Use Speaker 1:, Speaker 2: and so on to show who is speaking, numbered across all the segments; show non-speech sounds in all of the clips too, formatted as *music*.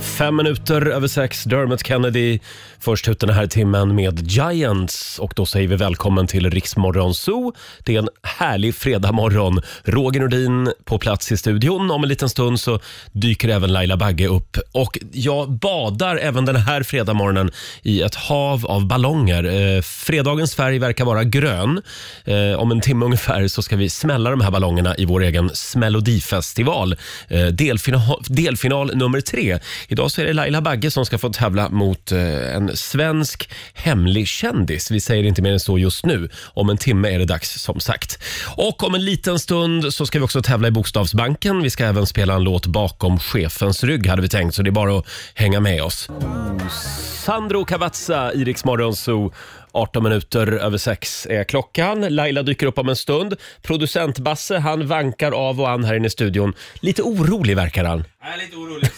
Speaker 1: Fem minuter över sex, Dermot Kennedy först ut den här timmen med Giants. Och då säger vi välkommen till Riksmorgon Zoo. Det är en härlig fredagmorgon. Roger Nordin på plats i studion. Om en liten stund så dyker även Laila Bagge upp. Och jag badar även den här fredagmorgonen i ett hav av ballonger. Eh, fredagens färg verkar vara grön. Eh, om en timme ungefär så ska vi smälla de här ballongerna i vår egen Smällodifestival. Eh, delfinal, delfinal nummer tre. Idag så är det Laila Bagge som ska få tävla mot eh, en svensk hemlig kändis. Vi säger inte mer än så just nu. Om en timme är det dags som sagt. Och om en liten stund så ska vi också tävla i Bokstavsbanken. Vi ska även spela en låt bakom chefens rygg hade vi tänkt, så det är bara att hänga med oss. Sandro Cavazza, Iriks morgonzoo. 18 minuter över sex är klockan. Laila dyker upp om en stund. Producent Basse, han vankar av och an här inne i studion. Lite orolig verkar han.
Speaker 2: Jag är lite orolig.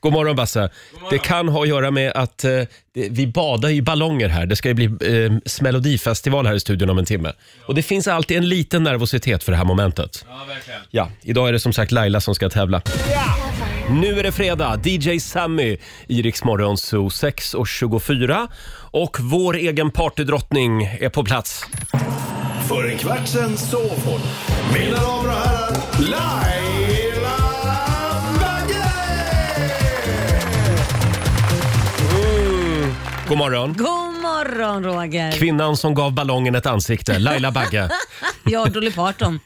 Speaker 1: God morgon Basse. Det kan ha att göra med att eh, det- vi badar i ballonger här. Det ska ju bli eh, Smelodifestival här i studion om en timme. Och det finns alltid en liten nervositet för det här momentet.
Speaker 2: *laughs* Ja, verkligen.
Speaker 1: Ja, idag är det som sagt Laila som ska tävla. Nu är det fredag. DJ Sammy i Rix Morgon Zoo 6 och 24. Och vår egen partydrottning är på plats.
Speaker 3: För en kvart sen sov hon. Mina damer och herrar, Laila
Speaker 1: Mm. God morgon.
Speaker 4: God morgon Roger!
Speaker 1: Kvinnan som gav ballongen ett ansikte, Laila Bagge.
Speaker 4: Jag och Dolly
Speaker 1: *laughs*
Speaker 4: Parton.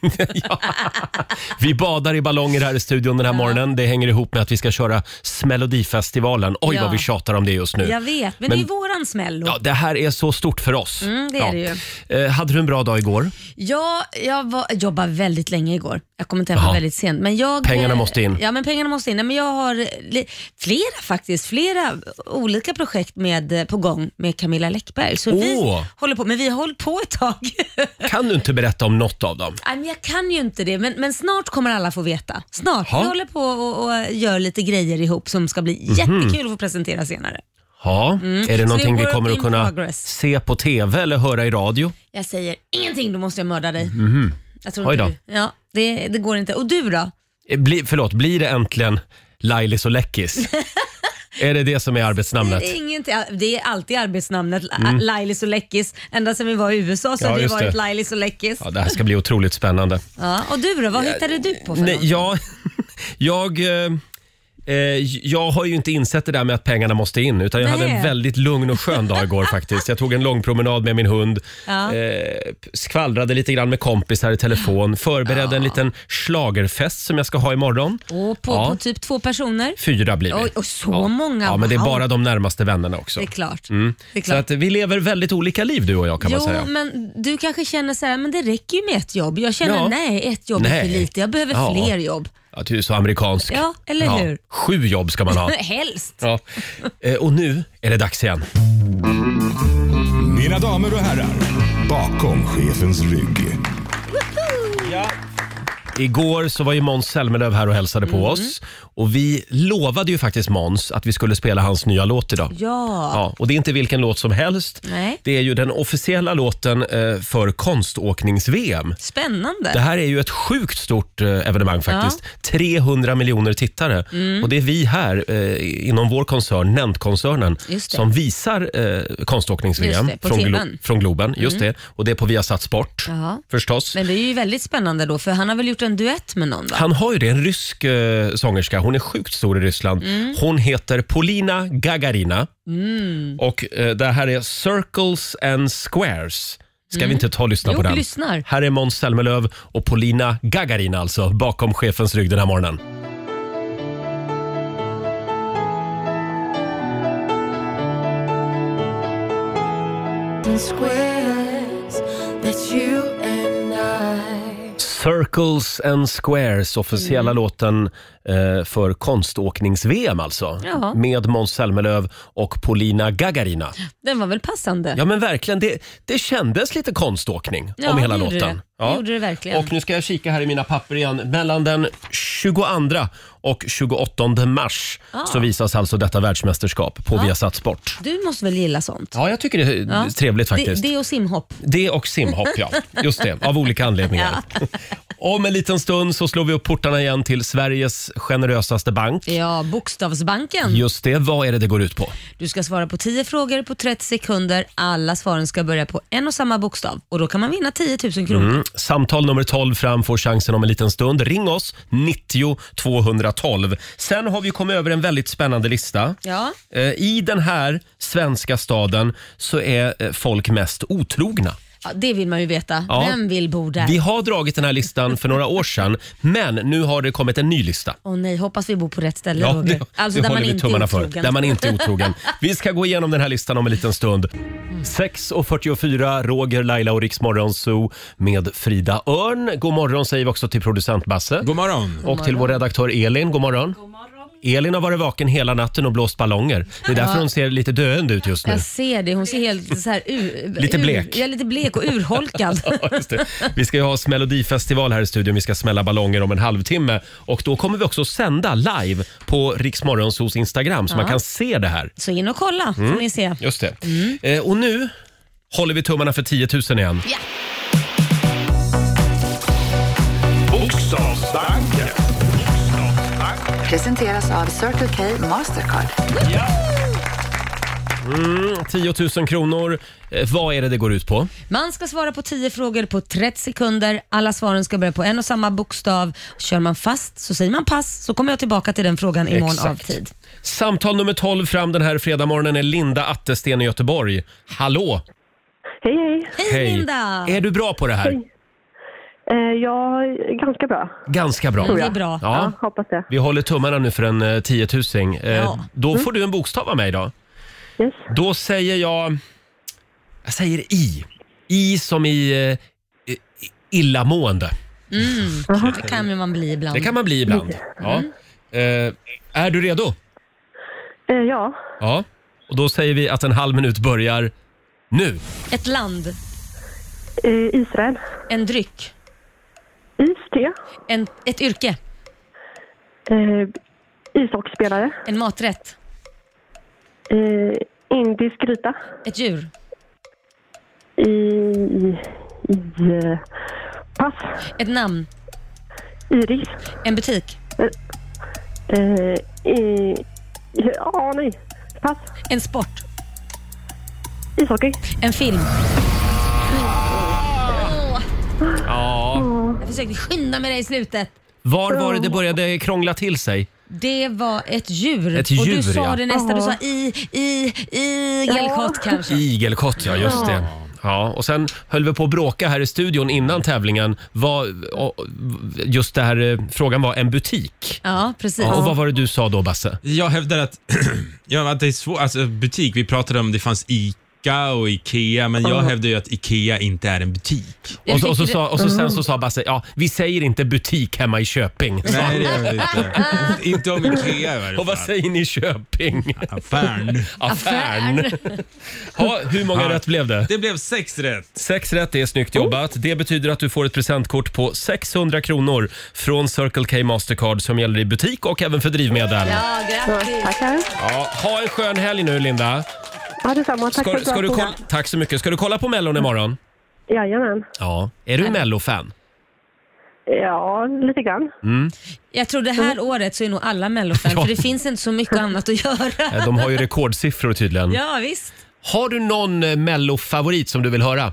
Speaker 1: Vi badar i ballonger här i studion den här morgonen. Det hänger ihop med att vi ska köra Smelodifestivalen. Oj,
Speaker 4: Ja.
Speaker 1: vad vi tjatar om det just nu.
Speaker 4: Jag vet, men, det är ju våran smäll.
Speaker 1: Ja, det här är så stort för oss.
Speaker 4: Mm, det är det
Speaker 1: ju. Eh, hade du en bra dag igår?
Speaker 4: Ja, jag var, jobbade väldigt länge igår. Jag kom inte hem
Speaker 1: Jaha.
Speaker 4: väldigt sent. Men jag,
Speaker 1: Pengarna måste in.
Speaker 4: Ja, men pengarna måste in. Nej, men jag har eh, li, flera faktiskt, flera olika projekt med, eh, på gång med Camilla Läckberg. Så
Speaker 1: Åh.
Speaker 4: vi håller på, men vi har hållit på
Speaker 1: *laughs*
Speaker 4: ett tag.
Speaker 1: Kan du inte berätta om något av dem?
Speaker 4: Nej, men jag kan ju inte det, men, men snart kommer alla få veta. Snart.
Speaker 1: Ja. Mhm.
Speaker 4: Vi håller på och, och gör lite grejer ihop som ska bli jättekul att få presentera senare.
Speaker 1: Ja,
Speaker 4: Mm.
Speaker 1: är
Speaker 4: Så det
Speaker 1: det
Speaker 4: är
Speaker 1: någonting vi
Speaker 4: work
Speaker 1: kommer att
Speaker 4: in
Speaker 1: kunna
Speaker 4: progress.
Speaker 1: se på TV eller höra i radio?
Speaker 4: Jag säger ingenting, då måste jag mörda dig.
Speaker 1: Mhm.
Speaker 4: Jag tror
Speaker 1: Oj
Speaker 4: inte
Speaker 1: då.
Speaker 4: du- Ja, det, det går inte. Och du då?
Speaker 1: Eh, Bli, förlåt, blir det äntligen Lailis och
Speaker 4: *laughs*
Speaker 1: Läckis? är det det som är arbetsnamnet?
Speaker 4: Det är, ingenting, det är alltid arbetsnamnet La-
Speaker 1: Mm.
Speaker 4: Lailis och Läckis. Ända sedan vi var i USA så
Speaker 1: Ja,
Speaker 4: har det
Speaker 1: just
Speaker 4: varit
Speaker 1: det.
Speaker 4: Lailis och Läckis.
Speaker 1: Ja, det här ska bli otroligt spännande.
Speaker 4: Ja, och du då? Vad hittade du på för
Speaker 1: Nej,
Speaker 4: något?
Speaker 1: jag, *laughs* jag, eh, eh, jag har ju inte insett det där med att pengarna måste in utan jag hade
Speaker 4: Nej.
Speaker 1: en väldigt lugn och skön dag
Speaker 4: *laughs*
Speaker 1: igår faktiskt. Jag tog en lång promenad med min hund,
Speaker 4: Ja.
Speaker 1: eh, skvallrade lite grann med kompisar i telefon, förberedde en liten schlagerfest som jag ska ha imorgon.
Speaker 4: Och på,
Speaker 1: Ja.
Speaker 4: på typ två personer?
Speaker 1: Fyra blir vi.
Speaker 4: Oj, och så
Speaker 1: ja.
Speaker 4: många.
Speaker 1: Ja, men det är
Speaker 4: wow.
Speaker 1: bara de närmaste vännerna också.
Speaker 4: Det är klart.
Speaker 1: Mm.
Speaker 4: Det är
Speaker 1: Så
Speaker 4: klart.
Speaker 1: att vi lever väldigt olika liv du och jag kan
Speaker 4: jo, mm.
Speaker 1: man säga.
Speaker 4: men du kanske känner så här, men det räcker ju med ett jobb. Jag känner,
Speaker 1: Ja.
Speaker 4: nej, ett jobb är
Speaker 1: Nej.
Speaker 4: för lite. Jag behöver
Speaker 1: Ja.
Speaker 4: fler jobb.
Speaker 1: Ja, du är så amerikansk.
Speaker 4: Ja, eller hur?
Speaker 1: Sju jobb ska
Speaker 4: *laughs*
Speaker 1: man ha.
Speaker 4: Helst.
Speaker 1: Ja. Eh, Och nu är det dags igen.
Speaker 3: Mina damer och herrar, bakom chefens rygg.
Speaker 1: Igår så var ju Måns Zelmerlöw här och hälsade på
Speaker 4: Mm.
Speaker 1: oss. Och vi lovade ju faktiskt Måns att vi skulle spela hans nya låt idag.
Speaker 4: Ja.
Speaker 1: Ja, och det är inte vilken låt som helst.
Speaker 4: Nej.
Speaker 1: Det är ju den officiella låten eh, för konståknings-VM.
Speaker 4: Spännande.
Speaker 1: Det här är ju ett sjukt stort eh, evenemang faktiskt. 300 miljoner tittare.
Speaker 4: Mm.
Speaker 1: Och det är vi här eh, inom vår koncern, Nent-koncernen,
Speaker 4: Just det.
Speaker 1: som visar eh, konståknings-VM
Speaker 4: Just det, på
Speaker 1: från,
Speaker 4: TV:n.
Speaker 1: från Globen. Just
Speaker 4: Mm.
Speaker 1: det. Och det är på Viasat Sport
Speaker 4: Ja.
Speaker 1: förstås.
Speaker 4: Men det är ju väldigt spännande då, för han har väl gjort en duett med någon? Va?
Speaker 1: Han har ju det, en rysk eh, sångerska. Hon är sjukt stor i Ryssland.
Speaker 4: Mm.
Speaker 1: Hon heter Polina Gagarina
Speaker 4: Mm.
Speaker 1: och eh, det här är Circles and Squares. Ska
Speaker 4: Mm.
Speaker 1: vi inte ta och lyssna
Speaker 4: Jo,
Speaker 1: på
Speaker 4: vi
Speaker 1: den?
Speaker 4: lyssnar.
Speaker 1: Här är Måns Zelmerlöw och Polina Gagarina alltså, bakom chefens rygg den här morgonen.
Speaker 5: and squares that you and I
Speaker 4: Mm.
Speaker 1: Circles and Squares, officiella låten eh, för konståknings-VM alltså.
Speaker 4: Ja.
Speaker 1: Med Måns Zelmerlöw och Polina Gagarina.
Speaker 4: Den var väl passande?
Speaker 1: Ja men verkligen, det, det kändes lite konståkning
Speaker 4: Ja,
Speaker 1: om hela
Speaker 4: det gjorde
Speaker 1: låten.
Speaker 4: det. Det gjorde det verkligen.
Speaker 1: Och nu ska jag kika här i mina papper igen. Mellan den 22 och 28 mars
Speaker 4: Ah.
Speaker 1: så visas alltså detta världsmästerskap på Viasat Sport.
Speaker 4: Du måste väl gilla sånt?
Speaker 1: Ja, jag tycker det är
Speaker 4: Ja.
Speaker 1: trevligt faktiskt.
Speaker 4: Det, det och simhopp.
Speaker 1: Det och simhopp, ja. Just det, av olika anledningar. Om en liten stund så slår vi upp portarna igen till Sveriges generösaste bank.
Speaker 4: Ja, Bokstavsbanken.
Speaker 1: Just det, vad är det det går ut på?
Speaker 4: Du ska svara på 10 frågor på 30 sekunder. Alla svaren ska börja på en och samma bokstav och då kan man vinna 10 000 kronor.
Speaker 1: Mm. Samtal nummer 12 fram får chansen om en liten stund. Ring oss, 90 212. Sen har vi kommit över en väldigt spännande lista.
Speaker 4: Ja.
Speaker 1: Eh, I den här svenska staden så är eh, folk mest otrogna.
Speaker 4: ja, det vill man ju veta.
Speaker 1: Ja.
Speaker 4: Vem vill bo där?
Speaker 1: Vi har dragit den här listan för några år sedan, men nu har det kommit en ny lista.
Speaker 4: Åh nej, hoppas vi bor på rätt ställe Roger.
Speaker 1: det, det
Speaker 4: Alltså där man
Speaker 1: håller vi
Speaker 4: inte
Speaker 1: tummarna
Speaker 4: är
Speaker 1: för.
Speaker 4: otrogen.
Speaker 1: Där man inte är otrogen. Vi ska gå igenom den här listan om en liten stund. 6.44, Roger, Laila och Riksmorgon Zoo med Frida Örn. God morgon säger vi också till producent Basse.
Speaker 2: God morgon.
Speaker 1: Och till vår redaktör Elin, god morgon. Elin har varit vaken hela natten och blåst ballonger. Det är därför hon ser lite döende ut just nu.
Speaker 4: Jag ser det. Hon ser helt så här ur,
Speaker 1: Lite blek.
Speaker 4: Ur, ja, lite blek och urholkad.
Speaker 1: *laughs* *laughs* Ja, just det. Vi ska ju ha Melodifestival här i studion. Vi ska smälla ballonger om en halvtimme. Och då kommer vi också sända live på Riksmorgonsos Instagram så man kan se det här.
Speaker 4: Så in och kolla får
Speaker 1: Mm.
Speaker 4: ni se.
Speaker 1: Just det. Eh, och nu håller vi tummarna för 10 000 igen.
Speaker 3: Bokstavsbanken.
Speaker 6: Presenteras av Circle K Mastercard.
Speaker 1: 10
Speaker 4: Mm.
Speaker 1: 000 kronor. Eh, vad är det det går ut på?
Speaker 4: Man ska svara på 10 frågor på 30 sekunder. Alla svaren ska börja på en och samma bokstav. Kör man fast så säger man pass så kommer jag tillbaka till den frågan i mån av
Speaker 1: Exakt.
Speaker 4: tid.
Speaker 1: Samtal nummer 12 fram den här fredagmorgonen är Linda Attesten i Göteborg. Hallå!
Speaker 7: Hej, hej.
Speaker 4: Hej, Linda!
Speaker 1: Är du bra på det här?
Speaker 7: Eh, ja, ganska bra.
Speaker 1: Ganska bra.
Speaker 4: Det är bra.
Speaker 1: Ja.
Speaker 7: Hoppas det.
Speaker 1: Vi håller tummarna nu för en eh, 10 000. Eh,
Speaker 4: Ja. Mm.
Speaker 1: Då får du en bokstav av mig då.
Speaker 7: Yes.
Speaker 1: Då säger jag... Jag säger I. I som i eh, i- illamående.
Speaker 4: Det kan ju man bli ibland.
Speaker 1: Det kan man bli ibland. Ja.
Speaker 4: Mm.
Speaker 1: Eh, är du redo?
Speaker 7: Eh, ja,
Speaker 1: Ja. Och då säger vi att en halv minut börjar nu.
Speaker 4: Ett land,
Speaker 7: eh, Israel.
Speaker 4: en dryck,
Speaker 7: Is, te.
Speaker 4: en, ett yrke,
Speaker 7: Eh, ishockeyspelare.
Speaker 4: en maträtt,
Speaker 7: Eh, indisk gryta.
Speaker 4: ett djur,
Speaker 7: I... i eh, pass.
Speaker 4: ett namn,
Speaker 7: Iris.
Speaker 4: en butik,
Speaker 7: Eh, i... Ja, nej. Pass.
Speaker 4: en sport,
Speaker 7: Ishockey.
Speaker 4: en film.
Speaker 1: Ja.
Speaker 4: Jag försökte skynda med dig i slutet.
Speaker 1: Var var det det började krångla till sig?
Speaker 4: Det var ett djur.
Speaker 1: Ett
Speaker 4: och du
Speaker 1: djur,
Speaker 4: sa
Speaker 1: ja.
Speaker 4: det nästa. Du sa i, i, igelkott kanske.
Speaker 1: Igelkott, ja just det. Ja, och sen höll vi på att bråka här i studion innan tävlingen. Var, och, just det här, eh, frågan var en butik.
Speaker 4: Ja, precis.
Speaker 1: Och vad var det du sa då Basse?
Speaker 2: Jag hävdar att, *clears throat* ja, att det är svårt. Alltså, butik, vi pratade om det fanns ICA och IKEA, men jag hävdar ju att IKEA inte är en butik.
Speaker 4: Jag
Speaker 1: Och, så, och, så
Speaker 4: tycker Mm.
Speaker 1: sa, och så sen så sa Basse, ja vi säger inte butik hemma i Köping.
Speaker 2: *laughs* Nej, det gör vi inte. *laughs* inte om IKEA i varje
Speaker 1: Och vad
Speaker 2: fall.
Speaker 1: säger ni i Köping?
Speaker 2: Affären.
Speaker 1: Affären. Ha, hur många
Speaker 2: Ja.
Speaker 1: rätt blev det?
Speaker 2: *laughs* Det blev sex rätt.
Speaker 1: Sex rätt är snyggt jobbat. Det betyder att du får ett presentkort på 600 kronor från Circle K Mastercard som gäller i butik och även för drivmedel.
Speaker 4: Ja, grattis.
Speaker 7: Tackar.
Speaker 1: Ja, ha en skön helg nu Linda.
Speaker 7: Ja, detsamma. Tack
Speaker 1: Ska,
Speaker 7: för ett bra
Speaker 1: ska du
Speaker 7: program.
Speaker 1: kolla, tack så mycket. Ska du kolla på Mellon imorgon?
Speaker 7: Jajamän.
Speaker 1: Ja. Är du Mello-fan?
Speaker 7: Ja, lite grann.
Speaker 4: Jag tror det här året så är nog alla mellofan
Speaker 1: Ja.
Speaker 4: för det finns inte
Speaker 1: *laughs*
Speaker 4: så mycket annat att göra.
Speaker 1: Eh, De har ju rekordsiffror tydligen.
Speaker 4: Ja, visst.
Speaker 1: Har du någon eh, Mello-favorit som du vill höra?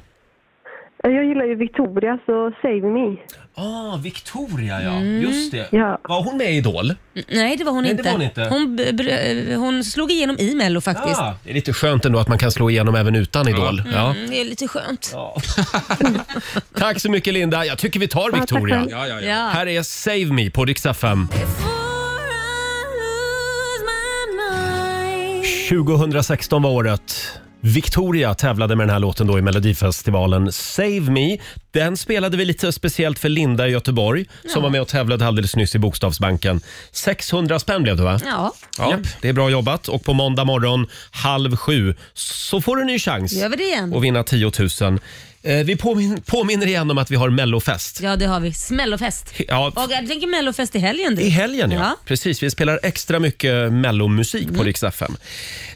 Speaker 7: Eh, Jag gillar ju Victoria, så save me.
Speaker 1: Ah, Victoria ja. Just det.
Speaker 7: Ja.
Speaker 1: Var hon med i Idol?
Speaker 4: Nej, det var hon
Speaker 1: Nej, det
Speaker 4: inte.
Speaker 1: var hon inte.
Speaker 4: b- br- hon slog igenom i Mello faktiskt.
Speaker 1: Ah, det är lite skönt ändå att man kan slå igenom även utan Idol. Ja.
Speaker 4: Mm, det är lite skönt. Ja.
Speaker 1: Tack så mycket Linda. Jag tycker vi tar
Speaker 7: tack
Speaker 1: Victoria.
Speaker 7: själv.
Speaker 2: Ja, ja, ja.
Speaker 1: Här är Save Me på Rix FM. 2016 var året. Victoria tävlade med den här låten då i Melodifestivalen Save Me. Den spelade vi lite speciellt för Linda i Göteborg som var med och tävlade alldeles nyss i Bokstavsbanken. 600 spänn blev det va?
Speaker 4: Ja,
Speaker 1: Japp, det är bra jobbat. Och på måndag morgon halv sju så får du en ny chans
Speaker 4: gör vi det igen?
Speaker 1: att vinna 10 000. Eh, vi påmin- påminner igen om att vi har Mellofest.
Speaker 4: Ja, det har vi. Smällofest.
Speaker 1: Ja,
Speaker 4: Och jag tänker mellofest i helgen. du.
Speaker 1: i helgen, ja.
Speaker 4: Ja.
Speaker 1: Precis, vi spelar extra mycket mellomusik på Rix FM.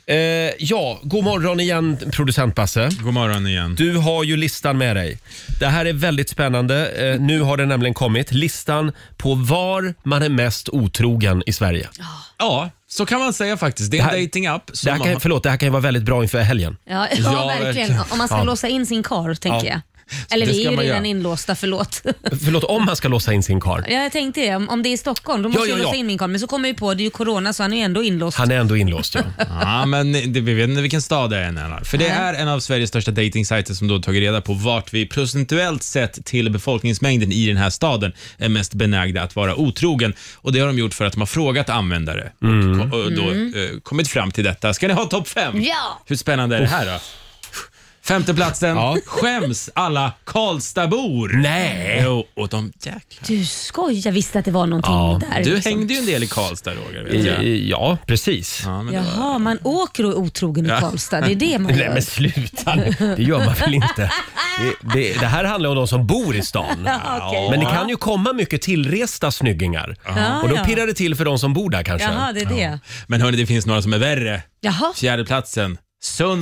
Speaker 1: Eh, ja, god morgon igen, producent Basse.
Speaker 2: God morgon igen.
Speaker 1: Du har ju listan med dig. Det här är väldigt spännande. Eh, nu har den nämligen kommit. Listan på var man är mest otrogen i Sverige.
Speaker 2: Ja, så kan man säga faktiskt. Det är en
Speaker 1: Det här-
Speaker 2: dating-app. som
Speaker 1: Det här, kan,
Speaker 2: har-
Speaker 1: förlåt, det här kan ju vara väldigt bra inför helgen.
Speaker 4: Ja, ja,
Speaker 2: Ja,
Speaker 4: verkligen.
Speaker 2: verkligen.
Speaker 4: Om man ska
Speaker 1: Ja.
Speaker 4: låsa in sin kar tänker
Speaker 2: Ja.
Speaker 4: jag. Eller
Speaker 2: Det
Speaker 4: vi
Speaker 2: ska
Speaker 4: är ju
Speaker 2: man
Speaker 4: redan
Speaker 2: göra.
Speaker 1: *laughs*
Speaker 4: inlåsta, förlåt.
Speaker 1: Förlåt, om man ska låsa in sin kar.
Speaker 4: Ja, jag tänkte det. Om, om det är i Stockholm då måste
Speaker 1: ja,
Speaker 4: jag låsa
Speaker 1: ja.
Speaker 4: in min kar. Men så kommer jag ju på det är ju corona så han är ju ändå inlåst.
Speaker 1: Han är ändå inlåst ja.
Speaker 2: Ja, men det, vi vet inte vilken stad det är än. Anna. För det är en av Sveriges största datingsajter som då tagit reda på vart vi procentuellt sett till befolkningsmängden i den här staden är mest benägna att vara otrogen. Och det har de gjort för att de har frågat användare
Speaker 1: Mm.
Speaker 2: och, ko- och då eh, kommit fram till detta. Ska ni ha topp fem?
Speaker 4: Mm. Ja!
Speaker 2: Hur spännande är det här då? Femteplatsen.
Speaker 1: Ja.
Speaker 2: Skäms alla Karlstadbor? Nej! Jo, och de jäklar.
Speaker 4: Du skojar, visste att det var någonting där.
Speaker 2: Du
Speaker 4: liksom.
Speaker 2: hängde ju en del i Karlstad Roger. Vet
Speaker 1: I-
Speaker 2: jag.
Speaker 1: i- Ja, precis.
Speaker 2: Ja, men det var...
Speaker 4: Jaha, man åker och är otrogen i
Speaker 2: Ja.
Speaker 4: Karlstad. Det är det
Speaker 1: *laughs*
Speaker 4: man
Speaker 1: Nej
Speaker 4: gör.
Speaker 1: men sluta nu. det gör man väl inte. Det, det, det här handlar om de som bor i
Speaker 4: *laughs*
Speaker 1: stan.
Speaker 4: Okej.
Speaker 1: Men det kan ju komma mycket tillresta snyggingar.
Speaker 4: Ja,
Speaker 1: Och då
Speaker 4: ja.
Speaker 1: pirrar det till för de som bor där kanske.
Speaker 4: Jaha, det är det.
Speaker 2: Men hörni, det finns några som är värre.
Speaker 4: Jaha,
Speaker 2: Fjärdeplatsen,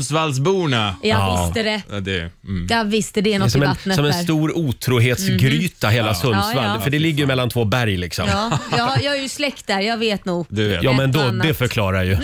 Speaker 2: Sundsvallsborna.
Speaker 4: jag
Speaker 1: Ja.
Speaker 4: visste det.
Speaker 2: Ja, det, mm.
Speaker 4: Jag visste det är
Speaker 1: Det är
Speaker 4: något
Speaker 1: som
Speaker 4: i
Speaker 1: en,
Speaker 4: vattnet
Speaker 1: som en
Speaker 4: där. Mm-hmm.
Speaker 1: stor otrohetsgryta hela Sundsvall.
Speaker 4: Ja, ja.
Speaker 1: För det ligger ju mellan två berg liksom. Ja,
Speaker 4: Ja, jag, jag är ju släkt där, jag vet nog.
Speaker 2: Du vet.
Speaker 1: men då,
Speaker 4: Ett annat.
Speaker 1: det förklarar
Speaker 4: *laughs*
Speaker 1: ju.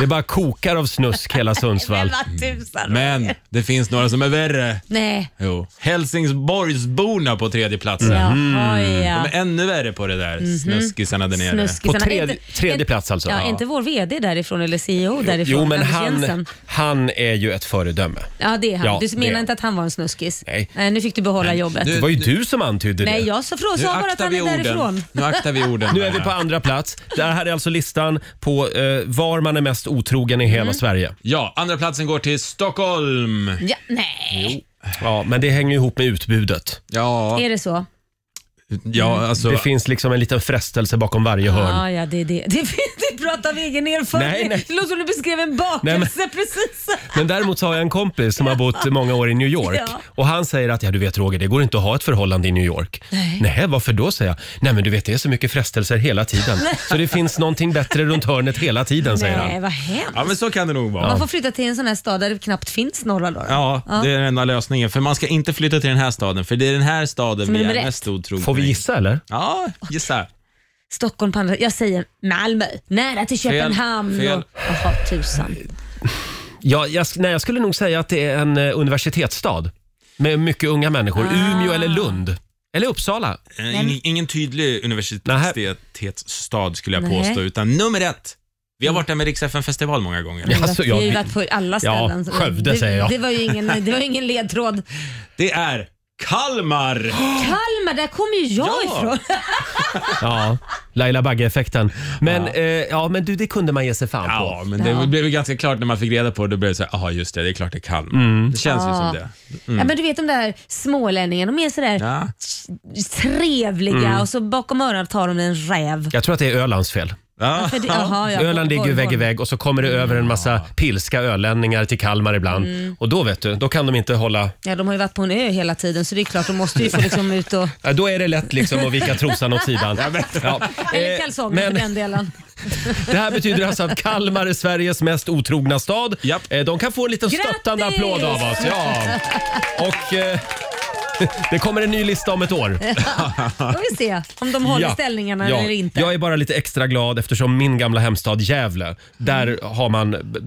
Speaker 1: Det bara kokar av snusk hela
Speaker 4: Men
Speaker 1: Sundsvall.
Speaker 4: vad tusan.
Speaker 2: Men det finns några som är värre.
Speaker 4: Nej.
Speaker 2: Jo. Helsingborgsborna på tredje platsen.
Speaker 1: Mm.
Speaker 4: Jaha,
Speaker 2: De
Speaker 4: ja. Mhm.
Speaker 2: är ännu värre på det där. Snuskisarna där nere.
Speaker 1: På
Speaker 4: Snuskisarna. Är
Speaker 1: tredje,
Speaker 4: inte-
Speaker 1: tredje plats alltså.
Speaker 4: Ja,
Speaker 1: Ja.
Speaker 4: inte vår VD därifrån eller E CEO därifrån.
Speaker 1: Jo men
Speaker 4: Anders
Speaker 1: han,
Speaker 4: Jensen.
Speaker 1: han är ju ett föredöme.
Speaker 4: Ja, det är han.
Speaker 1: Ja,
Speaker 4: du
Speaker 1: det är
Speaker 4: menar
Speaker 1: han.
Speaker 4: inte att han var en snuskis?
Speaker 1: Nej.
Speaker 4: nu fick du behålla jobbet.
Speaker 1: Det
Speaker 2: Nu-
Speaker 1: var ju du som antydde det.
Speaker 4: Nej, jag sa, från,
Speaker 2: Nu
Speaker 4: sa bara att
Speaker 2: aktar
Speaker 4: han
Speaker 2: vi
Speaker 4: är därifrån.
Speaker 2: orden. Nu aktar vi orden.
Speaker 4: *laughs*
Speaker 1: Nu är vi på andra plats. Det här är alltså listan på eh, var man är mest otrogen i hela
Speaker 4: Mm.
Speaker 1: Sverige.
Speaker 2: Ja, andra platsen går till Stockholm.
Speaker 4: Ja, nej,
Speaker 1: Ja, men det hänger ju ihop med utbudet.
Speaker 2: Ja,
Speaker 4: är det så?
Speaker 2: ja alltså.
Speaker 1: Det finns liksom en liten frestelse bakom varje hörn.
Speaker 4: Ja, ja, det är det. *laughs* Det är inte prata av egen
Speaker 1: Nej,
Speaker 4: erfarenhet.
Speaker 1: nej.
Speaker 4: Det låter som du beskrev en bakelse *laughs* precis.
Speaker 1: Men däremot så har jag en kompis som har bott många år i New York
Speaker 4: Ja.
Speaker 1: och han säger att ja, du vet Roger, det går inte att ha ett förhållande i New York.
Speaker 4: Nej.
Speaker 1: Nej, varför då säger jag. Nej, men du vet det är så mycket frestelser hela
Speaker 4: *laughs*
Speaker 1: tiden. så det finns någonting bättre runt hörnet hela tiden säger
Speaker 4: Nej,
Speaker 1: han.
Speaker 4: vad hemskt.
Speaker 2: Ja, men så kan det nog vara.
Speaker 4: Man får flytta till en sån här stad där det knappt finns några då.
Speaker 2: Ja, det är den enda lösningen. För man ska inte flytta till den här staden, för det är den här staden
Speaker 4: Som är
Speaker 2: vi
Speaker 4: nummer
Speaker 2: är
Speaker 4: ett.
Speaker 2: mest otrogna
Speaker 1: Får vi
Speaker 2: i.
Speaker 1: gissa eller?
Speaker 2: Ja, gissa.
Speaker 4: Stockholm på andra Jag säger Malmö. Nära till Köpenhamn.
Speaker 2: Fel.
Speaker 4: och- Jaha, tusan.
Speaker 1: Ja, jag, nej, jag skulle nog säga att det är en eh, universitetsstad med mycket unga människor. Umeå eller Lund. Eller Uppsala.
Speaker 2: Eh, Ingen, ingen tydlig universitetsstad skulle jag
Speaker 4: Nej.
Speaker 2: påstå, utan nummer ett. Vi har varit där med Rix festival många gånger.
Speaker 1: Mm. Ja. Alltså,
Speaker 4: vi har ju
Speaker 1: jag-
Speaker 4: varit på alla ställen.
Speaker 1: Ja, Skövde
Speaker 4: det,
Speaker 1: säger jag.
Speaker 4: Det var ju ingen, det var ju ingen ledtråd.
Speaker 2: Det är Kalmar!
Speaker 4: *laughs* Kalmar, där kommer ju jag
Speaker 2: Ja.
Speaker 4: ifrån.
Speaker 1: Ja, Laila Bagge-effekten. Men, ja. Eh, ja, men du, det kunde man ge sig fan
Speaker 2: Ja,
Speaker 1: på.
Speaker 2: men det blev ju ganska klart när man fick reda på det. Då blev det så här, ja just det, det är klart det är Kalmar. Det känns ju som det.
Speaker 4: Ja, men du vet de där smålänningarna, de är sådär
Speaker 2: Ja.
Speaker 4: trevliga och så bakom öronen tar de en räv.
Speaker 1: Jag tror att det är Ölands fel.
Speaker 2: Ja.
Speaker 4: För det, aha, ja,
Speaker 1: Öland ligger ju
Speaker 4: Borgholm.
Speaker 1: vägg i vägg och så kommer det över en massa pilska ölänningar till Kalmar ibland.
Speaker 4: Mm.
Speaker 1: Och då vet du, då kan de inte hålla...
Speaker 4: Ja, de har ju varit på en ö hela tiden så det är klart, de måste ju få liksom ut och...
Speaker 1: Ja, Då är det lätt liksom att vika trosan åt sidan. Ja.
Speaker 4: Eller
Speaker 1: Eh,
Speaker 4: kalsonger
Speaker 1: men
Speaker 4: för den delen.
Speaker 1: det här betyder alltså att Kalmar är Sveriges mest otrogna stad.
Speaker 2: Japp.
Speaker 1: Eh, De kan få en liten
Speaker 4: Grattis!
Speaker 1: stöttande applåd av oss. Ja. Och eh, *laughs* det kommer en ny lista om ett
Speaker 4: *laughs*
Speaker 1: år.
Speaker 4: Då får vi se om de håller ställningarna
Speaker 1: Ja.
Speaker 4: eller inte.
Speaker 1: Jag är bara lite extra glad eftersom min gamla hemstad Gävle, där har man, b- b-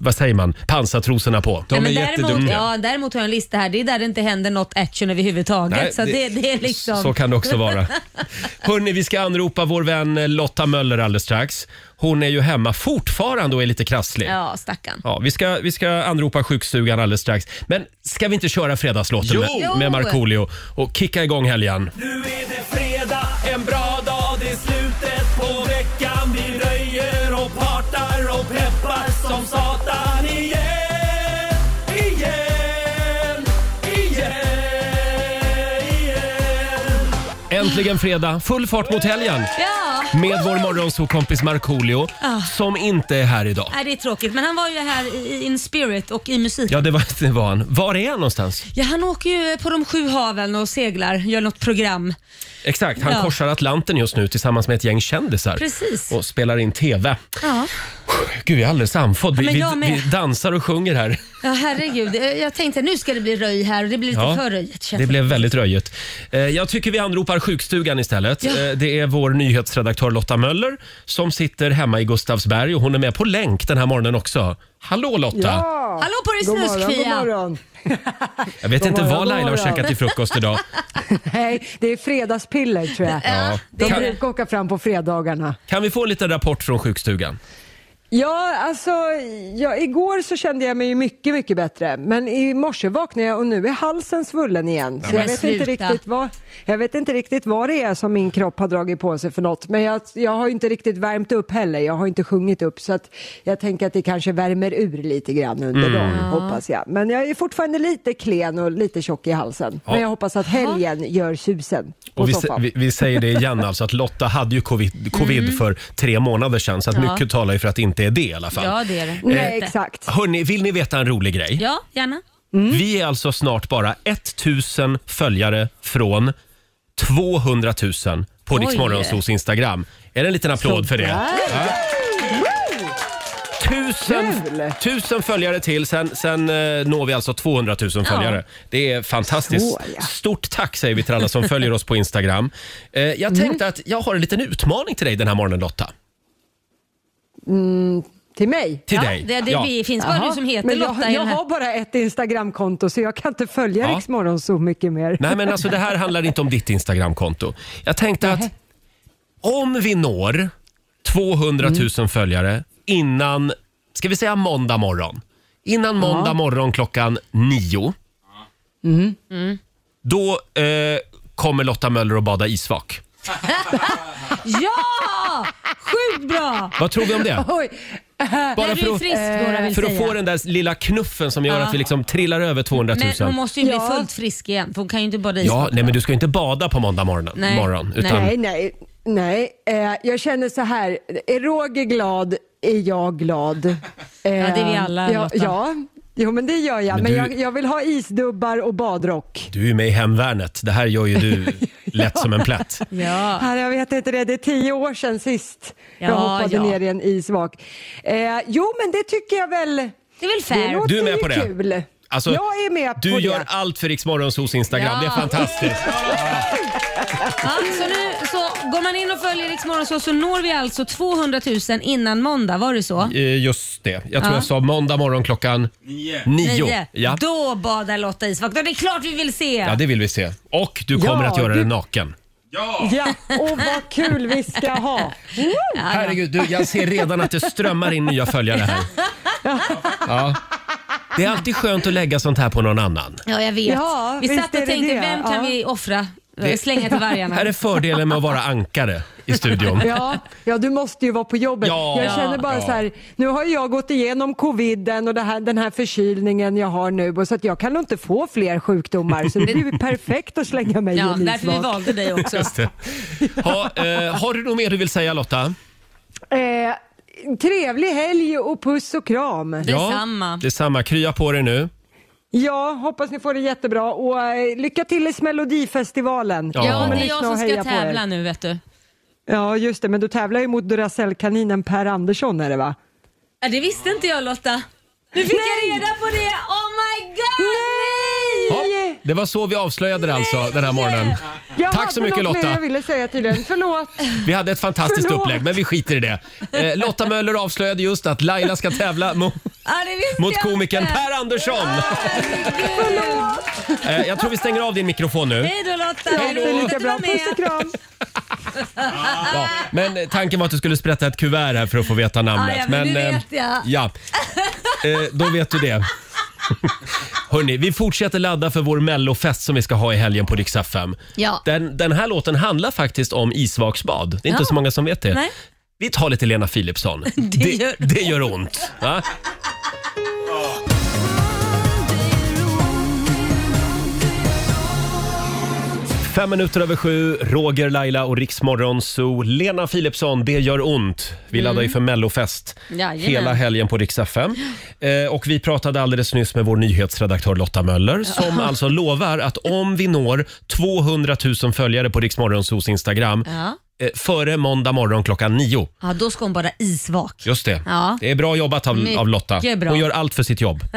Speaker 1: vad säger man, pansartrosorna på.
Speaker 2: De är
Speaker 4: Nej, men däremot,
Speaker 2: jätteduktiga.
Speaker 4: ja, däremot har jag en lista här. Det är där det inte händer något action överhuvudtaget.
Speaker 1: Nej,
Speaker 4: så det,
Speaker 1: det-
Speaker 4: det, är liksom...
Speaker 1: Så kan det också vara.
Speaker 4: *laughs*
Speaker 1: Hörni, vi ska anropa vår vän Lotta Möller alldeles strax. Hon är ju hemma fortfarande och är lite krasslig. Ja.
Speaker 4: Ja, stackarn.
Speaker 1: vi, ska, vi ska anropa sjukstugan alldeles strax. Men ska vi inte köra fredagslåten
Speaker 2: Jo!
Speaker 1: med, med Markoolio och kicka igång helgen?
Speaker 8: Nu är det fredag, en bra dag, det är slutet på veckan. Vi röjer och partar och peppar som satan igen.
Speaker 1: äntligen fredag. Full fart mot helgen
Speaker 4: Ja,
Speaker 1: med vår morgonsåkompis Markoolio
Speaker 4: Ah.
Speaker 1: som inte är här idag.
Speaker 4: nej, det är tråkigt. Men han var ju här i- in spirit och i musik. Ja.
Speaker 1: Ja, det var, det var han. Var är han någonstans?
Speaker 4: han åker ju på de sju haven och seglar, gör något program.
Speaker 1: Exakt, han
Speaker 4: Ja.
Speaker 1: korsar Atlanten just nu tillsammans med ett gäng kändisar.
Speaker 4: Precis.
Speaker 1: Och spelar in TV.
Speaker 4: Ja,
Speaker 1: Gud, jag är alldeles andfådd. Vi,
Speaker 4: Ja, men jag
Speaker 1: vi,
Speaker 4: med.
Speaker 1: vi dansar och sjunger här.
Speaker 4: ja herregud. Eh, Jag tänkte nu ska det bli röj här och det blir lite
Speaker 1: Ja,
Speaker 4: för röjigt. känns
Speaker 1: Det blev väldigt röjigt. Eh, Jag tycker vi anropar sjukstugan istället.
Speaker 4: Ja.
Speaker 1: Eh, Det är vår nyhetsredaktör Lotta Möller som sitter hemma i Gustavsberg och hon är med på länk den här morgonen också. Hallå Lotta!
Speaker 4: Hallå på dig snuskfia!
Speaker 1: Jag vet inte
Speaker 9: morgon,
Speaker 1: vad
Speaker 9: god
Speaker 1: Laila har
Speaker 9: morgon.
Speaker 1: käkat till frukost idag.
Speaker 9: *laughs* Nej, det är fredagspiller tror jag.
Speaker 1: Ja.
Speaker 9: De
Speaker 1: Kan,
Speaker 9: brukar åka fram på fredagarna.
Speaker 1: kan vi få en liten rapport från sjukstugan?
Speaker 9: Ja, alltså, ja, igår så kände jag mig ju mycket, mycket bättre. Men i morse vaknade jag och nu är halsen svullen igen. Så jag
Speaker 4: men
Speaker 9: vet,
Speaker 4: sluta.
Speaker 9: inte riktigt vad, jag vet inte riktigt vad det är som min kropp har dragit på sig för något. Men jag, jag har ju inte riktigt värmt upp heller. Jag har inte sjungit upp så att jag tänker att det kanske värmer ur lite grann
Speaker 1: Mm.
Speaker 9: under dagen, hoppas jag. Men jag är fortfarande lite klen och lite tjock i halsen. Men jag hoppas att helgen gör susen på
Speaker 1: Och vi,
Speaker 9: soffan.
Speaker 1: vi, vi säger det
Speaker 4: *laughs*
Speaker 1: igen alltså att Lotta hade ju covid, covid för tre månader sedan så att
Speaker 4: Mm. Ja.
Speaker 1: mycket talar ju för att det inte är det i alla fall.
Speaker 4: Ja, det är det.
Speaker 1: Eh.
Speaker 9: Nej, exakt.
Speaker 1: Hörni, vill ni veta en rolig grej?
Speaker 4: Ja, gärna.
Speaker 1: Vi är alltså snart bara 1000 följare från 200 000 på
Speaker 4: Oj.
Speaker 1: Rix Morgonzos Instagram. Är det en liten applåd för det? Tusen,
Speaker 9: Kul!
Speaker 1: tusen följare till, sen, sen eh, når vi alltså 200 000 följare. Det är fantastiskt.
Speaker 9: Så, ja.
Speaker 1: Stort tack säger vi till alla som följer oss på Instagram. Eh, jag tänkte
Speaker 4: Mm.
Speaker 1: att jag har en liten utmaning till dig den här morgonen Lotta.
Speaker 9: Till mig?
Speaker 1: Till
Speaker 4: ja,
Speaker 1: dig.
Speaker 4: Det, det
Speaker 1: Ja.
Speaker 4: vi- finns bara du som heter
Speaker 9: men jag,
Speaker 4: Lotta i
Speaker 9: jag
Speaker 4: den här.
Speaker 9: har bara ett Instagramkonto så jag kan inte följa
Speaker 1: Ja.
Speaker 9: Rix Morgon så mycket mer.
Speaker 1: Nej, men alltså det här handlar inte om ditt Instagramkonto. Jag tänkte att om vi når 200 000
Speaker 4: Mm.
Speaker 1: följare innan, ska vi säga måndag morgon? Innan måndag morgon klockan nio.
Speaker 4: Mm.
Speaker 1: Då eh, kommer Lotta Möller och bada isvak.
Speaker 4: Ja! Sjukt bra!
Speaker 1: Vad tror vi
Speaker 4: *laughs*
Speaker 1: om det?
Speaker 9: *laughs* Oj,
Speaker 1: Bara
Speaker 4: När du
Speaker 1: för
Speaker 4: är
Speaker 1: att,
Speaker 4: frisk, Dora vill
Speaker 1: för att
Speaker 4: säga.
Speaker 1: få den där lilla knuffen som gör
Speaker 4: Ja.
Speaker 1: att vi liksom trillar över 200 000.
Speaker 4: Men hon måste ju bli
Speaker 9: Ja.
Speaker 4: fullt frisk igen för hon kan ju inte bada
Speaker 1: Ja,
Speaker 4: isbad.
Speaker 1: nej men du ska ju inte bada på måndag morgon.
Speaker 4: Nej.
Speaker 1: morgon
Speaker 4: Nej.
Speaker 1: utan,
Speaker 9: nej, nej, nej. Eh, jag känner så här, är Roger glad är jag glad. Eh,
Speaker 4: *laughs* Ja, det är vi alla,
Speaker 9: ja,
Speaker 4: Lotta.
Speaker 9: ja, jo men det gör
Speaker 1: Men
Speaker 9: jag. Men,
Speaker 1: du-
Speaker 9: jag, jag vill ha isdubbar och badrock.
Speaker 1: Du är med i Hemvärnet. Det här gör ju
Speaker 4: *laughs*
Speaker 1: du *laughs* lätt som en plätt.
Speaker 4: Ja.
Speaker 9: Här, jag vet inte det, det är tio år sedan sist
Speaker 4: Ja,
Speaker 9: jag hoppade
Speaker 4: ja.
Speaker 9: ner i en isvak. Eh, jo men det tycker jag väl.
Speaker 4: Det är väl fair?
Speaker 9: låter
Speaker 1: Du är med
Speaker 9: ju
Speaker 1: på det?
Speaker 9: Kul.
Speaker 1: Alltså,
Speaker 9: jag är med
Speaker 1: Du
Speaker 9: på
Speaker 1: gör
Speaker 9: det.
Speaker 1: allt för Rix Morgonzos Instagram.
Speaker 4: Ja.
Speaker 1: Det är fantastiskt.
Speaker 4: Ja, så nu så går man in och följer Rix Morgonzoo så når vi alltså 200 000 innan måndag, var det så?
Speaker 1: Eh, Just det. Jag tror
Speaker 4: Ja.
Speaker 1: jag sa måndag morgon klockan nio. Ja.
Speaker 4: Då badar Lotta isvak. Då är det klart vi vill se!
Speaker 1: ja, det vill vi se. Och du kommer
Speaker 9: Ja,
Speaker 1: att göra
Speaker 9: du-
Speaker 1: det naken.
Speaker 9: Ja, och vad kul vi ska ha.
Speaker 1: Herregud, du, jag ser redan att det strömmar in nya följare
Speaker 9: *laughs*
Speaker 1: här. Ja. Det är alltid skönt att lägga sånt här på någon annan.
Speaker 4: Ja, jag vet.
Speaker 9: Ja,
Speaker 4: vi
Speaker 9: visst
Speaker 4: satt
Speaker 9: är
Speaker 4: och
Speaker 9: det
Speaker 4: tänkte,
Speaker 9: det.
Speaker 4: vem kan
Speaker 9: Ja.
Speaker 4: vi offra? eh, Slänga till
Speaker 1: *laughs*
Speaker 4: vargarna.
Speaker 1: Här är fördelen med att vara ankare i studion.
Speaker 9: Ja, ja, du måste ju vara på jobbet.
Speaker 1: Ja,
Speaker 9: jag känner bara
Speaker 1: ja.
Speaker 9: så här, nu har jag gått igenom coviden och det här, den här förkylningen jag har nu och så att jag kan nog inte få fler sjukdomar så det är ju perfekt att slänga mig
Speaker 4: Ja,
Speaker 9: i en
Speaker 4: därför vi
Speaker 9: isvak.
Speaker 4: valde dig också.
Speaker 1: Just det. Ha, eh, har du något mer du vill säga Lotta?
Speaker 9: Eh, trevlig helg och puss och kram.
Speaker 4: Detsamma.
Speaker 1: Detsamma. Krya på dig nu.
Speaker 9: Ja, hoppas ni får det jättebra och eh, lycka till i Melodifestivalen.
Speaker 1: Ja.
Speaker 4: Ja,
Speaker 9: kommer
Speaker 4: det är
Speaker 9: lyssna
Speaker 4: jag
Speaker 9: och
Speaker 4: som ska
Speaker 9: heja på er.
Speaker 4: tävla nu vet du.
Speaker 9: Ja, just det, men du tävlar ju mot Duracell-kaninen Per Andersson är det va?
Speaker 4: Ja, det visste inte jag Lotta. Nu fick jag reda på det! Oh my god!
Speaker 1: Ja,
Speaker 4: Nej!
Speaker 1: det var så vi avslöjade det alltså den här morgonen.
Speaker 9: Jag
Speaker 1: Tack så
Speaker 9: hade
Speaker 1: mycket
Speaker 9: något mer
Speaker 1: Lotta.
Speaker 9: Jag ville säga till den. Förlåt.
Speaker 1: Vi hade ett fantastiskt
Speaker 9: Förlåt.
Speaker 1: upplägg men vi skiter i det. Eh, Lotta Möller avslöjade just att Laila ska tävla mo-
Speaker 4: Ja, det visste
Speaker 1: mot
Speaker 4: jag
Speaker 1: komikern
Speaker 4: inte.
Speaker 1: Per Andersson.
Speaker 4: Förlåt!
Speaker 1: Eh, jag tror vi stänger av din mikrofon nu.
Speaker 4: Hej då Lotta!
Speaker 9: Ha det lika bra. Puss och kram.
Speaker 1: Ja, men eh, tanken var att du skulle sprätta ett kuvert här för att få veta namnet.
Speaker 4: Ah, ja, men nu
Speaker 1: eh,
Speaker 4: vet jag.
Speaker 1: Ja, eh, då vet du
Speaker 4: *laughs*
Speaker 1: det. Hörni, vi fortsätter ladda för vår mellofest som vi ska ha i helgen på Rix FM.
Speaker 4: Ja.
Speaker 1: Den, den här låten handlar faktiskt om isvaksbad. Det är inte
Speaker 4: Ja.
Speaker 1: så många som vet det.
Speaker 4: Nej.
Speaker 1: Vi tar lite Lena
Speaker 4: *laughs*
Speaker 1: Philipsson. det,
Speaker 4: gör
Speaker 1: det gör ont. Va? Fem minuter över sju, Roger, Laila och Riksmorgon Zoo. Lena Philipsson, det gör ont. Vi laddar ju för mellofest
Speaker 4: Mm. Jajamän.
Speaker 1: hela helgen på Rix FM. Eh, och vi pratade alldeles nyss med vår nyhetsredaktör Lotta Möller som alltså lovar att om vi når 200 000 följare på Riksmorgon Zoos Instagram
Speaker 4: Ja.
Speaker 1: eh, före måndag morgon klockan nio.
Speaker 4: ja, då ska hon bara isvak.
Speaker 1: Just det.
Speaker 4: Ja.
Speaker 1: Det är bra jobbat av,
Speaker 4: Mycket
Speaker 1: av Lotta.
Speaker 4: bra.
Speaker 1: Hon gör allt för sitt jobb.
Speaker 4: *laughs*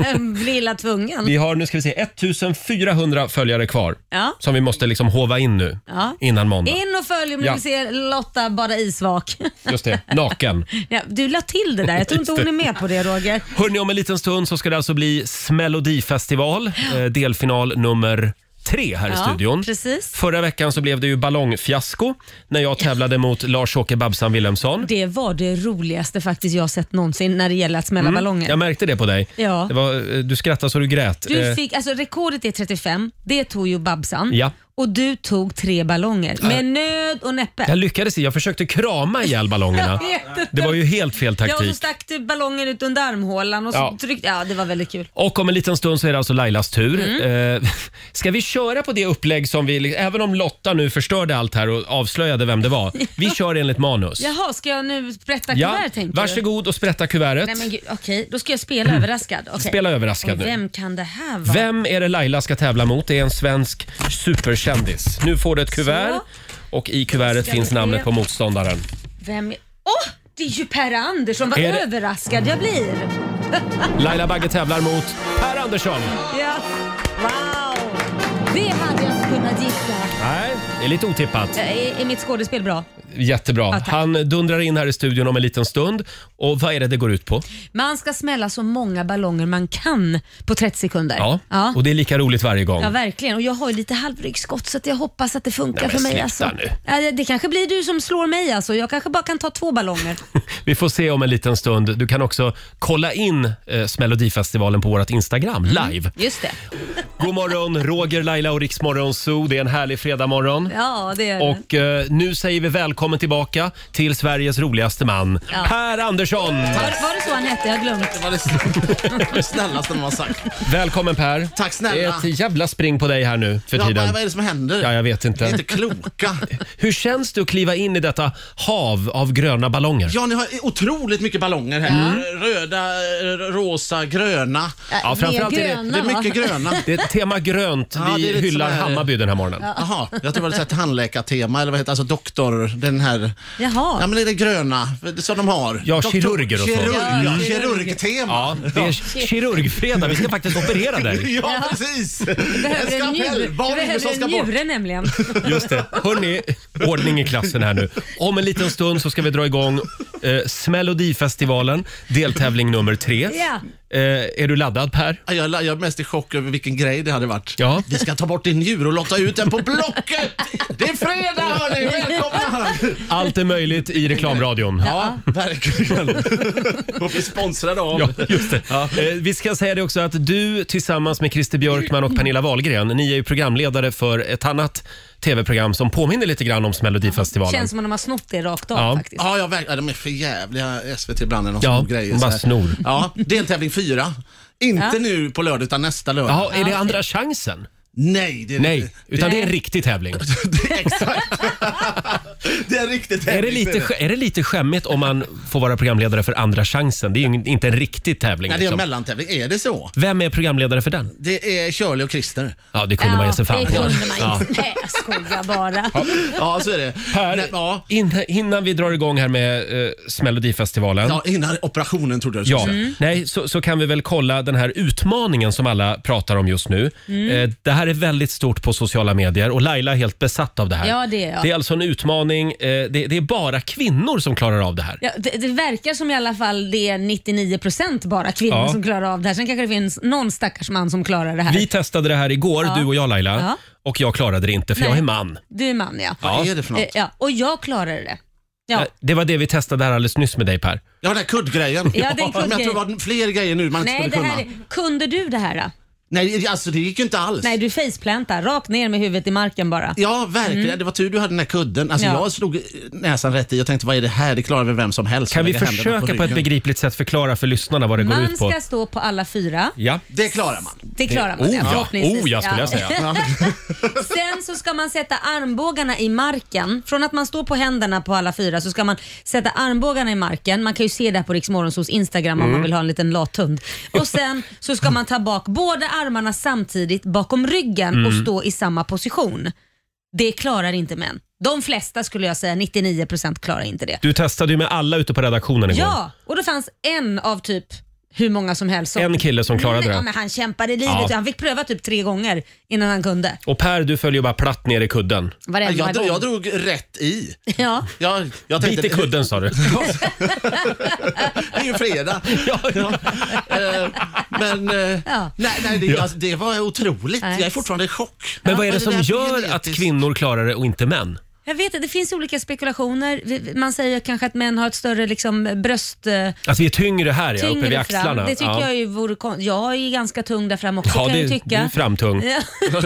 Speaker 4: Ja, blir illa tvungen.
Speaker 1: Vi har nu ska vi se 1400 följare kvar
Speaker 4: Ja.
Speaker 1: som vi måste liksom hova in nu
Speaker 4: Ja.
Speaker 1: innan måndag.
Speaker 4: In och följ om ni
Speaker 1: Ja.
Speaker 4: vill se Lotta bara isvak. *laughs*
Speaker 1: Just det, naken.
Speaker 4: Ja, du la till det där. Jag tror inte hon är med på det Roger.
Speaker 1: Hörni, om en liten stund så ska det alltså bli Smelodifestival, eh, delfinal nummer tre här i
Speaker 4: Ja,
Speaker 1: studion.
Speaker 4: precis.
Speaker 1: Förra veckan så blev det ju ballongfiasko när jag tävlade mot Lars-Åke Babsan Wilhelmsson.
Speaker 4: Det var det roligaste faktiskt jag sett någonsin när det gäller att smälla ballonger.
Speaker 1: Jag märkte det på dig.
Speaker 4: Ja.
Speaker 1: Det var, eh, du skrattade så du grät.
Speaker 4: Du
Speaker 1: Eh,
Speaker 4: fick, alltså rekordet är 35, det tog ju Babsan.
Speaker 1: Ja.
Speaker 4: Och du tog tre ballonger med nöd och näppe.
Speaker 1: Jag lyckades, jag försökte krama ihjäl
Speaker 4: *laughs*
Speaker 1: ballongerna.
Speaker 4: vet inte.
Speaker 1: Det var ju helt fel
Speaker 4: Ja, och så
Speaker 1: taktik.
Speaker 4: stack du ballongen ut under armhålan och så
Speaker 1: Ja.
Speaker 4: tryckte... Ja, det var väldigt kul.
Speaker 1: Och om en liten stund så är det alltså Lailas tur.
Speaker 4: Mm.
Speaker 1: Eh, *laughs* ska vi köra på det upplägg som vi, även om Lotta nu förstörde allt här och avslöjade vem det
Speaker 4: *laughs*
Speaker 1: var. Vi kör enligt manus.
Speaker 4: Jaha, ska jag nu sprätta kuvert tänker du?
Speaker 1: varsågod och sprätta kuvertet.
Speaker 4: Nej men gud, okej. Då ska jag spela överraskad. Okej.
Speaker 1: Spela överraskad
Speaker 4: och
Speaker 1: nu.
Speaker 4: Vem kan det här vara?
Speaker 1: Vem är det Laila ska tävla mot? Det är en svensk superkändis. Nu får du ett kuvert och i kuvertet
Speaker 4: Ska
Speaker 1: finns
Speaker 4: vi se.
Speaker 1: namnet på motståndaren.
Speaker 4: Vem är... Åh! det är ju Per Andersson. Vad
Speaker 1: Är det-
Speaker 4: överraskad jag blir.
Speaker 1: Laila Bagge tävlar mot Per Andersson.
Speaker 4: Ja. Wow! Det hade jag inte kunnat gissa.
Speaker 1: Nej, det är lite otippat.
Speaker 4: Är, är mitt skådespel bra?
Speaker 1: Jättebra.
Speaker 4: tack.
Speaker 1: Han dundrar in här i studion om en liten stund. Och vad är det det går ut på?
Speaker 4: Man ska smälla så många ballonger man kan på 30 sekunder.
Speaker 1: Ja,
Speaker 4: ja.
Speaker 1: och det är lika roligt varje gång.
Speaker 4: Ja, verkligen. Och jag har ju lite halvryggskott så att jag hoppas att det funkar
Speaker 1: Nej, men
Speaker 4: för mig.
Speaker 1: sluta
Speaker 4: Alltså.
Speaker 1: nu.
Speaker 4: Ja, det- Det kanske blir du som slår mig alltså. Jag kanske bara kan ta två ballonger.
Speaker 1: Vi får se om en liten stund. Du kan också kolla in eh, Melodifestivalen på vårt Instagram
Speaker 4: Mm.
Speaker 1: live.
Speaker 4: Just det.
Speaker 1: God morgon, Roger, Laila och Riksmorgon Zoo. Det är en härlig fredagmorgon.
Speaker 4: Ja, det är det.
Speaker 1: Och eh, nu säger vi välkommen tillbaka till Sveriges roligaste man, Per Andersson.
Speaker 4: Var, var det så han hette? Jag har glömt.
Speaker 10: Det var det
Speaker 1: *laughs*
Speaker 10: snäll- det snällaste man har sagt.
Speaker 1: Välkommen Per.
Speaker 10: Tack snälla.
Speaker 1: Det är ett jävla spring på dig här nu för
Speaker 10: Ja,
Speaker 1: tiden.
Speaker 10: vad, vad är det som händer?
Speaker 1: Ja, jag vet
Speaker 10: Ni är
Speaker 1: inte.
Speaker 10: inte kloka.
Speaker 1: Hur känns det att kliva in i detta hav av gröna ballonger?
Speaker 10: Ja, ni har otroligt mycket ballonger här.
Speaker 1: Mm.
Speaker 10: Röda, r- rosa, gröna.
Speaker 4: Äh,
Speaker 1: Ja, framförallt är
Speaker 4: det
Speaker 1: det-
Speaker 4: är gröna,
Speaker 10: det är
Speaker 4: va? *laughs*
Speaker 10: mycket gröna.
Speaker 1: Det är ett tema grönt.
Speaker 10: Ja, det är
Speaker 1: Vi
Speaker 10: lite
Speaker 1: hyllar
Speaker 10: sån här-
Speaker 1: Hammarby den här morgonen.
Speaker 10: Jaha, jag tror det var ett så här tandläkartema eller vad heter det? Alltså doktor, den här.
Speaker 4: Jaha.
Speaker 10: Ja men det är det gröna för- som de har.
Speaker 1: Ja, kirurger och så.
Speaker 10: kirurg,
Speaker 4: Ja,
Speaker 10: ja,
Speaker 4: kirurger.
Speaker 10: Kirurgtema.
Speaker 1: Ja, det är kirurgfredag. Vi ska faktiskt operera dig.
Speaker 10: *laughs* Ja, precis.
Speaker 4: Behöver en njure,
Speaker 10: Barn
Speaker 4: du
Speaker 10: som
Speaker 4: behöver
Speaker 10: ska
Speaker 4: en
Speaker 10: bort.
Speaker 4: njure nämligen.
Speaker 1: Just det. Hörni, ordning i klassen här nu. Om en liten stund så ska vi dra igång eh, Smelodifestivalen, deltävling nummer tre.
Speaker 4: Ja.
Speaker 1: Eh, är du laddad Per?
Speaker 10: Ja, Jag, jag är mest i chock över vilken grej det hade varit.
Speaker 1: Ja.
Speaker 10: Vi ska ta bort din njure och lotta ut den på Blocket! Det är fredag hörni, välkomna!
Speaker 1: Allt är möjligt i reklamradion.
Speaker 10: Ja, verkligen. Och vi är sponsrade av.
Speaker 1: *laughs* Ja, just det. Eh, vi ska säga det också att du tillsammans med Christer Björkman och Pernilla Wahlgren, ni är ju programledare för ett annat tv-program som påminner lite grann om Melodifestivalen.
Speaker 4: Känns som om de har snott det rakt av
Speaker 1: Ja.
Speaker 4: faktiskt.
Speaker 10: Ja, jag verkar, ja, de är för jävliga SVT ibland. när De
Speaker 1: Ja,
Speaker 10: snor grejer,
Speaker 1: de bara
Speaker 10: så här.
Speaker 1: snor.
Speaker 10: Ja, deltävling fyra. Inte nu på lördag utan nästa lördag.
Speaker 1: Jaha, är det andra chansen?
Speaker 10: Nej, det är
Speaker 1: Nej, utan det är en riktig tävling.
Speaker 10: Det är, exakt. *laughs* det är en riktig
Speaker 1: Är det,
Speaker 10: tävling.
Speaker 1: lite, sk- är det lite skämmigt om man får vara programledare för Andra chansen? Det är ju ing- inte en riktig tävling.
Speaker 10: Nej, det är en
Speaker 1: liksom.
Speaker 10: mellantävling. Är det så?
Speaker 1: Vem är programledare för den?
Speaker 10: Det är Shirley och Christer.
Speaker 1: Ja, det kunde man ge sig fan
Speaker 4: det
Speaker 1: på.
Speaker 4: kunde man
Speaker 1: Ja.
Speaker 4: inte. Nej, jag skojar bara.
Speaker 10: Ja, så är det. Nej,
Speaker 1: Per,
Speaker 10: ja.
Speaker 1: innan, innan vi drar igång här med eh, Melodifestivalen.
Speaker 10: Ja, innan operationen trodde jag du skulle
Speaker 1: Ja,
Speaker 10: säga.
Speaker 4: Mm.
Speaker 1: nej, så, så kan vi väl kolla den här utmaningen som alla pratar om just nu.
Speaker 4: Mm.
Speaker 1: Eh, det här är väldigt stort på sociala medier och Laila är helt besatt av det här.
Speaker 4: Ja, det är jag.
Speaker 1: Det är alltså en utmaning. Eh, det, det är bara kvinnor som klarar av det här.
Speaker 4: Ja, det, det verkar som i alla fall det är 99% bara kvinnor
Speaker 1: Ja.
Speaker 4: som klarar av det här. Sen kanske det finns någon stackars man som klarar det här.
Speaker 1: Vi testade det här igår, du och jag Laila.
Speaker 4: Ja.
Speaker 1: Och jag klarade det inte för jag
Speaker 4: Nej.
Speaker 1: är man.
Speaker 4: Du är man ja.
Speaker 10: Vad är det för
Speaker 4: Eh,
Speaker 10: något?
Speaker 4: ja. Och jag klarar det. Ja.
Speaker 1: Eh, Det var det vi testade här alldeles nyss med dig Per.
Speaker 10: Ja, den här kuddgrejen.
Speaker 4: Ja, den
Speaker 10: Men jag tror
Speaker 4: kuddgrejen.
Speaker 10: det var fler grejer nu man inte
Speaker 4: Nej, det
Speaker 10: skulle kunna.
Speaker 4: här är, kunde du det här? Då?
Speaker 10: Nej, alltså det gick ju inte alls.
Speaker 4: Nej, du faceplantar rakt ner med huvudet i marken bara.
Speaker 10: Ja, verkligen. Det var tur du hade den här kudden. Alltså,
Speaker 4: Mm. Ja.
Speaker 10: Jag slog näsan rätt i och tänkte, vad är det här? Det klarar väl vem som helst.
Speaker 1: Kan vi
Speaker 10: Lägga händerna
Speaker 1: försöka på, ett
Speaker 10: ryggen.
Speaker 1: begripligt sätt förklara för lyssnarna vad det går
Speaker 4: Man
Speaker 1: ut på?
Speaker 4: ska stå på alla fyra.
Speaker 1: Ja.
Speaker 10: Det klarar man.
Speaker 4: Det klarar man
Speaker 1: Oh, ja.
Speaker 4: förhoppningsvis.
Speaker 1: Oh, ja, skulle jag säga.
Speaker 4: *laughs* Sen så ska man sätta armbågarna i marken. Från att man står på händerna på alla fyra så ska man sätta armbågarna i marken. Man kan ju se det här på Rix Morgonzos Instagram om
Speaker 11: Mm.
Speaker 4: man vill ha en liten lathund. Och sen så ska man ta bak båda armarna samtidigt bakom ryggen och
Speaker 11: Mm.
Speaker 4: stå i samma position. Det klarar inte män. De flesta skulle jag säga, 99% klarar inte det.
Speaker 1: Du testade ju med alla ute på redaktionen igår.
Speaker 4: Ja, och det fanns en av typ hur många som helst. som-
Speaker 1: En kille som klarade
Speaker 4: Nej,
Speaker 1: det.
Speaker 4: Ja, men han kämpade livet
Speaker 1: Ja.
Speaker 4: ut. Han fick pröva typ tre gånger innan han kunde.
Speaker 1: Och Per, du följer ju bara platt ner i kudden.
Speaker 4: Varenda
Speaker 10: jag,
Speaker 4: gång.
Speaker 10: drog, jag drog rätt i.
Speaker 4: Ja.
Speaker 10: Jag, jag tänkte,
Speaker 1: Bit i kudden sa du.
Speaker 10: *laughs* Det är
Speaker 1: *laughs*
Speaker 10: ju fredag. Eh, Men eh, nej, nej, det,
Speaker 1: Ja.
Speaker 10: alltså, det var otroligt.
Speaker 4: Nej.
Speaker 10: Jag är fortfarande i chock.
Speaker 1: Men vad är det
Speaker 10: Men
Speaker 1: som
Speaker 10: där blir
Speaker 1: gör att kvinnor klarar det och inte män?
Speaker 4: Jag vet inte, det finns olika spekulationer. Vi- Man säger kanske att män har ett större liksom, bröst... eh,
Speaker 1: Att vi är tyngre här, ja, uppe vid
Speaker 4: tyngre fram.
Speaker 1: axlarna.
Speaker 4: Det tycker
Speaker 1: ja.
Speaker 4: jag ju vore kon- Jag är ju ganska tung där fram också
Speaker 1: Ja,
Speaker 4: kan jag
Speaker 1: det-
Speaker 4: ju tycka.
Speaker 1: du är framtung.
Speaker 4: *laughs* Ja.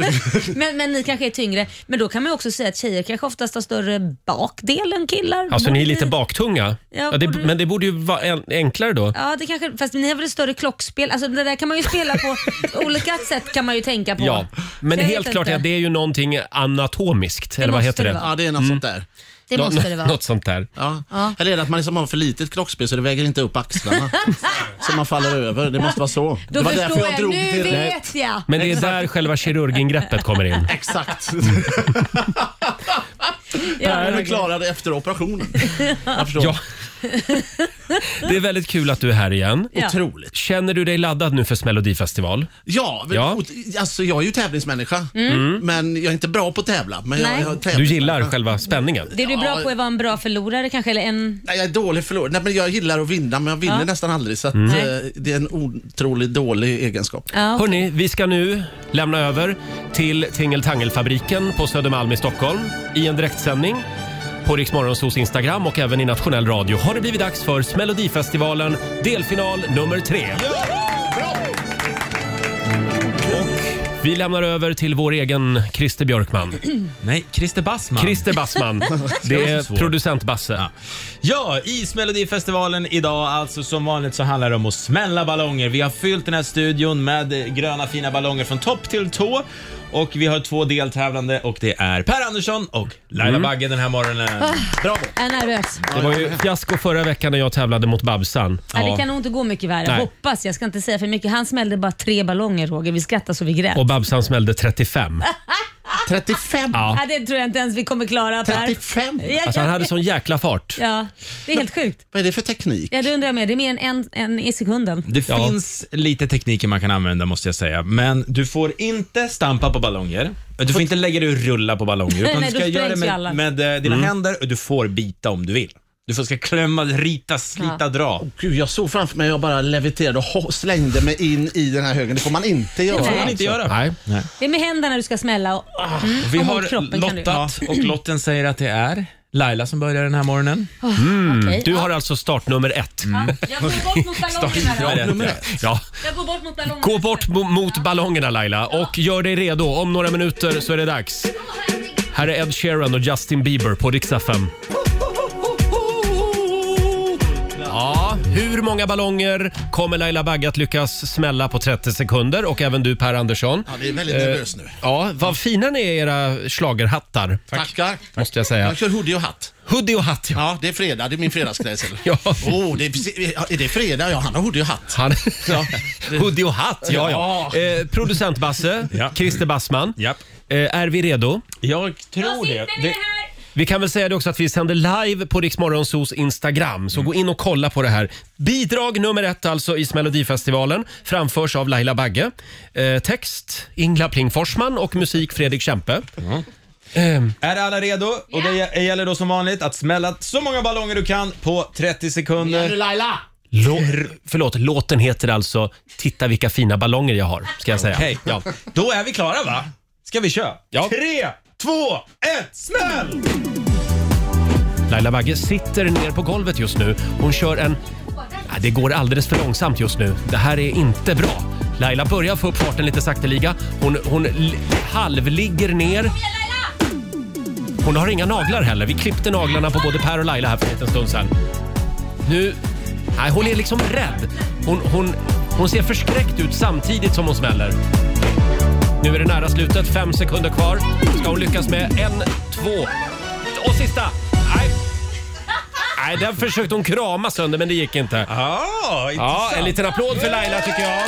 Speaker 4: men, men ni kanske är tyngre. Men då kan man ju också säga att tjejer kanske oftast har större bakdel än killar.
Speaker 1: Alltså ni är lite baktunga.
Speaker 4: Ja,
Speaker 1: Ja, det,
Speaker 4: borde-
Speaker 1: men det borde ju vara en- enklare då.
Speaker 4: Ja, det kanske, fast ni har väl ett större klockspel? Alltså det där kan man ju spela
Speaker 1: *laughs*
Speaker 4: på olika sätt kan man ju tänka på.
Speaker 1: Ja, men
Speaker 4: Så jag
Speaker 1: helt
Speaker 4: vet
Speaker 1: klart
Speaker 4: inte.
Speaker 1: är det är ju någonting anatomiskt. eller vad
Speaker 4: måste
Speaker 1: heter
Speaker 4: det
Speaker 1: det?
Speaker 4: vara. Ja,
Speaker 10: det är
Speaker 1: Mm.
Speaker 10: något sånt där.
Speaker 4: Det
Speaker 1: Nå-
Speaker 4: måste det vara.
Speaker 1: Något sånt där.
Speaker 10: Ja. Eller är det att man liksom har för litet klockspel så det väger inte upp axlarna. så man faller över. Det måste vara så.
Speaker 4: Då
Speaker 10: det var
Speaker 4: förstår jag, nu
Speaker 10: till rätt.
Speaker 4: vet jag.
Speaker 1: Men det är där själva kirurgingreppet kommer in.
Speaker 10: Exakt.
Speaker 4: Ja,
Speaker 10: Där är vi
Speaker 4: Roger.
Speaker 10: klarade efter operationen. Jag förstår.
Speaker 1: Ja. Det är väldigt kul att du är här igen.
Speaker 10: Ja. Otroligt.
Speaker 1: Känner du dig laddad nu för Melodifestival?
Speaker 10: Ja, men,
Speaker 1: Ja.
Speaker 10: ot- Alltså, jag är ju tävlingsmänniska,
Speaker 1: Mm.
Speaker 10: men jag är inte bra på att tävla. Men jag,
Speaker 4: Nej.
Speaker 10: jag
Speaker 1: Du gillar själva spänningen?
Speaker 4: Det du är bra på är att vara en bra förlorare kanske, eller en...
Speaker 10: Nej, jag är dålig förlorare. Nej, men jag gillar att vinna, men jag vinner
Speaker 4: Ja.
Speaker 10: nästan aldrig. Så att,
Speaker 1: Mm.
Speaker 10: eh, det är en otroligt dålig egenskap.
Speaker 1: Hörni, vi ska nu lämna över till Tingeltangelfabriken på Södermalm i Stockholm i en direktsändning på Rix Morgonzos Instagram och även i nationell radio har det blivit dags för Melodifestivalen delfinal nummer tre. Och vi lämnar över till vår egen Christer
Speaker 2: *clears throat*
Speaker 1: Björkman.
Speaker 2: Nej, Christer Bassman.
Speaker 1: Christer Bassman.
Speaker 2: Det
Speaker 1: Det
Speaker 2: var så
Speaker 1: är
Speaker 2: svårt.
Speaker 1: producent Basse.
Speaker 2: Ja, Ismelodifestivalen idag. Alltså som vanligt så handlar det om att smälla ballonger. Vi har fyllt den här studion med eh, gröna fina ballonger från topp till tå. Och vi har två deltävlande och det är Per Andersson och Laila
Speaker 1: Mm.
Speaker 2: Bagge den här morgonen.
Speaker 4: Ah,
Speaker 10: Bravo.
Speaker 4: Jag är nervös.
Speaker 1: Det var ju fiasko förra veckan när jag tävlade mot Babsan.
Speaker 4: Ja. Det kan nog inte gå mycket värre.
Speaker 1: Nej.
Speaker 4: Hoppas, jag ska inte säga för mycket. Han smällde bara tre ballonger Roger. Vi skrattade så vi grät.
Speaker 1: Och Babsan smällde
Speaker 2: *laughs*
Speaker 1: 35.
Speaker 10: 35?
Speaker 1: Ja.
Speaker 4: Ja. det tror jag inte ens vi kommer klara Per.
Speaker 10: 35?
Speaker 4: Ja,
Speaker 1: Alltså han hade sån jäkla fart.
Speaker 4: ja, det är helt sjukt.
Speaker 10: Vad är det för teknik?
Speaker 4: Ja, det undrar jag med. Det är mer än en, en i sekunden.
Speaker 2: Det finns lite tekniker man kan använda måste jag säga, men du får inte stampa på ballonger. Du får inte lägga dig och rulla på ballonger, utan
Speaker 4: Nej,
Speaker 2: du
Speaker 4: då
Speaker 2: ska göra det
Speaker 4: sprängs ju alla.
Speaker 2: med, med eh, dina
Speaker 1: Mm.
Speaker 2: händer och du får bita om du vill. Du får ska klämma, rita, slita,
Speaker 4: Ja.
Speaker 2: dra.
Speaker 1: Oh,
Speaker 10: Gud, jag såg framför mig att jag bara leviterade och ho- slängde mig in i den här högen. Det får man inte göra.
Speaker 4: Det får
Speaker 1: alltså.
Speaker 4: man inte
Speaker 2: göra.
Speaker 1: Nej.
Speaker 4: Det är med händerna du ska smälla och, mm,
Speaker 2: Vi
Speaker 4: och mot
Speaker 2: har
Speaker 4: kroppen kan du.
Speaker 2: lottat och lotten säger att det är Laila som börjar den här morgonen.
Speaker 4: Oh, okej.
Speaker 1: Du
Speaker 4: Ja.
Speaker 1: har alltså startnummer ett.
Speaker 4: Jag går bort mot ballongerna då.
Speaker 1: Startnummer ett. Ja.
Speaker 4: Jag går bort mot ballongerna.
Speaker 1: Gå bort mo- mot ballongerna Laila och gör dig redo. Om några minuter så är det dags. Här är Ed Sheeran och Justin Bieber på riksdag 5. Ja, hur många ballonger kommer Laila Bagge att lyckas smälla på 30 sekunder? Och även du Per Andersson. Ja,
Speaker 10: vi är väldigt nervös nu.
Speaker 1: Ja, vad fina ni är i era schlagerhattar.
Speaker 10: Tackar.
Speaker 1: Måste jag säga.
Speaker 10: Jag kör hoodie och hatt.
Speaker 1: Hoodie och hatt,
Speaker 10: ja. Ja, det är fredag. Det är min fredagsklädsel.
Speaker 1: *laughs* ja.
Speaker 10: Oh, det är, precis- är det fredag? Ja, han har hoodie och hatt.
Speaker 1: Han, Hoodie och hatt, ja ja. Eh, producent Basse, Christer Bassman. Eh, är vi redo?
Speaker 2: Jag tror det. det.
Speaker 1: Vi kan väl säga det också att vi sänder live på Riksmorgonsos Instagram, så gå in och kolla på det här. Bidrag nummer ett alltså i Melodifestivalen framförs av Laila Bagge. Eh, text Ingla Pling Forsman och musik Fredrik Kempe.
Speaker 2: Är alla redo? Och det gä- gäller då som vanligt att smälla så många ballonger du kan på 30
Speaker 10: Är
Speaker 2: sekunder.
Speaker 10: du Laila?
Speaker 1: Lå- Eh, förlåt, låten heter alltså “Titta vilka fina ballonger jag har”, ska jag säga.
Speaker 2: Okej.
Speaker 1: Ja.
Speaker 2: Då är vi klara va? Ska vi köra?
Speaker 1: Ja.
Speaker 2: Tre, två, ett, smäll!
Speaker 1: Laila Bagge sitter ner på golvet just nu. Hon kör en... Ja, Det går alldeles för långsamt just nu. Det här är inte bra. Laila börjar få upp farten lite sakteliga. Hon, hon li- halvligger ner. Hon har inga naglar heller. Vi klippte naglarna på både Per och Laila här för en liten stund sedan. Nu... Nej, hon är liksom rädd. Hon, hon Hon ser förskräckt ut samtidigt som hon smäller. Nu är det nära slutet, fem sekunder kvar. Ska hon lyckas med en, två och sista? Nej. Nej, den försökte hon krama sönder men det gick inte. ja, en liten applåd för Laila tycker jag.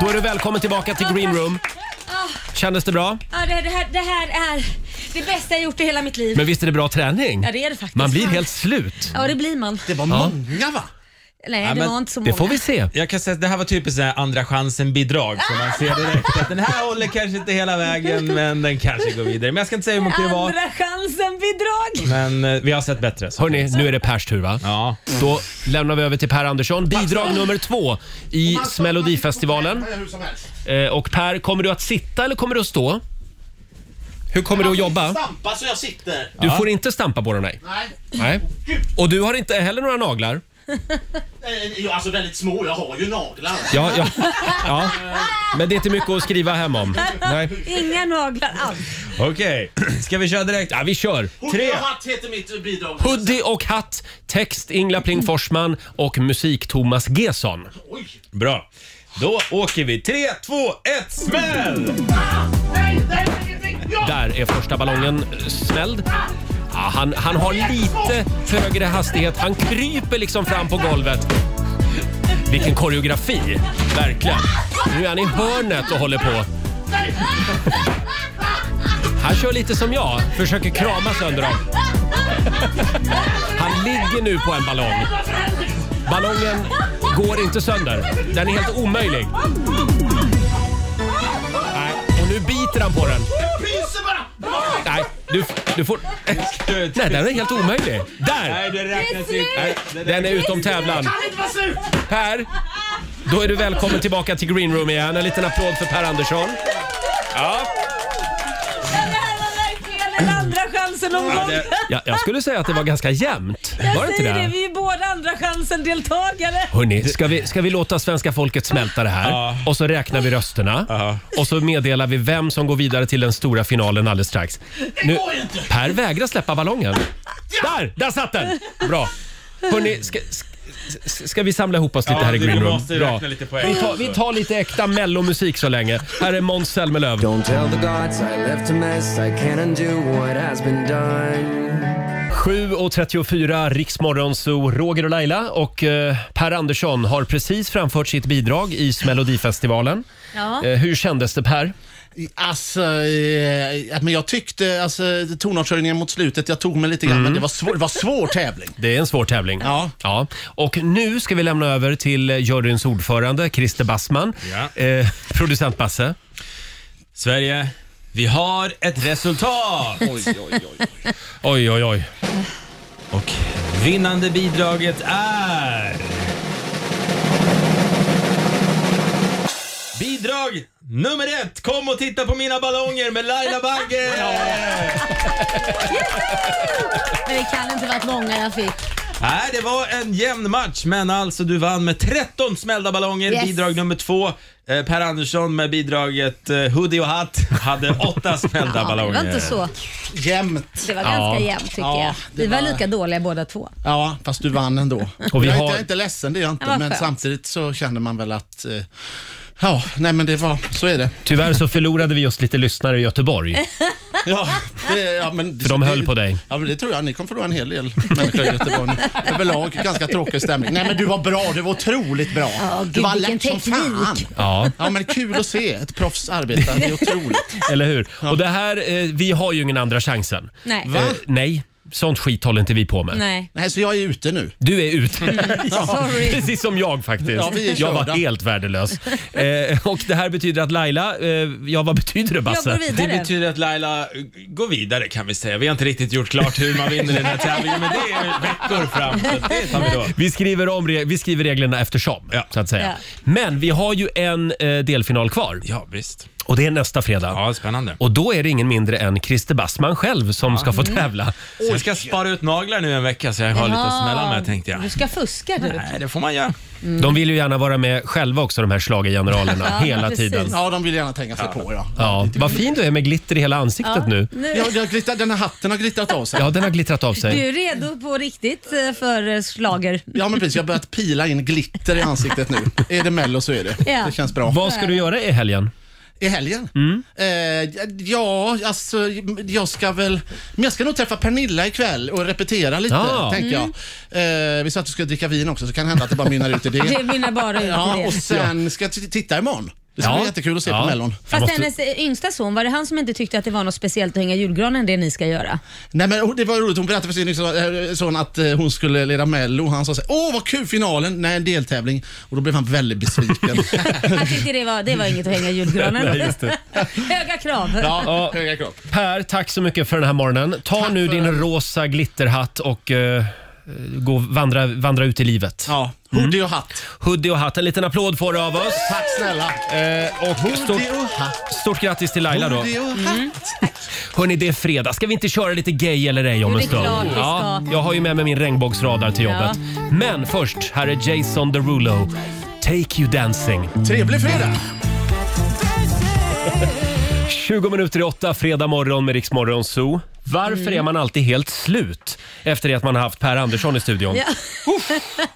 Speaker 1: Då är du välkommen tillbaka till Green Room.
Speaker 4: Ah,
Speaker 1: Kändes det bra?
Speaker 4: ah, det, det, här, det här är det bästa jag gjort i hela mitt liv.
Speaker 1: Men visst är det bra träning?
Speaker 4: Ja, det är det faktiskt.
Speaker 1: Man blir helt slut.
Speaker 4: Ja, det blir man.
Speaker 10: Det var
Speaker 1: Ja.
Speaker 10: många va?
Speaker 4: Nej,
Speaker 2: Ja,
Speaker 4: det
Speaker 2: men
Speaker 4: var inte så många.
Speaker 2: det får
Speaker 1: vi se.
Speaker 2: Jag kan säga att det här var typiskt så här andra chansen-bidrag som man ser direkt. Att den här håller kanske inte hela vägen men den kanske går vidare. Men jag ska inte säga hur mycket det var.
Speaker 4: Andra chansen-bidrag!
Speaker 2: Men eh, vi har sett bättre.
Speaker 1: Hörni, nu är det Pers tur va?
Speaker 2: Ja.
Speaker 1: Då lämnar vi över till Per Andersson. Bidrag nummer två i Melodifestivalen. Eh, Och Per, kommer du att sitta eller kommer du att stå? Hur kommer du att jobba?
Speaker 10: Stampa så jag sitter.
Speaker 1: Du får inte stampa på den, nej.
Speaker 10: Nej.
Speaker 1: nej. Och du har inte heller några naglar?
Speaker 10: Eh, jo, Alltså väldigt små, jag har ju naglar.
Speaker 1: Ja, ja, ja. Men det är inte mycket att skriva hem om. Nej.
Speaker 4: Inga naglar alls.
Speaker 2: Okej, ska vi köra direkt?
Speaker 1: Ja, vi kör.
Speaker 10: Tre.
Speaker 1: Tre.
Speaker 10: Och hatt heter mitt bidrag.
Speaker 1: Hoodie och hatt, text Ingla Pling Forsman och musik Thomas Gesson.
Speaker 10: Oj.
Speaker 2: Bra. Då åker vi. Tre, två, ett, smäll!
Speaker 10: Nej, nej, nej, nej, ja!
Speaker 1: Där är första ballongen eh, smälld. Ja, han, han har lite för högre hastighet. Han kryper liksom fram på golvet. Vilken koreografi! Verkligen. Nu är han i hörnet och håller på. Han kör lite som jag, försöker krama sönder dem. Han ligger nu på en ballong. Ballongen går inte sönder. Den är helt omöjlig. Nej, och nu biter han på den.
Speaker 10: Jag pyser bara!
Speaker 1: Nej, du, du får... Nej, den är helt omöjlig. Där!
Speaker 2: Nej, det räknas
Speaker 4: Det är
Speaker 2: inte.
Speaker 1: Nej, den är utom tävlan.
Speaker 10: Kan inte vara slut!
Speaker 1: Per, då är du välkommen tillbaka till Green Room igen. En liten applåd för Per Andersson. Ja.
Speaker 4: Det här var verkligen en andra chansen-omgång.
Speaker 1: Jag, jag skulle säga att det var ganska jämnt. Var det
Speaker 4: Jag
Speaker 1: inte
Speaker 4: säger det,
Speaker 1: det?
Speaker 4: vi är ju båda andra chansen-deltagare.
Speaker 1: Hörrni, ska vi, ska vi låta svenska folket smälta det här?
Speaker 2: Ja.
Speaker 1: Och så räknar vi rösterna.
Speaker 2: Ja.
Speaker 1: Och så meddelar vi vem som går vidare till den stora finalen alldeles strax. Nu,
Speaker 10: går inte.
Speaker 1: per vägrar släppa ballongen. Där! Där satt den! Bra. Hörrni, ska, ska, ska vi samla ihop oss lite
Speaker 2: Ja,
Speaker 1: här i
Speaker 2: vi
Speaker 1: Green Room?
Speaker 2: måste
Speaker 1: Bra.
Speaker 2: räkna lite poäng
Speaker 1: Vi tar, vi
Speaker 2: också.
Speaker 1: tar lite äkta mellomusik så länge. Här är Måns Zelmerlöw.
Speaker 8: Don't tell the gods I left a mess I can't undo what has been done
Speaker 1: 7.34, Riksmorgonzoo, Roger och Laila och eh, Per Andersson har precis framfört sitt bidrag i Melodifestivalen.
Speaker 4: Ja.
Speaker 1: Eh, hur kändes det Per?
Speaker 10: Alltså, eh, men jag tyckte alltså, tonartshöjningen mot slutet, jag tog mig lite grann, men
Speaker 1: Mm.
Speaker 10: det var svår, det var svår tävling.
Speaker 1: Det är en svår tävling.
Speaker 10: Ja.
Speaker 1: ja. Och nu ska vi lämna över till juryns ordförande Christer Bassman.
Speaker 2: Ja.
Speaker 1: Eh, producent Basse.
Speaker 2: Sverige, vi har ett resultat!
Speaker 1: Oj, oj, oj.
Speaker 2: Och vinnande bidraget är... Bidrag nummer ett! Kom och titta på mina ballonger med Laila Bagge!
Speaker 4: Men det kan inte varit många jag fick.
Speaker 2: Nej, det var en jämn match, men alltså du vann med 13 smällda ballonger.
Speaker 4: Yes.
Speaker 2: Bidrag nummer två. eh, Per Andersson med bidraget eh, Hoodie och hatt hade åtta smällda
Speaker 4: Ja, det
Speaker 2: ballonger.
Speaker 4: var inte så.
Speaker 10: Jämnt.
Speaker 4: Det var
Speaker 1: Ja.
Speaker 4: ganska jämnt tycker
Speaker 10: Ja,
Speaker 4: jag.
Speaker 10: det
Speaker 4: Vi var
Speaker 10: var-
Speaker 4: lika dåliga båda två.
Speaker 10: Ja, fast du vann ändå.
Speaker 1: Och vi
Speaker 10: jag, är
Speaker 1: har-
Speaker 10: inte, jag är inte ledsen, det är jag inte,
Speaker 4: Ja, vad
Speaker 10: men
Speaker 4: skönt.
Speaker 10: samtidigt så känner man väl att eh, Ja, nej men det var, så är det.
Speaker 1: Tyvärr så förlorade vi just lite lyssnare i
Speaker 2: *laughs*
Speaker 1: Göteborg.
Speaker 10: Ja, det ja, men,
Speaker 1: För de
Speaker 10: det-
Speaker 1: höll på dig.
Speaker 10: Ja, men det tror jag. Ni kommer förlora en hel del människor i Göteborg nu. Överlag ganska tråkig stämning. Nej, men du var bra. Du var otroligt bra.
Speaker 4: gud,
Speaker 10: du var
Speaker 4: vilken
Speaker 10: lätt som
Speaker 4: teknik.
Speaker 10: fan.
Speaker 1: Ja.
Speaker 10: Ja, men kul att se ett proffs arbeta. Det är otroligt.
Speaker 1: Eller hur? Och det här, eh, vi har ju ingen andra chansen.
Speaker 4: Nej.
Speaker 10: Va?
Speaker 1: nej, sånt skit håller inte vi på med.
Speaker 4: Nej.
Speaker 10: Nej, så jag är ute nu.
Speaker 1: Du är
Speaker 4: *laughs*
Speaker 1: ute.
Speaker 4: Sorry.
Speaker 1: Precis som jag faktiskt.
Speaker 10: Ja, vi är
Speaker 1: jag var
Speaker 10: körda.
Speaker 1: helt värdelös. Eh, och det här betyder att Laila, eh, ja vad betyder det Basse?
Speaker 4: Jag går vidare.
Speaker 2: Det betyder att Laila eh, går vidare kan vi säga. Vi har inte riktigt gjort klart hur man vinner den här tävlingen, men det är veckor
Speaker 4: *laughs*
Speaker 2: fram. Så det tar vi då.
Speaker 1: Vi skriver, om re- vi skriver reglerna eftersom, så att säga.
Speaker 4: Ja.
Speaker 1: Men vi har ju en eh, delfinal kvar.
Speaker 2: Ja, visst.
Speaker 1: Och det är nästa fredag.
Speaker 2: Ja, spännande.
Speaker 1: Och då är det ingen mindre än Christer Bassman själv som ska få
Speaker 4: Mm.
Speaker 1: tävla.
Speaker 2: Så jag ska spara ut naglar nu en vecka så jag har lite att smälla med tänkte jag.
Speaker 4: Du ska fuska du.
Speaker 2: Nej, det får man göra.
Speaker 4: Mm.
Speaker 1: De vill ju gärna vara med själva också, de här schlagergeneralerna,
Speaker 4: *laughs* Ja,
Speaker 1: hela
Speaker 4: precis.
Speaker 1: tiden.
Speaker 10: Ja, de vill gärna tänka sig på ja.
Speaker 1: Ja, vad fin du är med glitter i hela ansiktet nu.
Speaker 10: Ja, det har glittrat, den här hatten har glittrat av sig.
Speaker 1: Ja, den har glittrat av
Speaker 4: Du
Speaker 1: sig.
Speaker 4: är redo på riktigt eh, för eh, slager.
Speaker 10: Ja, men precis. Jag har börjat pila in glitter i ansiktet nu. Är det Mello så är det.
Speaker 4: Ja.
Speaker 10: Det känns bra.
Speaker 1: Vad Mm. ska du göra i helgen?
Speaker 10: I helgen? Eh, ja, alltså jag ska väl... Men jag ska nog träffa Pernilla ikväll och repetera lite,
Speaker 1: Ja.
Speaker 10: tänker jag. Eh, vi sa att du skulle dricka vin också, så kan det hända att det bara mynnar ut i det.
Speaker 4: Mm. *laughs* Det mynnar bara ut i
Speaker 10: ja,
Speaker 4: det.
Speaker 10: Och sen ska jag t- titta imorgon. Det ska
Speaker 1: Ja.
Speaker 10: bli jättekul att se
Speaker 1: Ja.
Speaker 10: på Mellon.
Speaker 4: Fast hennes eh, yngsta son, var det han som inte tyckte att det var något speciellt att hänga julgranen det ni ska göra?
Speaker 10: Nej, men hon- det var roligt, hon berättade för sin yngsta, eh, son att eh, hon skulle leda Mello. Han sa så här, åh vad kul finalen, nej en deltävling. Och då blev han
Speaker 1: *laughs*
Speaker 10: väldigt besviken.
Speaker 4: Han tyckte det var, det var inget att hänga julgranen.
Speaker 1: Nej, just det.
Speaker 4: *laughs* Höga krav.
Speaker 1: Ja. Per, tack så mycket för den här morgonen. Ta nu din rosa glitterhatt och eh, gå, vandra, vandra ut i livet.
Speaker 10: Ja, hoodie och hatt.
Speaker 1: Hoodie och hatt. En liten applåd får du av oss.
Speaker 10: Tack snälla.
Speaker 1: Eh, och stort,
Speaker 10: Hoodie och hatt.
Speaker 1: stort grattis till Laila då.
Speaker 10: Hoodie och hatt.
Speaker 1: Hörni, det är fredag. Ska vi inte köra lite gay eller ej om
Speaker 4: Jo,
Speaker 1: en
Speaker 4: det är
Speaker 1: stund?
Speaker 4: klart vi ska.
Speaker 1: Ja, jag har ju med mig min regnbågsradar till jobbet. Men först, här är Jason Derulo. Take you dancing.
Speaker 10: Trevlig fredag.
Speaker 1: 20 minuter i åtta, fredag morgon med Rix Morgon Zoo. Varför
Speaker 4: Mm.
Speaker 1: är man alltid helt slut efter det att man har haft Per Andersson i studion?
Speaker 4: Ja.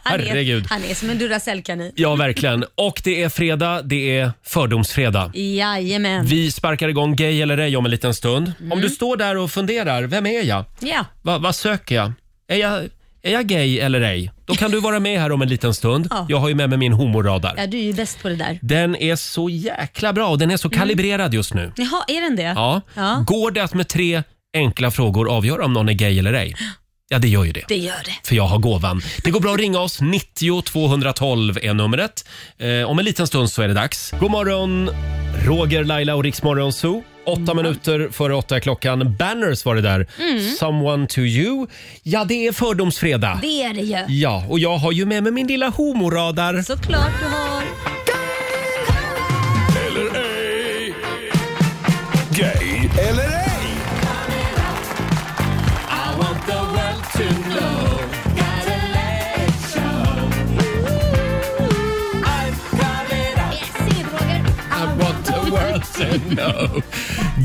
Speaker 4: han,
Speaker 1: herregud.
Speaker 4: är, han är som en Duracell-kanin.
Speaker 1: Ja, verkligen. Och det är fredag, det är fördomsfredag.
Speaker 4: Jajamän.
Speaker 1: Vi sparkar igång Gay eller ej om en liten stund. Om
Speaker 4: Mm.
Speaker 1: du står där och funderar, vem är jag?
Speaker 4: Ja.
Speaker 1: Va, vad söker jag? Är, jag? är jag gay eller ej? Då kan du vara med här om en liten stund.
Speaker 4: *laughs* Ja.
Speaker 1: Jag har ju med mig min homoradar.
Speaker 4: ja, du är ju bäst på det där.
Speaker 1: Den är så jäkla bra och den är så kalibrerad just nu.
Speaker 4: Jaha, är den det?
Speaker 1: Ja.
Speaker 4: Mm. Ja.
Speaker 1: Går det att med tre enkla frågor avgöra om någon är gay eller
Speaker 4: *gasps*
Speaker 1: ej? Ja, det gör ju det.
Speaker 4: Det gör det.
Speaker 1: För jag har gåvan. Det går bra att ringa oss. 90 212 är numret. Eh, om en liten stund så är det dags. God morgon, Roger, Laila och Riksmorgon Zoo. Åtta minuter före åtta är klockan. Banners var det där. Someone to you. Ja, det är fördomsfredag.
Speaker 4: Det är det ju.
Speaker 1: Ja, och jag har ju med mig min lilla homoradar.
Speaker 4: Såklart du har.
Speaker 3: Gay eller ej?
Speaker 1: No.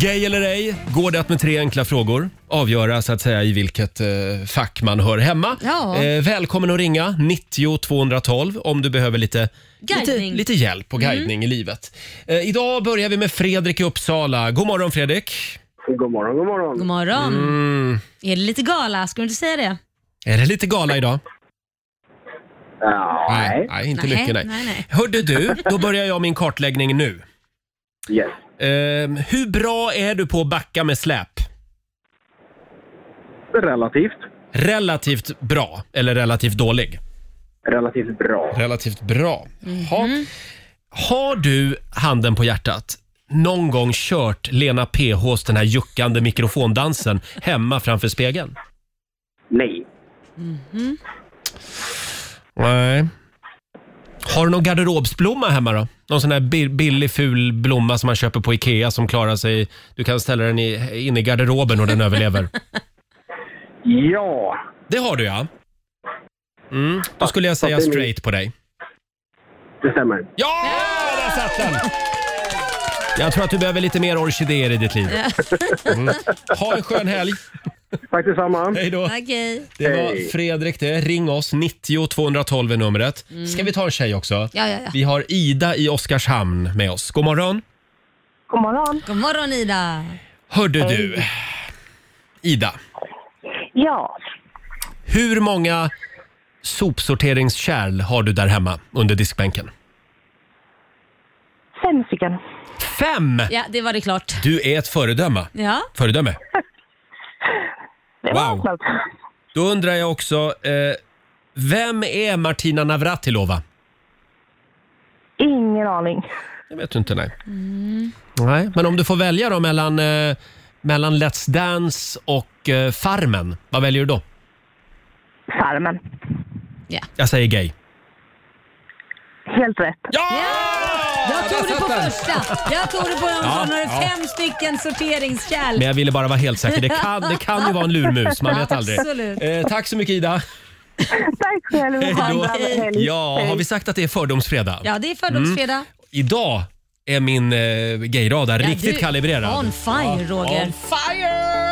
Speaker 1: Gay eller ej, går det att med tre enkla frågor avgöra så att säga i vilket eh, fack man hör hemma.
Speaker 4: Ja.
Speaker 1: Eh, välkommen att ringa 90 212 om du behöver lite, lite,
Speaker 4: Guidning. Mm.
Speaker 1: lite hjälp och guidning i livet. Eh, idag börjar vi med Fredrik i Uppsala. God morgon Fredrik!
Speaker 11: God morgon, god morgon.
Speaker 4: God morgon.
Speaker 1: Mm.
Speaker 4: Är det lite gala? Ska du inte säga det?
Speaker 1: Är det lite gala idag?
Speaker 11: Ja,
Speaker 1: nej, inte
Speaker 4: Nej,
Speaker 1: mycket nej.
Speaker 4: nej, nej.
Speaker 1: Hörde du, då börjar jag min kartläggning nu.
Speaker 11: yes.
Speaker 1: Eh, hur bra är du på att backa med släp?
Speaker 11: Relativt.
Speaker 1: Relativt bra eller relativt dålig?
Speaker 11: Relativt bra.
Speaker 1: Relativt bra. Ha. Har du handen på hjärtat någon gång kört Lena PHs den här juckande mikrofondansen hemma framför spegeln?
Speaker 11: Nej.
Speaker 1: Nej. Har du någon garderobsblomma hemma då? Någon sån här bi- billig ful blomma som man köper på Ikea som klarar sig. Du kan ställa den i, in i garderoben och den överlever.
Speaker 11: Ja.
Speaker 1: Det har du ja. Mm. Då skulle jag säga straight på dig.
Speaker 11: Det stämmer.
Speaker 1: Ja! Där satt den! Jag tror att du behöver lite mer orkidéer i ditt liv. Mm. Ha en skön helg.
Speaker 11: Tack detsamma.
Speaker 1: Hej då.
Speaker 4: Okej.
Speaker 1: Det var
Speaker 11: Hej.
Speaker 1: Fredrik det. Ring oss. 90 212 är numret. Ska vi ta en tjej också?
Speaker 4: Ja, ja, ja.
Speaker 1: Vi har Ida i Oskarshamn med oss. God morgon.
Speaker 7: God morgon.
Speaker 4: God morgon Ida.
Speaker 1: Hörde du. Ida,
Speaker 7: Ja,
Speaker 1: hur många sopsorteringskärl har du där hemma under diskbänken?
Speaker 7: fem stycken.
Speaker 1: Fem!
Speaker 4: Ja, det var det klart.
Speaker 1: Du är ett föredöme.
Speaker 4: Ja.
Speaker 1: Föredöme.
Speaker 7: Det var
Speaker 1: Wow.
Speaker 7: snällt.
Speaker 1: Då undrar jag också, eh, vem är Martina Navratilova?
Speaker 7: Ingen aning.
Speaker 1: Jag vet inte, nej.
Speaker 4: Mm.
Speaker 1: Nej, men om du får välja då mellan, eh, mellan Let's Dance och eh, Farmen, vad väljer du då?
Speaker 7: Farmen.
Speaker 1: Jag säger gay.
Speaker 7: Helt rätt.
Speaker 1: Ja!
Speaker 4: Jag tog det på första. Jag tog det på de
Speaker 1: Ja,
Speaker 4: som hade
Speaker 1: ja.
Speaker 4: fem stycken sorteringskärl.
Speaker 1: Men jag ville bara vara helt säker. Det kan, det kan ju vara en lurmus, man vet aldrig.
Speaker 4: Absolut.
Speaker 1: Eh, tack så mycket Ida.
Speaker 7: Tack själv.
Speaker 1: Hej
Speaker 7: Ha en
Speaker 1: då.
Speaker 7: bra helg.
Speaker 1: Ja,
Speaker 7: Hej.
Speaker 1: har vi sagt att det är fördomsfredag?
Speaker 4: Ja, det är fördomsfredag.
Speaker 1: Mm. Idag är min eh, gayradar
Speaker 4: Ja,
Speaker 1: riktigt
Speaker 4: du-
Speaker 1: kalibrerad.
Speaker 4: On fire Roger.
Speaker 1: on
Speaker 4: fire!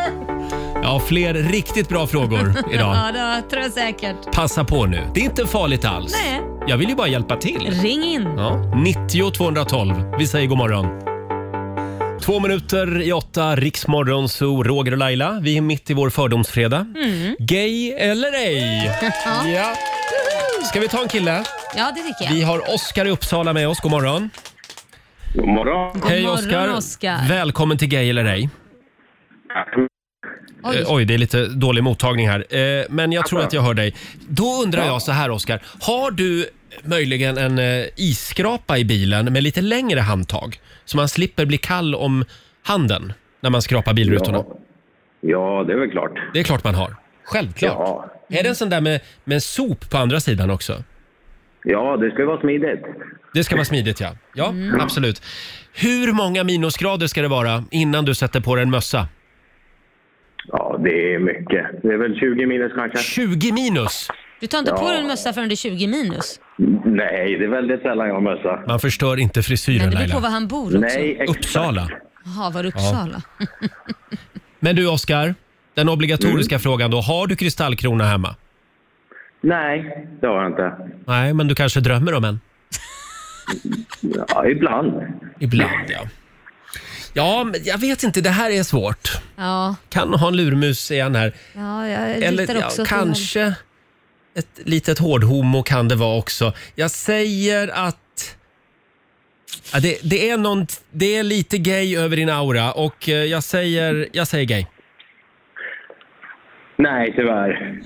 Speaker 1: Ja, fler riktigt bra
Speaker 4: *laughs*
Speaker 1: frågor
Speaker 4: Ja,
Speaker 1: idag.
Speaker 4: det tror jag säkert.
Speaker 1: Passa på nu. Det är inte farligt alls.
Speaker 4: Nej.
Speaker 1: Jag vill ju bara hjälpa till.
Speaker 4: Ring in.
Speaker 1: Ja, 90 212. Vi säger god morgon. Två minuter i åtta, Riksmorgon, så Roger och Laila. Vi är mitt i vår fördomsfredag.
Speaker 4: Mm.
Speaker 1: Gay eller
Speaker 4: *laughs*
Speaker 1: ej? Ja. Ska vi ta en kille?
Speaker 4: Ja, det tycker jag.
Speaker 1: Vi har Oskar i Uppsala med oss. God morgon.
Speaker 11: God morgon.
Speaker 1: Hej
Speaker 4: morgon,
Speaker 1: Oskar.
Speaker 4: Oskar.
Speaker 1: Välkommen till Gay eller ej.
Speaker 4: Oj.
Speaker 1: Eh, oj, det är lite dålig mottagning här. Eh, men jag tror att jag hör dig. Då undrar jag så här Oskar. Har du möjligen en eh, isskrapa i bilen med lite längre handtag? Så man slipper bli kall om handen när man skrapar bilrutorna.
Speaker 11: Ja, det är väl klart.
Speaker 1: Det är klart man har. Självklart. Är det en sån där med, med sop på andra sidan också?
Speaker 11: Ja, det ska ju vara smidigt.
Speaker 1: Det ska vara smidigt ja. Ja,
Speaker 11: Mm.
Speaker 1: absolut. Hur många minusgrader ska det vara innan du sätter på dig en mössa?
Speaker 11: Ja, det är mycket. Det är väl 20 minus kanske.
Speaker 1: 20 minus?
Speaker 4: Du tar inte
Speaker 11: Ja.
Speaker 4: på dig en mössa förrän det är 20 minus.
Speaker 11: Nej, det är väldigt sällan jag har mössa.
Speaker 1: Man förstör inte frisyren
Speaker 4: Men det beror på
Speaker 1: Laila.
Speaker 4: var han bor också.
Speaker 11: Nej, exakt.
Speaker 1: Uppsala.
Speaker 4: Jaha, var det Uppsala?
Speaker 1: Men du Oskar, den obligatoriska
Speaker 4: Mm.
Speaker 1: frågan då. Har du kristallkrona hemma?
Speaker 11: Nej, det har jag inte.
Speaker 1: Nej, men du kanske drömmer om en?
Speaker 11: Ja, ibland.
Speaker 1: Ibland ja. Ja, men jag vet inte. Det här är svårt.
Speaker 4: Ja,
Speaker 1: Kan ha en lurmus igen här.
Speaker 4: ja jag
Speaker 1: Eller
Speaker 4: litar
Speaker 1: ja,
Speaker 4: också åt det hållet.
Speaker 1: kanske ett litet hårdhomo kan det vara också. Jag säger att ja, det, det, är någon, det är lite gay över din aura och eh, jag säger, jag säger gay.
Speaker 11: Nej, tyvärr.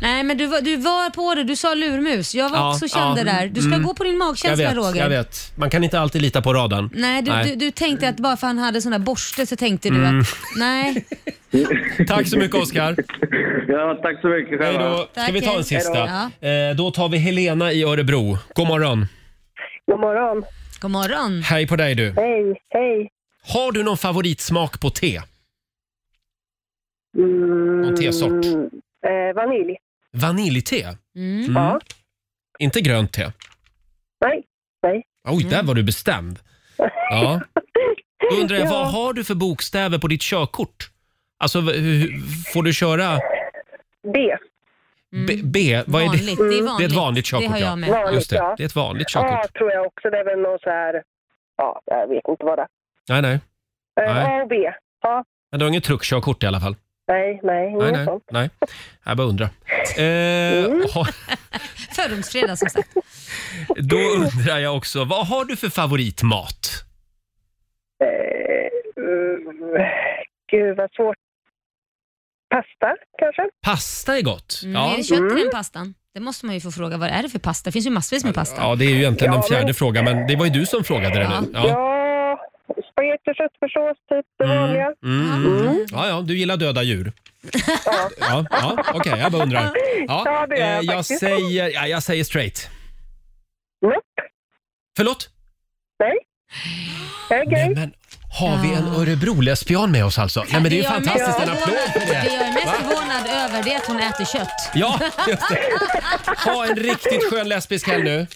Speaker 4: Nej, men du var, du var på det. Du sa lurmus. Jag var
Speaker 1: Ja,
Speaker 4: också kände
Speaker 1: ja,
Speaker 4: där. Du ska
Speaker 1: mm.
Speaker 4: gå på din
Speaker 1: Jag
Speaker 4: magkänsla
Speaker 1: vet,
Speaker 4: Roger.
Speaker 1: jag vet. Man kan inte alltid lita på radarn.
Speaker 4: Nej, du, Du, du tänkte att bara för han hade sån där borste så tänkte du
Speaker 1: Mm.
Speaker 4: att nej.
Speaker 1: Tack så mycket Oskar.
Speaker 11: Ja, tack så mycket
Speaker 1: Hej
Speaker 11: själva.
Speaker 1: då. Ska
Speaker 4: Tack,
Speaker 1: vi ta en
Speaker 4: hej.
Speaker 1: sista?
Speaker 4: Hej
Speaker 1: Eh, då tar vi Helena i Örebro. God morgon.
Speaker 7: God morgon.
Speaker 4: God morgon.
Speaker 1: Hej på dig du.
Speaker 7: Hej, hej.
Speaker 1: Har du någon favoritsmak på te?
Speaker 7: Mm,
Speaker 1: Någon tesort?
Speaker 7: Eh, vanilj.
Speaker 1: Vaniljte?
Speaker 4: Mm.
Speaker 7: Ja.
Speaker 1: Inte grönt te?
Speaker 7: Nej, nej.
Speaker 1: Oj, där
Speaker 4: Mm.
Speaker 1: var du bestämd. Ja. Då
Speaker 4: *laughs*
Speaker 1: undrar jag, vad har du för bokstäver på ditt körkort? Alltså, v- hur, får du köra
Speaker 7: B.
Speaker 1: B? B? Vad är
Speaker 4: mm. Vanligt, det är vanligt.
Speaker 1: Det är ett vanligt körkort,
Speaker 4: Det har jag
Speaker 1: ja.
Speaker 4: med.
Speaker 7: Vanligt,
Speaker 1: Just det,
Speaker 7: ja.
Speaker 1: det är ett vanligt
Speaker 7: A
Speaker 1: körkort.
Speaker 7: tror jag också. Det är väl någon så här... Ja, jag vet inte vad det
Speaker 1: Nej, nej.
Speaker 7: är. Eh,
Speaker 1: Nej.
Speaker 7: A och B. Ja,
Speaker 1: Men du har inget truckkörkort i alla fall?
Speaker 7: nej, nej.
Speaker 1: Nej,
Speaker 7: Inget
Speaker 1: nej.
Speaker 7: sånt.
Speaker 1: nej. Jag bara undrar. Eh,
Speaker 4: Mm.
Speaker 1: ha,
Speaker 4: Fördomsfredag som sagt.
Speaker 1: då undrar jag också, vad har du för favoritmat?
Speaker 7: Eh, mm, gud, vad svårt. Pasta, kanske?
Speaker 1: Pasta är gott.
Speaker 4: Mm. Är det kött i den pastan? Det måste man ju få fråga. Vad är det för pasta? Det finns ju massvis med pasta.
Speaker 1: Ja, det är ju egentligen
Speaker 7: Ja,
Speaker 1: den fjärde
Speaker 7: men-
Speaker 1: frågan, men det var ju du som frågade det nu.
Speaker 7: Ja. Spagetti och köttfärssås, typ det vanliga.
Speaker 1: Mm, mm. mm. Ja, ja, du gillar döda djur. Ja, ja okej, jag bara undrar.
Speaker 7: Ja, det gör jag
Speaker 1: eh, jag,
Speaker 7: faktiskt.
Speaker 1: säger, ja, jag säger straight.
Speaker 7: Nope.
Speaker 1: Förlåt?
Speaker 7: Nej. Jag är gay.
Speaker 1: Men har vi en Örebro-lesbian med oss alltså? Nej, men det är ju
Speaker 4: jag
Speaker 1: fantastiskt.
Speaker 4: mest
Speaker 1: En applåd för
Speaker 4: förvånad- Det jag är
Speaker 1: det.
Speaker 4: mest förvånad över det är att hon äter kött.
Speaker 1: Ja, just det. Ha en riktigt skön lesbisk helg nu.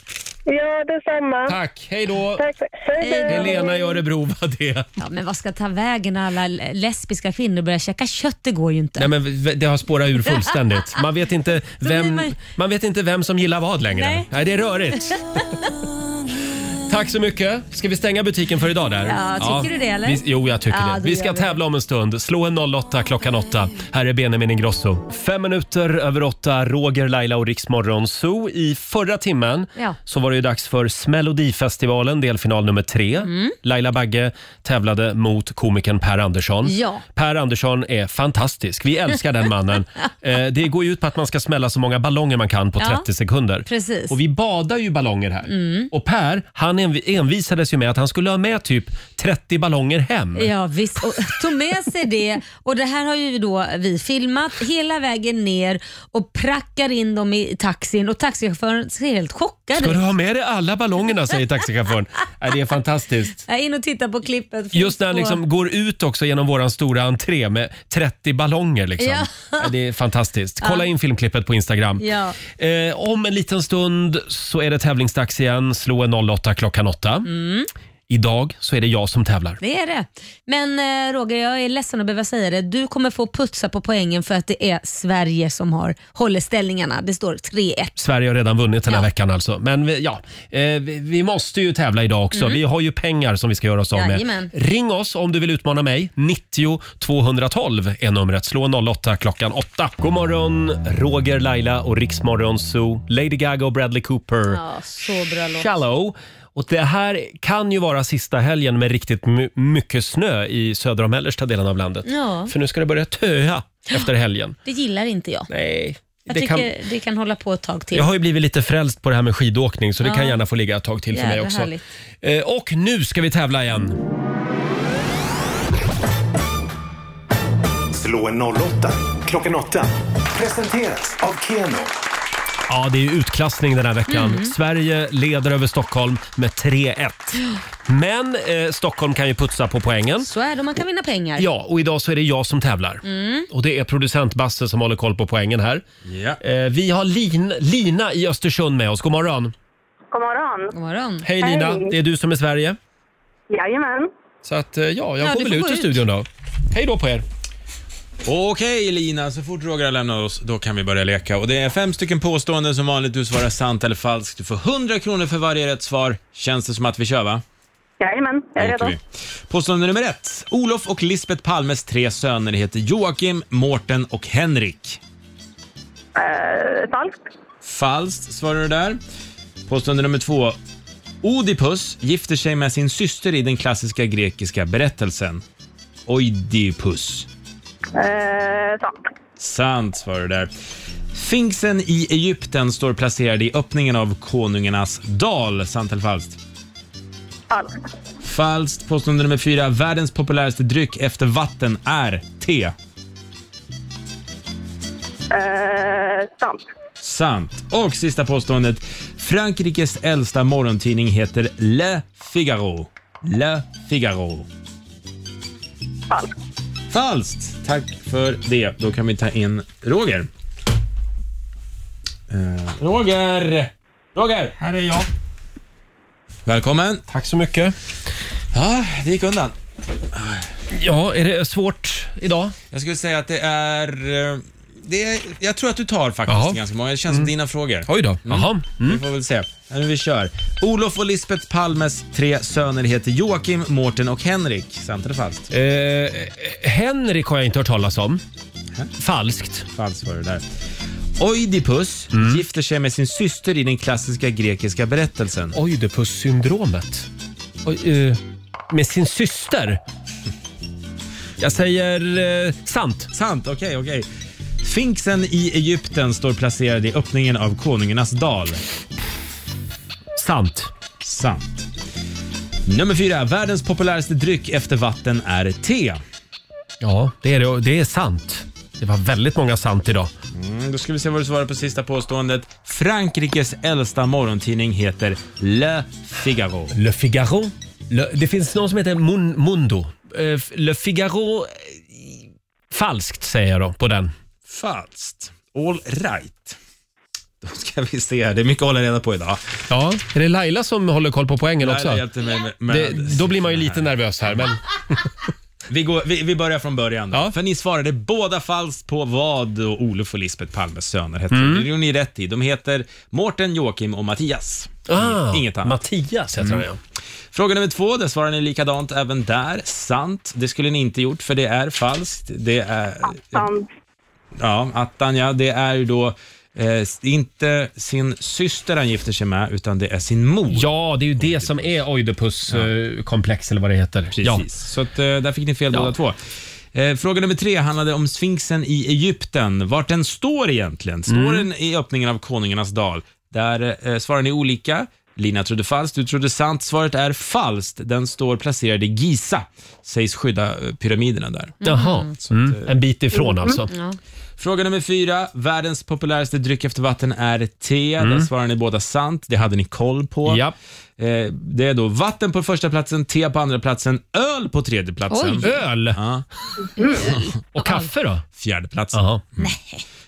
Speaker 7: Ja, detsamma.
Speaker 1: Tack, hej då.
Speaker 7: Tack. Hej då.
Speaker 1: Helena i Örebro var det.
Speaker 4: Ja, men vad ska ta vägen när alla lesbiska kvinnor börjar käka kött? Det går ju inte.
Speaker 1: Nej, men v- det har spårat ur
Speaker 4: *laughs*
Speaker 1: fullständigt. Man vet inte vem,
Speaker 4: man-
Speaker 1: man vet inte vem som gillar vad längre. Nej.
Speaker 4: Nej.
Speaker 1: det är
Speaker 4: *laughs*
Speaker 1: rörigt. Tack så mycket. Ska vi stänga butiken för idag där?
Speaker 4: Ja, tycker du det, eller?
Speaker 1: Vi, jo, jag tycker
Speaker 4: Ja,
Speaker 1: det.
Speaker 4: då
Speaker 1: Vi
Speaker 4: gör
Speaker 1: ska
Speaker 4: vi
Speaker 1: tävla om en stund. Slå en 08 klockan 8. Här är Benjamin Ingrosso. Fem minuter över åtta, Roger, Laila och Riksmorgon Zoo. I förra timmen
Speaker 4: Ja.
Speaker 1: så var det ju dags för Smelodifestivalen, delfinal nummer tre.
Speaker 4: Mm.
Speaker 1: Laila Bagge tävlade mot komikern Per Andersson.
Speaker 4: Ja.
Speaker 1: Per Andersson är fantastisk. Vi älskar den
Speaker 4: *laughs*
Speaker 1: mannen. Eh, det går ju ut på att man ska smälla så många ballonger man kan på
Speaker 4: Ja.
Speaker 1: 30 sekunder.
Speaker 4: Precis. Mm.
Speaker 1: Och vi badar ju ballonger här. Och Per, han env- envisades ju med att han skulle ha med typ 30 ballonger hem.
Speaker 4: Ja visst, och tog med sig det och det här har ju då vi filmat hela vägen ner och prackar in dem i taxin och taxichauffören ser helt chockad åka
Speaker 1: Ska
Speaker 4: dit.
Speaker 1: du ha med dig alla ballongerna, säger
Speaker 4: *laughs*
Speaker 1: taxichauffören. Nej, det är fantastiskt.
Speaker 4: Jag är inne Äh, och tittar på klippet.
Speaker 1: Just när han
Speaker 4: på-
Speaker 1: liksom går ut också genom våran stora entré med 30 ballonger. Liksom. *laughs*
Speaker 4: Ja.
Speaker 1: Ja, Det är fantastiskt. Kolla
Speaker 4: Ja.
Speaker 1: in filmklippet på Instagram.
Speaker 4: Ja.
Speaker 1: Eh, om en liten stund så är det tävlingsdags igen. Slå en 08 klockan 8.
Speaker 4: Mm.
Speaker 1: Idag så är det jag som tävlar.
Speaker 4: Det är det. Men eh, Roger, jag är ledsen att behöva säga det. Du kommer få putsa på poängen för att det är Sverige som har håller ställningarna. Det står 3-1.
Speaker 1: Sverige har redan vunnit den här veckan alltså. Men vi, ja, eh, vi- vi måste ju tävla idag också.
Speaker 4: Mm.
Speaker 1: Vi har ju pengar som vi ska göra oss av
Speaker 4: Jajamän.
Speaker 1: med. Ring oss om du vill utmana mig. 90 212 är numret. Slå 08 klockan 8. God morgon, Roger, Laila och Riksmorgon Zoo. Lady Gaga och Bradley Cooper.
Speaker 4: Ja, så bra låt.
Speaker 1: Shallow. Och det här kan ju vara sista helgen med riktigt my- mycket snö i södra och mellersta delen av landet.
Speaker 4: Ja.
Speaker 1: För nu ska det börja töa efter helgen.
Speaker 4: Det gillar inte jag.
Speaker 1: Nej.
Speaker 4: Jag
Speaker 1: det
Speaker 4: tycker
Speaker 1: kan-
Speaker 4: det kan hålla på ett tag till.
Speaker 1: Jag har ju blivit lite frälst på det här med skidåkning så det
Speaker 4: Ja.
Speaker 1: kan gärna få ligga ett tag till för mig
Speaker 4: Jävla
Speaker 1: också.
Speaker 4: härligt.
Speaker 1: Eh, Och nu ska vi tävla igen.
Speaker 3: Slå en 08 klockan 8. Presenteras av Keno.
Speaker 1: Ja, det är ju utklassning den här veckan.
Speaker 3: Mm.
Speaker 1: Sverige leder över Stockholm med 3-1. Men eh, Stockholm kan ju putsa på poängen.
Speaker 4: Så är det, man kan vinna pengar.
Speaker 1: Ja, och idag så är det jag som tävlar.
Speaker 4: Mm.
Speaker 1: Och det är producent Basse som håller koll på poängen här. Eh, vi har Lin, Lina i Östersund med oss. God morgon.
Speaker 12: God morgon. God
Speaker 4: morgon.
Speaker 1: Hej Lina, det är du som är Sverige.
Speaker 12: Jajamän.
Speaker 1: Så att, eh, ja, jag
Speaker 12: Ja,
Speaker 1: går
Speaker 12: du
Speaker 1: väl
Speaker 12: får
Speaker 1: ut
Speaker 12: gå
Speaker 1: ur
Speaker 12: ut.
Speaker 1: studion då. Hej då på er.
Speaker 2: Okej Lina, så fort Roger har lämnat oss, då kan vi börja leka. Och det är fem stycken påståenden som vanligt. Du svarar sant eller falskt. Du får 100 kronor för varje rätt svar. Känns det som att vi kör va?
Speaker 12: Jajamän, jag är
Speaker 2: Då åker
Speaker 12: redo.
Speaker 2: vi. Påstående nummer ett. Olof och Lisbeth Palmes tre söner heter Joakim, Mårten och Henrik.
Speaker 12: Eh, falskt.
Speaker 2: Falskt svarar du där. Påstående nummer två. Oidipus gifter sig med sin syster i den klassiska grekiska berättelsen. Oidipus.
Speaker 12: Eh, sant.
Speaker 2: Sant svarar du där. Sfinxen i Egypten står placerad i öppningen av Konungarnas dal. Sant eller falskt?
Speaker 12: Falskt.
Speaker 2: Falskt. Påstående nummer fyra. Världens populäraste dryck efter vatten är te.
Speaker 12: Eh, sant.
Speaker 2: Sant. Och sista påståendet. Frankrikes äldsta morgontidning heter Le Figaro. Le Figaro.
Speaker 12: Falskt.
Speaker 2: Falskt. Tack för det. Då kan vi ta in Roger. Eh, Roger! Roger! Här är jag. Välkommen.
Speaker 1: Tack så mycket.
Speaker 2: Ja, det gick undan.
Speaker 1: Ja, är det svårt idag?
Speaker 2: Jag skulle säga att det är... eh, Det är jag tror att du tar faktiskt
Speaker 1: Jaha. Mm.
Speaker 2: ganska många. Det känns som dina frågor.
Speaker 1: Oj då. Mm. Jaha.
Speaker 2: Vi får väl se. Nu vi kör. Olof och Lisbeth Palmes tre söner heter Joakim, Mårten och Henrik. Sant eller falskt?
Speaker 1: Eh, Henrik har jag inte hört talas om. Falskt.
Speaker 2: Falskt var det där. Oidipus
Speaker 1: Mm.
Speaker 2: gifter sig med sin syster i den klassiska grekiska berättelsen.
Speaker 1: Oidipus-syndromet? Oj, eh, med sin syster? Jag säger eh, sant.
Speaker 2: Sant, okej, okej. Sfinxen i Egypten står placerad i öppningen av Konungarnas dal.
Speaker 1: Sant.
Speaker 2: Sant. Nummer fyra. Världens populäraste dryck efter vatten är te.
Speaker 1: Ja, det är, det, det är sant. Det var väldigt många sant idag.
Speaker 2: Mm, då ska vi se vad du svarar på sista påståendet. Frankrikes äldsta morgontidning heter Le Figaro.
Speaker 1: Le Figaro. Le, det finns någon som heter Mun, Mundo. Eh, Le Figaro... eh, Falskt säger jag då på den.
Speaker 2: Falskt. All right. Då ska vi se här. Det är mycket att hålla reda på idag.
Speaker 1: Ja, är det Laila som håller koll på poängen
Speaker 2: Laila
Speaker 1: också?
Speaker 2: hjälpte mig med- med-
Speaker 1: det, då blir man ju lite nervös här. Men...
Speaker 2: Vi, går, vi, vi börjar från början. Då. För ni svarade båda falskt på vad då Olof och Lisbeth Palmes söner heter.
Speaker 1: Mm.
Speaker 2: Det gjorde ni rätt i. De heter Mårten, Joakim och Mattias.
Speaker 1: Ah, Mm.
Speaker 2: Inget annat.
Speaker 1: Mattias heter han, ja.
Speaker 2: Fråga nummer två, där svarar ni likadant även där. Sant. Det skulle ni inte gjort, för det är falskt. Det är...
Speaker 1: Eh,
Speaker 12: Sant.
Speaker 2: Ja, attan ja. Det är ju då eh, inte sin syster han gifter sig med, utan det är sin mor.
Speaker 1: Ja, det är ju det som är Oidipus-komplex eller vad det heter. Precis. Mm-hmm. Ja.
Speaker 2: Så att, eh, där fick ni fel båda två. Eh, Fråga nummer tre handlade om Sfinxen i Egypten. Vart den står egentligen? Står
Speaker 1: Mm.
Speaker 2: den i öppningen av Konungarnas dal? Där eh, svarar ni olika. Lina trodde falskt, du trodde sant. Svaret är falskt. Den står placerad i Giza. Sägs skydda eh, pyramiderna där.
Speaker 1: Mm-hmm. Jaha, mm. en bit ifrån alltså.
Speaker 4: Ja.
Speaker 2: Fråga nummer fyra. Världens populäraste dryck efter vatten är te. Där
Speaker 13: Mm.
Speaker 2: svarar ni båda sant. Det hade ni koll på. Eh, Det är då vatten på första platsen, te på andra platsen, öl på tredje platsen.
Speaker 1: Oj. Öl?
Speaker 2: Ja.
Speaker 1: Och kaffe då?
Speaker 2: Fjärde platsen. Nej.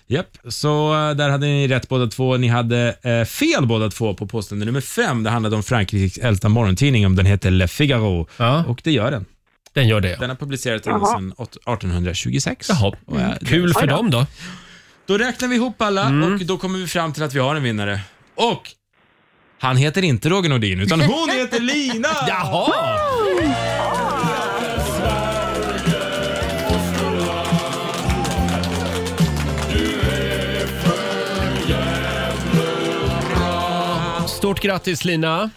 Speaker 2: Japp, så eh, där hade ni rätt båda två. Ni hade eh, fel båda två på påstående nummer fem. Det handlade om Frankrikes äldsta morgontidning, om den heter Le Figaro. Och det gör den.
Speaker 1: Den gör det.
Speaker 2: Den har publicerats ända
Speaker 1: Jaha.
Speaker 2: sedan åt- 1826.
Speaker 1: Jaha.
Speaker 2: Och, eh,
Speaker 1: Kul för dem då.
Speaker 2: Då räknar vi ihop alla
Speaker 1: Mm.
Speaker 2: och då kommer vi fram till att vi har en vinnare. Och han heter inte Roger Nordin,
Speaker 1: *laughs*
Speaker 2: utan hon heter Lina!
Speaker 1: Jaha! Stort grattis Lina!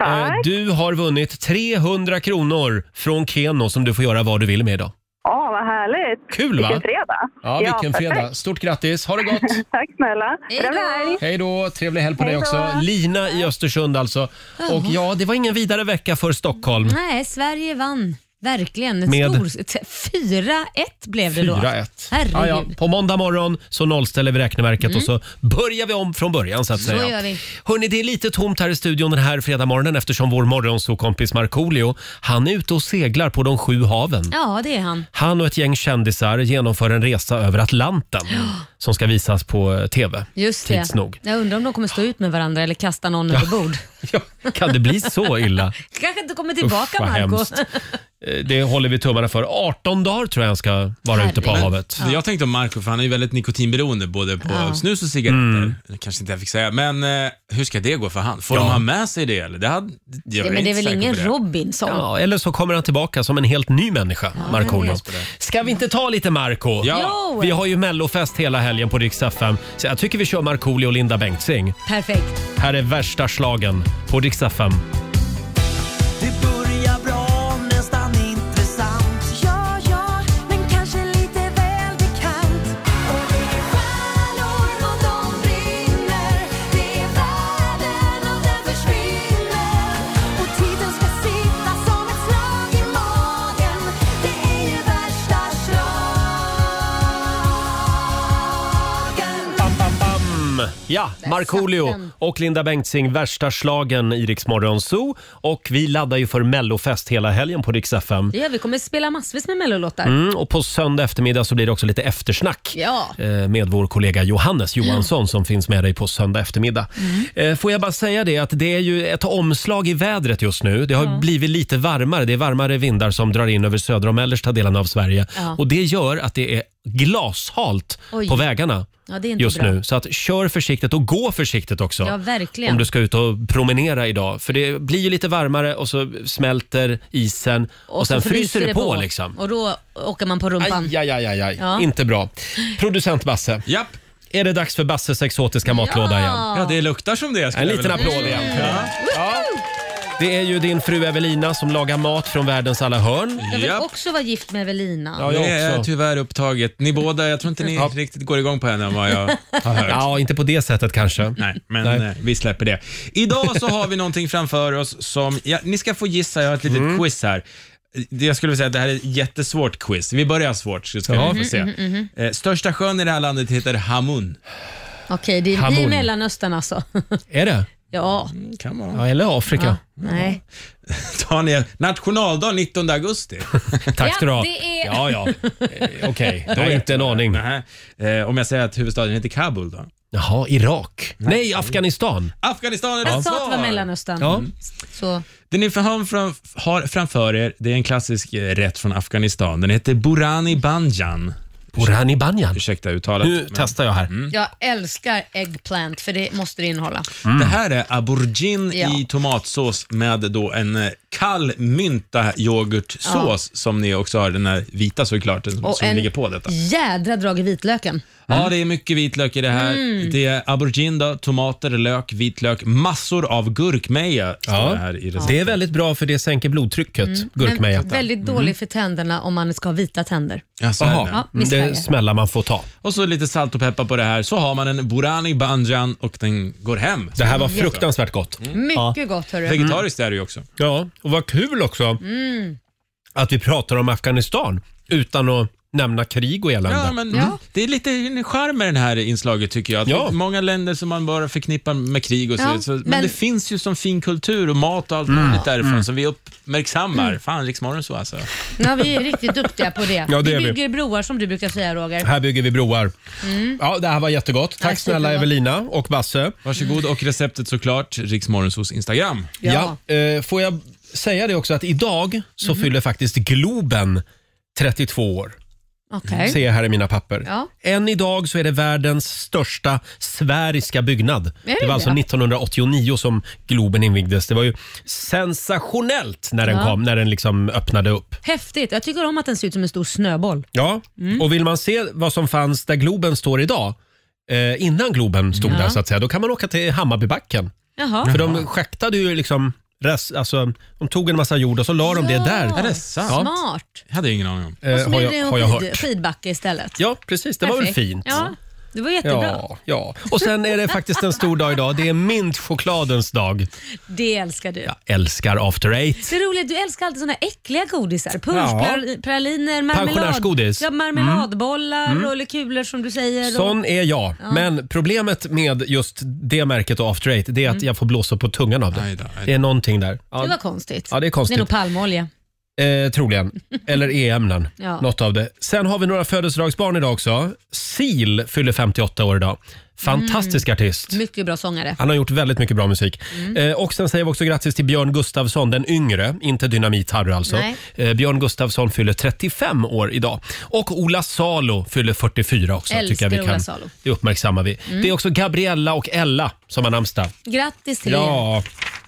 Speaker 1: Eh, Du har vunnit 300 kronor från Keno som du får göra vad du vill med idag.
Speaker 12: Ja, vad härligt.
Speaker 1: Kul, va?
Speaker 12: Vilken fredag.
Speaker 1: Ja, vilken
Speaker 12: perfekt.
Speaker 1: fredag. Stort grattis, ha det
Speaker 4: *laughs*
Speaker 1: gott!
Speaker 12: Tack snälla. Trevlig helg.
Speaker 1: Hej då, trevlig helg på dig
Speaker 12: Hej då.
Speaker 1: också. Lina i Östersund alltså. Och ja, det var ingen vidare vecka för Stockholm.
Speaker 4: Nej, Sverige vann. Verkligen. Ett
Speaker 1: Med-
Speaker 4: stor... t- 4-1 blev det då.
Speaker 1: 4-1.
Speaker 4: Herregud.
Speaker 1: Ja, ja. På måndag morgon så nollställer vi räkneverket
Speaker 4: Mm.
Speaker 1: och så börjar vi om från början så att
Speaker 4: Så
Speaker 1: säga.
Speaker 4: gör vi.
Speaker 1: Hörrni, det är lite tomt här i studion den här fredag morgonen eftersom vår morgonsokompis Markoolio, han är ute och seglar på de sju haven.
Speaker 4: Ja, det är han.
Speaker 1: Han och ett gäng kändisar genomför en resa över Atlanten *gasps* som ska visas på eh, TV.
Speaker 4: Just det.
Speaker 1: Tids nog.
Speaker 4: Jag undrar om de kommer stå ut med varandra eller kasta någon över bord.
Speaker 1: Kan det bli så illa?
Speaker 4: Kanske inte kommer
Speaker 1: Usch,
Speaker 4: *laughs* tillbaka,
Speaker 1: vad
Speaker 4: Marco.
Speaker 1: hemskt. Eh, Det håller vi tummarna för. 18 dagar tror jag han ska vara ute på
Speaker 2: Men
Speaker 1: havet.
Speaker 2: Jag tänkte om Marco, för han är ju väldigt nikotinberoende både på
Speaker 1: Ja.
Speaker 2: snus och cigaretter. Kanske inte jag fick säga, men eh, hur ska det gå för han? Får
Speaker 1: Mm. Ja.
Speaker 2: de ha med sig det eller? Det hade, jag
Speaker 4: Ja, men det är
Speaker 2: inte
Speaker 4: väl
Speaker 2: säker
Speaker 4: ingen
Speaker 2: på det.
Speaker 4: Robinson?
Speaker 1: Ja, eller så kommer han tillbaka som en helt ny människa, Markoolio.
Speaker 4: jag vet.
Speaker 1: Ska vi inte ta lite Marco?
Speaker 4: Ja. Jo!
Speaker 1: Vi har ju mellofest hela helgen på Rix FM, så jag tycker vi kör Markoolio och Linda Bengtzing.
Speaker 4: Perfekt.
Speaker 1: Här är värsta slagen på Rix FM.
Speaker 5: Det börjar bra, nästan intressant. Ja, ja, men kanske lite väl bekant. Och det är stjärnor och de brinner. Det är världen och den försvinner. Och tiden ska sitta som ett slag i magen. Det är ju värsta slagen.
Speaker 1: Mm. Ja, Markoolio och Linda Bengtzing, värsta slagen i Rix Morgon Zoo. Och vi laddar ju för mellofest hela helgen på Rix FM.
Speaker 4: Ja, vi kommer spela massvis med mellolåtar.
Speaker 1: Mm, och på söndag eftermiddag så blir det också lite eftersnack.
Speaker 4: Ja.
Speaker 1: eh, med vår kollega Johannes Johansson som finns med dig på söndag eftermiddag.
Speaker 4: Mm.
Speaker 1: Eh, Får jag bara säga det att det är ju ett omslag i vädret just nu. Det har blivit lite varmare. Det är varmare vindar som drar in över södra och mellersta delarna av Sverige.
Speaker 4: Ja.
Speaker 1: Och det gör att det är glashalt
Speaker 4: Oj.
Speaker 1: på vägarna
Speaker 4: Ja, det är inte
Speaker 1: just
Speaker 4: bra.
Speaker 1: nu. Så att kör försiktigt och gå försiktigt också.
Speaker 4: Ja, verkligen.
Speaker 1: Om du ska ut och promenera idag. För det blir ju lite varmare och så smälter isen och, sen
Speaker 4: så
Speaker 1: fryser, det på, liksom.
Speaker 4: Och då åker man på rumpan.
Speaker 1: Aj, aj, aj, aj, aj.
Speaker 4: Ja.
Speaker 1: Inte bra. Producent Basse.
Speaker 2: Japp.
Speaker 1: Är det dags för Basses exotiska matlåda igen?
Speaker 2: Ja, det luktar som det. skulle
Speaker 1: En
Speaker 2: jag
Speaker 1: liten
Speaker 2: vilja
Speaker 1: applåd
Speaker 2: säga.
Speaker 1: igen.
Speaker 4: Mm.
Speaker 1: Det är ju din fru Evelina som lagar mat från världens alla hörn.
Speaker 4: Jag vill också vara gift med Evelina.
Speaker 2: Ja, det är tyvärr upptaget. Ni båda, jag tror inte ni riktigt går igång på henne om vad jag har hört.
Speaker 1: Ja, inte på det sättet kanske.
Speaker 2: *laughs* Nej, men eh, vi släpper det. Idag så har vi någonting framför oss som, ja, ni ska få gissa, jag har ett litet quiz här. Det- Jag skulle vilja säga att det här är ett jättesvårt quiz. Vi börjar svårt så ska
Speaker 4: Ja.
Speaker 2: vi få se.
Speaker 4: Mhm, mhm,
Speaker 2: Eh, Största sjön i det här landet heter Hamun.
Speaker 4: Okej, det är, det
Speaker 2: Hamon.
Speaker 4: är Mellanöstern alltså. *laughs*
Speaker 1: Är det?
Speaker 4: ja.
Speaker 2: Kan vara.
Speaker 1: Ja, eller Afrika.
Speaker 4: Nej.
Speaker 2: Tar ni nationaldag 19 augusti?
Speaker 1: Tack ska du ha.
Speaker 4: Ja, det är-
Speaker 1: Ja,
Speaker 4: *laughs*
Speaker 1: ja. Eh, Okej, då har jag inte en
Speaker 2: *laughs*
Speaker 1: aning.
Speaker 2: Eh, om jag säger att huvudstaden heter Kabul då?
Speaker 1: Jaha, Irak? Nej, Afghanistan. Mm.
Speaker 2: Afghanistan är
Speaker 4: Jag
Speaker 2: ditt
Speaker 4: sa att det var
Speaker 2: svar.
Speaker 4: Mellanöstern.
Speaker 2: Ja.
Speaker 4: Så,
Speaker 2: Det ni har, fram, har framför er, det är en klassisk eh, rätt från Afghanistan. Den heter Burani Banjan.
Speaker 1: Burani Banjan?
Speaker 2: Ursäkta uttalet.
Speaker 1: Nu testar jag här.
Speaker 4: jag älskar eggplant för det måste det innehålla.
Speaker 2: Mm. Det här är aubergine
Speaker 4: Ja.
Speaker 2: i tomatsås med då en eh, kall mynta yoghurtsås som ni också har, den här vita såklart, den
Speaker 4: Och
Speaker 2: som
Speaker 4: en
Speaker 2: ligger på detta.
Speaker 4: Jädra drag i vitlöken.
Speaker 2: Ja, det är mycket vitlök i det här.
Speaker 4: Mm.
Speaker 2: Det är aubergine, då, tomater, lök, vitlök, massor av gurkmeja.
Speaker 1: Ja,
Speaker 2: Ja. Här i
Speaker 1: det är väldigt bra för det sänker blodtrycket,
Speaker 4: Mm.
Speaker 1: gurkmeja.
Speaker 4: Men väldigt dålig för tänderna om man ska ha vita tänder.
Speaker 2: Ja, så är det.
Speaker 4: Ja, visst är
Speaker 1: det smällar man får ta.
Speaker 2: Och så lite salt och peppar på det här, så har man en burani banjan och den går hem.
Speaker 1: Det här var
Speaker 4: Mm.
Speaker 1: fruktansvärt gott.
Speaker 4: Mycket gott hörru.
Speaker 2: Vegetariskt är det ju också.
Speaker 1: Ja, och vad kul också
Speaker 4: Mm.
Speaker 1: att vi pratar om Afghanistan utan att nämna krig och elände.
Speaker 2: Ja, men
Speaker 1: Mm.
Speaker 2: Det är lite en charm med det här inslaget tycker jag. Att
Speaker 1: Ja.
Speaker 2: Många länder som man bara förknippar med krig och så,
Speaker 4: Ja,
Speaker 2: så men,
Speaker 4: men-
Speaker 2: det finns ju som fin kultur och mat och allt
Speaker 1: Mm.
Speaker 2: möjligt därifrån
Speaker 1: Mm.
Speaker 2: som vi uppmärksammar. Fan, Riksmorgon så alltså.
Speaker 4: Ja, vi är riktigt duktiga på det.
Speaker 1: *laughs* Ja, det är
Speaker 4: vi
Speaker 1: vi.
Speaker 4: bygger broar som du brukar säga Roger.
Speaker 1: Här bygger vi broar.
Speaker 4: Mm.
Speaker 1: Ja, det här var jättegott. Tack
Speaker 4: Ja,
Speaker 1: snälla
Speaker 4: superbra.
Speaker 1: Evelina och Basse.
Speaker 2: Varsågod och receptet såklart, Riksmorgonsos Instagram.
Speaker 1: Ja. eh, får jag säga det också att idag så
Speaker 4: Mhm.
Speaker 1: fyller faktiskt Globen 32 år.
Speaker 4: Okej.
Speaker 1: Ser jag här i mina papper.
Speaker 4: Ja.
Speaker 1: Än idag så är det världens största sveriska byggnad.
Speaker 4: det
Speaker 1: var
Speaker 4: det?
Speaker 1: alltså 1989 som Globen invigdes. Det var ju sensationellt när den
Speaker 4: Ja.
Speaker 1: kom, när den liksom öppnade upp.
Speaker 4: Häftigt. Jag tycker om att den ser ut som en stor snöboll.
Speaker 1: Ja,
Speaker 4: Mm.
Speaker 1: och vill man se vad som fanns där Globen står idag, eh, innan Globen stod
Speaker 4: Ja.
Speaker 1: där så att säga, då kan man åka till Hammarbybacken.
Speaker 4: Jaha.
Speaker 1: För de schaktade ju liksom Rest, alltså, de tog en massa jord och så la de det där.
Speaker 4: Ja, Är det sant? smart.
Speaker 2: Jag hade ingen aning om.
Speaker 1: Eh,
Speaker 4: Och så
Speaker 1: har
Speaker 4: blir det
Speaker 1: jag,
Speaker 4: en
Speaker 1: har jag
Speaker 4: skid-
Speaker 1: hört.
Speaker 4: skidbacke istället.
Speaker 1: Ja, precis. Det var väl
Speaker 4: Perfekt.
Speaker 1: fint?
Speaker 4: Ja, det var jättebra.
Speaker 1: Ja, ja. Och sen är det faktiskt en stor dag idag. Det är mintchokladens dag.
Speaker 4: Det älskar du.
Speaker 1: Älskar After Eight.
Speaker 4: Det är roligt, du älskar alltid såna äckliga godisar. Punschpraliner, praliner, marmelad.
Speaker 1: Pensionärsgodis.
Speaker 4: Ja, marmeladbollar
Speaker 1: Mm. Mm.
Speaker 4: och rullekulor som du säger.
Speaker 1: Sån
Speaker 4: och...
Speaker 1: är jag.
Speaker 4: Ja.
Speaker 1: Men problemet med just det märket och After Eight det är att jag får blåsa på tungan av det. Det är någonting där. Ja.
Speaker 4: Mm. Det var konstigt.
Speaker 1: Ja, det är konstigt.
Speaker 4: Det är nog palmolja.
Speaker 1: Eh,
Speaker 4: *laughs*
Speaker 1: troligen. Eller e-ämnen.
Speaker 4: Ja.
Speaker 1: Något av det. Sen har vi några födelsedagsbarn idag också. Seal fyller 58 år idag. Fantastisk
Speaker 4: Mm.
Speaker 1: artist.
Speaker 4: Mycket bra sångare.
Speaker 1: Han har gjort väldigt mycket bra musik.
Speaker 4: Mm.
Speaker 1: Eh, och Sen säger vi också grattis till Björn Gustafsson, den yngre. Inte Dynamit-Harry alltså.
Speaker 4: Nej.
Speaker 1: Eh, Björn Gustafsson fyller 35 år idag. Och Ola Salo fyller 44 också.
Speaker 4: Älskar
Speaker 1: tycker jag vi
Speaker 4: Ola
Speaker 1: kan.
Speaker 4: Salo.
Speaker 1: Det uppmärksammar vi.
Speaker 4: Mm.
Speaker 1: Det är också Gabriella och Ella som har namnsdag.
Speaker 4: Grattis till
Speaker 1: Ja,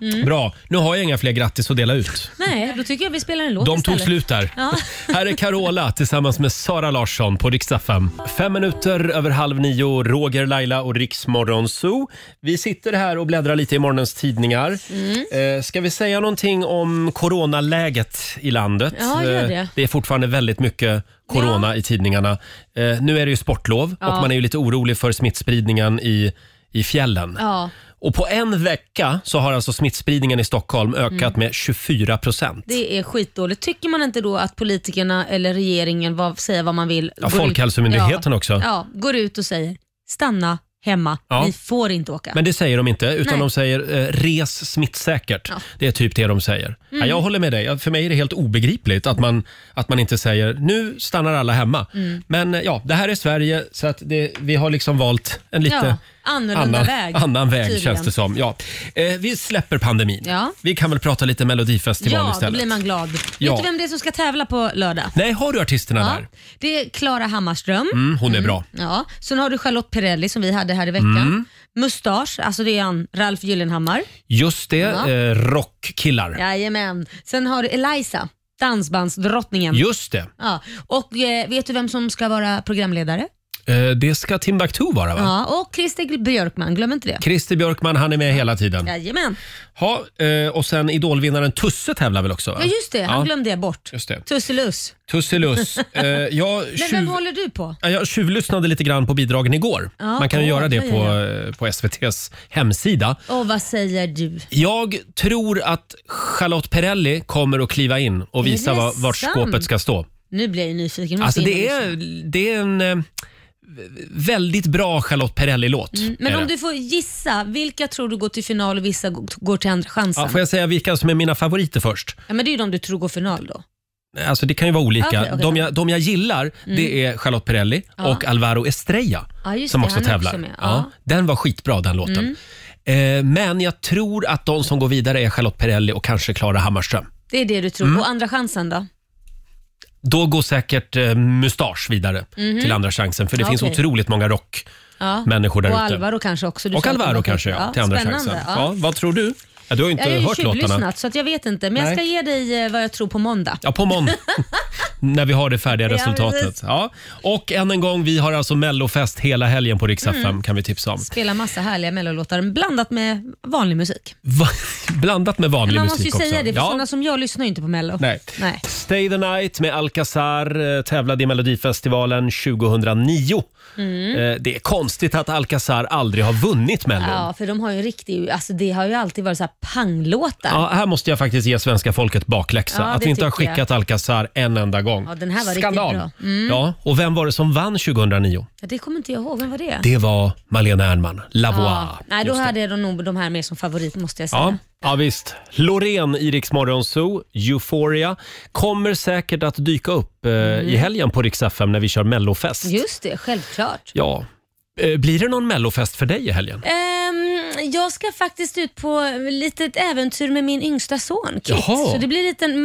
Speaker 4: er. Mm.
Speaker 1: bra. Nu har jag inga fler grattis att dela ut.
Speaker 4: Nej, då tycker jag vi spelar en låt
Speaker 1: De
Speaker 4: istället.
Speaker 1: tog slut där.
Speaker 4: Ja.
Speaker 1: *laughs* Här är Carola tillsammans med Sara Larsson på riksdag 5. Fem minuter över halv nio, Roger, Laila och Riksmorgon Zoo. Vi sitter här och bläddrar lite i morgonens tidningar. Mm. Ska vi säga någonting om coronaläget i landet?
Speaker 4: Ja, gör det.
Speaker 1: Eh, Det är fortfarande väldigt mycket corona i tidningarna. Eh, Nu är det ju sportlov
Speaker 4: Ja.
Speaker 1: och man är ju lite orolig för smittspridningen i, i fjällen.
Speaker 4: Ja,
Speaker 1: Och på en vecka så har alltså smittspridningen i Stockholm ökat
Speaker 4: Mm.
Speaker 1: med 24 procent.
Speaker 4: det är skitdåligt. Tycker man inte då att politikerna eller regeringen, vad, säger vad man vill.
Speaker 1: Ja,
Speaker 4: går ut-
Speaker 1: Folkhälsomyndigheten också.
Speaker 4: Ja, går ut och säger stanna hemma,
Speaker 1: Ja.
Speaker 4: ni får inte åka.
Speaker 1: Men det säger de inte, utan
Speaker 4: Nej.
Speaker 1: de säger eh, res smittsäkert.
Speaker 4: Ja.
Speaker 1: Det är typ det de säger.
Speaker 4: Mm.
Speaker 1: Ja, jag håller med dig. Ja, För mig är det helt obegripligt att man, att man inte säger nu stannar alla hemma.
Speaker 4: Mm.
Speaker 1: Men eh, ja, det här är Sverige så att det, vi har liksom valt en lite
Speaker 4: Ja, annorlunda
Speaker 1: annan
Speaker 4: väg,
Speaker 1: Annan väg
Speaker 4: tydligen.
Speaker 1: känns det som. Ja. Eh, vi släpper pandemin.
Speaker 4: Ja.
Speaker 1: Vi kan väl prata lite Melodifestivalen
Speaker 4: Ja, då
Speaker 1: istället.
Speaker 4: blir man glad.
Speaker 1: Ja.
Speaker 4: Vet du vem det är som ska tävla på lördag?
Speaker 1: Nej, har du artisterna där?
Speaker 4: Det är Klara Hammarström.
Speaker 1: Mm, hon är bra.
Speaker 4: Ja. Sen har du Charlotte Perrelli som vi hade här i veckan.
Speaker 1: Mm.
Speaker 4: Mustasch, alltså det är han, Ralf Gyllenhammar.
Speaker 1: Just det,
Speaker 4: Ja.
Speaker 1: eh, rockkillar.
Speaker 4: Jajamän. Sen har du Eliza, dansbandsdrottningen.
Speaker 1: Just det.
Speaker 4: Ja. Och eh, vet du vem som ska vara programledare?
Speaker 1: Eh, det ska Timbuktu vara va?
Speaker 4: Ja, och Christer Björkman, glöm inte det.
Speaker 1: Christer Björkman, han är med hela tiden.
Speaker 4: Jajamän.
Speaker 1: Ja, eh, och sen idolvinnaren Tusse tävlar väl också? Va?
Speaker 4: Ja just det, han
Speaker 1: Ja,
Speaker 4: glömde jag bort.
Speaker 1: Just det.
Speaker 4: Tusselus. *laughs*
Speaker 1: Tusseluss. Eh, jag,
Speaker 4: Men vem
Speaker 1: tjuv,
Speaker 4: håller du på?
Speaker 1: ja, jag tjuvlyssnade lite grann på bidragen igår.
Speaker 4: Ja,
Speaker 1: Man kan ju
Speaker 4: åh,
Speaker 1: göra det
Speaker 4: ja,
Speaker 1: på,
Speaker 4: ja,
Speaker 1: eh, på SVTs hemsida.
Speaker 4: Och vad säger du?
Speaker 1: Jag tror att Charlotte Perrelli kommer att kliva in och
Speaker 4: Är
Speaker 1: visa
Speaker 4: det
Speaker 1: var, vart
Speaker 4: sant? Mm.
Speaker 1: skåpet ska stå.
Speaker 4: Nu blir jag ju nyfiken.
Speaker 1: Alltså
Speaker 4: Måste in
Speaker 1: det
Speaker 4: och
Speaker 1: är, det är en eh, väldigt bra Charlotte Perrelli-låt.
Speaker 4: Mm,
Speaker 1: är
Speaker 4: Men om
Speaker 1: det.
Speaker 4: du får gissa, vilka tror du går till final och vissa g- går till andra chansen?
Speaker 1: ja, får jag säga vilka som är mina favoriter först?
Speaker 4: Ja, men det är ju de du tror går final då.
Speaker 1: Alltså det kan ju vara olika.
Speaker 4: Okej, okej.
Speaker 1: De, jag, de jag gillar
Speaker 4: Mm.
Speaker 1: det är Charlotte Perrelli
Speaker 4: Ja.
Speaker 1: och Alvaro Estrella
Speaker 4: Ja, just
Speaker 1: som
Speaker 4: det,
Speaker 1: också
Speaker 4: han är
Speaker 1: tävlar.
Speaker 4: också med.
Speaker 1: ja. den var skitbra den låten.
Speaker 4: Mm.
Speaker 1: Eh, men jag tror att de som går vidare är Charlotte Perrelli och kanske Klara Hammarström.
Speaker 4: Det är det du tror.
Speaker 1: Mm.
Speaker 4: Och andra chansen då?
Speaker 1: Då går säkert eh, Mustasch vidare
Speaker 4: Mhm.
Speaker 1: till andra chansen för det
Speaker 4: Ja,
Speaker 1: finns
Speaker 4: okej.
Speaker 1: otroligt många rock.
Speaker 4: Ja.
Speaker 1: Människor där
Speaker 4: och
Speaker 1: ute.
Speaker 4: Alvaro kanske också. Du
Speaker 1: och
Speaker 4: sa att de
Speaker 1: Alvaro
Speaker 4: var-
Speaker 1: kanske ja, till andra
Speaker 4: spännande,
Speaker 1: chansen. Ja.
Speaker 4: Ja.
Speaker 1: vad tror du? Ja, du har ju inte
Speaker 4: jag har
Speaker 1: hört
Speaker 4: ju
Speaker 1: låtarna.
Speaker 4: tjuvlyssnat så att jag vet inte. Men
Speaker 1: Nej.
Speaker 4: jag ska ge dig eh, vad jag tror på måndag.
Speaker 1: Ja, på
Speaker 4: *laughs*
Speaker 1: måndag. när vi har det färdiga
Speaker 4: Ja,
Speaker 1: resultatet.
Speaker 4: precis.
Speaker 1: Ja. Och än en gång, vi har alltså mellofest hela helgen på Rix
Speaker 4: Mm.
Speaker 1: FM kan vi tipsa om.
Speaker 4: Spela massa härliga mellolåtar blandat med vanlig musik.
Speaker 1: Va? *laughs* Blandat med vanlig
Speaker 4: Men man måste ju
Speaker 1: musik också.
Speaker 4: säga det, för
Speaker 1: ja.
Speaker 4: sådana som jag lyssnar ju inte på mello.
Speaker 1: Nej.
Speaker 4: Nej.
Speaker 1: Stay the night med Alcazar eh, tävlade i Melodifestivalen 2009.
Speaker 4: Mm.
Speaker 1: Eh, Det är konstigt att Alcazar aldrig har vunnit Mello.
Speaker 4: Ja, för de har ju en riktig, alltså det har ju alltid varit så här panglåtar.
Speaker 1: Ja, här måste jag faktiskt ge svenska folket bakläxa.
Speaker 4: Ja,
Speaker 1: att
Speaker 4: det
Speaker 1: vi inte har
Speaker 4: tycker jag.
Speaker 1: skickat Alcazar en enda gång.
Speaker 4: Ja, den här var riktigt bra. Mm.
Speaker 1: Ja, och vem var det som vann 2009?
Speaker 4: Ja, det kommer inte jag ihåg. Vem var det?
Speaker 1: Det var Malena Ernman, La Voix.
Speaker 4: Ja. Nej, då hade jag nog de här mer som favorit måste jag säga.
Speaker 1: Ja, ja visst. Loreen i Rix Morgon Zoo, Euphoria, kommer säkert att dyka upp eh, i helgen på Rix FM när vi kör mellofest.
Speaker 4: Mm. Just det, självklart.
Speaker 1: Ja. Eh, blir det någon mellofest för dig i helgen?
Speaker 4: Ehm, jag ska faktiskt ut på ett litet äventyr med min yngsta son Kit.
Speaker 1: Jaha.
Speaker 4: Så det blir en liten